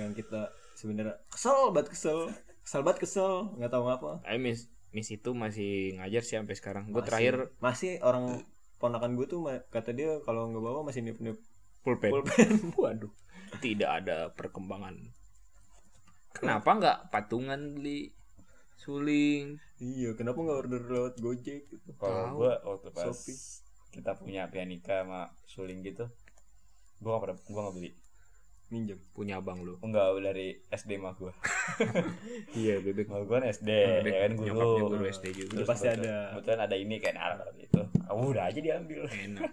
Speaker 2: yang kita sebenarnya kesel banget kesel kesel banget kesel nggak tahu ngapa
Speaker 3: Eh Miss Miss itu masih ngajar sih sampai sekarang. Gue
Speaker 2: Masih-
Speaker 3: terakhir
Speaker 2: masih orang ponakan gue tuh ma- kata dia kalau nggak bawa masih nip nip
Speaker 3: pulpen.
Speaker 2: pulpen waduh
Speaker 3: Tidak ada perkembangan. Kenapa nggak patungan beli suling?
Speaker 2: iya kenapa nggak order lewat gojek gitu
Speaker 1: Kalau
Speaker 3: Tahu.
Speaker 1: gua waktu pas
Speaker 2: Shopee.
Speaker 1: kita punya pianika sama suling gitu, gua gak pernah gua gak beli.
Speaker 2: minjem
Speaker 3: Punya abang lu.
Speaker 1: Enggak dari SD mah gua.
Speaker 3: Iya bebek.
Speaker 1: Kalau gua kan SD,
Speaker 2: Oh,
Speaker 3: Bebek
Speaker 1: ya kan
Speaker 3: Nyokapnya guru
Speaker 1: guru.
Speaker 3: SD juga.
Speaker 1: Terus
Speaker 2: Pasti
Speaker 1: kebetulan-
Speaker 2: ada.
Speaker 1: Kebetulan ada ini kan arah itu. Ah, udah aja diambil.
Speaker 3: Enak.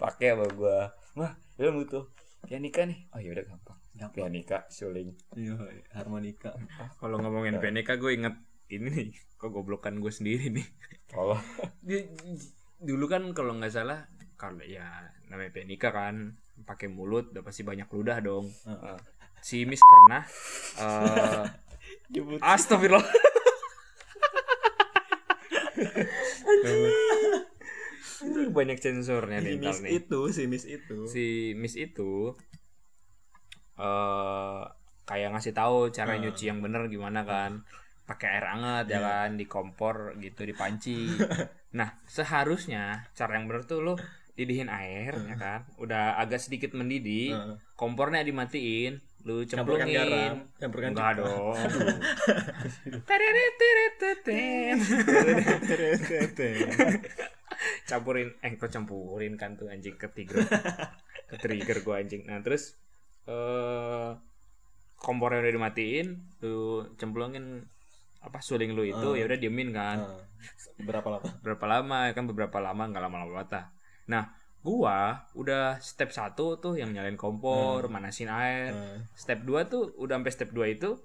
Speaker 1: pakai sama gua mah lu butuh pianika nih oh yaudah gampang
Speaker 2: Gampang.
Speaker 1: pianika suling
Speaker 2: iya harmonika
Speaker 3: Kalau ngomongin PNK gue inget ini nih. Kok goblokan gue sendiri nih.
Speaker 1: oh
Speaker 3: Di- di- Dulu kan kalau nggak salah kalau ya namanya PNK kan pakai mulut udah pasti banyak ludah dong.
Speaker 2: Heeh.
Speaker 3: Si Miss pernah eh,
Speaker 2: jemput
Speaker 3: Astagfirullah. Anjing. Banyak sensornya
Speaker 2: si
Speaker 3: nih ntar
Speaker 2: miss
Speaker 3: nih.
Speaker 2: itu si miss itu
Speaker 3: Si Miss itu eh kayak ngasih tahu cara nyuci yang bener gimana kan. Pakai air hangat
Speaker 2: Iya.
Speaker 3: ya kan di kompor gitu di panci. nah, seharusnya cara yang bener tuh lo didihin air ya kan. Udah agak sedikit mendidih,
Speaker 2: Heeh.
Speaker 3: kompornya dimatiin, lu
Speaker 2: Nah, campurkan garam
Speaker 3: cemplungin.
Speaker 2: campurkan
Speaker 3: Enggak dong. Tereret, teret, tetet. campurin eh kok campurin kan tuh anjing ke trigger ke trigger gua anjing nah terus eh kompornya udah dimatiin lu cemplungin apa suling lu itu
Speaker 2: Hmm.
Speaker 3: ya udah diemin kan
Speaker 2: Heeh. berapa lama
Speaker 3: berapa lama ya kan beberapa lama nggak lama-lama banget lah. nah gua udah step satu tuh yang nyalain kompor
Speaker 2: Hmm.
Speaker 3: manasin air
Speaker 2: Heeh.
Speaker 3: step 2 tuh udah sampai step 2 itu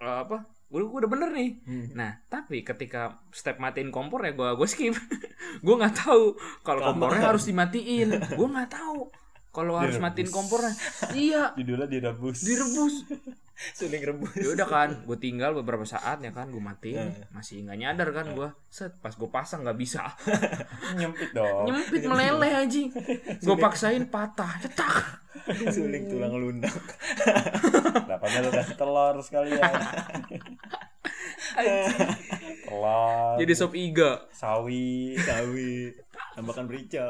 Speaker 3: eh, apa udah udah bener nih
Speaker 2: Hmm.
Speaker 3: nah tapi ketika step matiin kompor ya gue gue skip gue nggak tahu kalau kompornya harus dimatiin gue nggak tahu kalau harus matiin kompornya iya
Speaker 1: judulnya direbus
Speaker 3: direbus
Speaker 2: Suling rebus.
Speaker 3: ya udah kan gue tinggal beberapa saat ya kan gue matiin
Speaker 2: Iya.
Speaker 3: masih nggak nyadar kan gue set pas gue pasang nggak bisa
Speaker 1: Nyempit dong.
Speaker 3: nyempit meleleh aja gue paksain patah cetak
Speaker 2: Suling tulang lunak.
Speaker 1: Dapatnya lu kasih telur sekalian. telur.
Speaker 3: jadi sop iga
Speaker 1: sawi.
Speaker 2: Sawi. Tambahkan merica.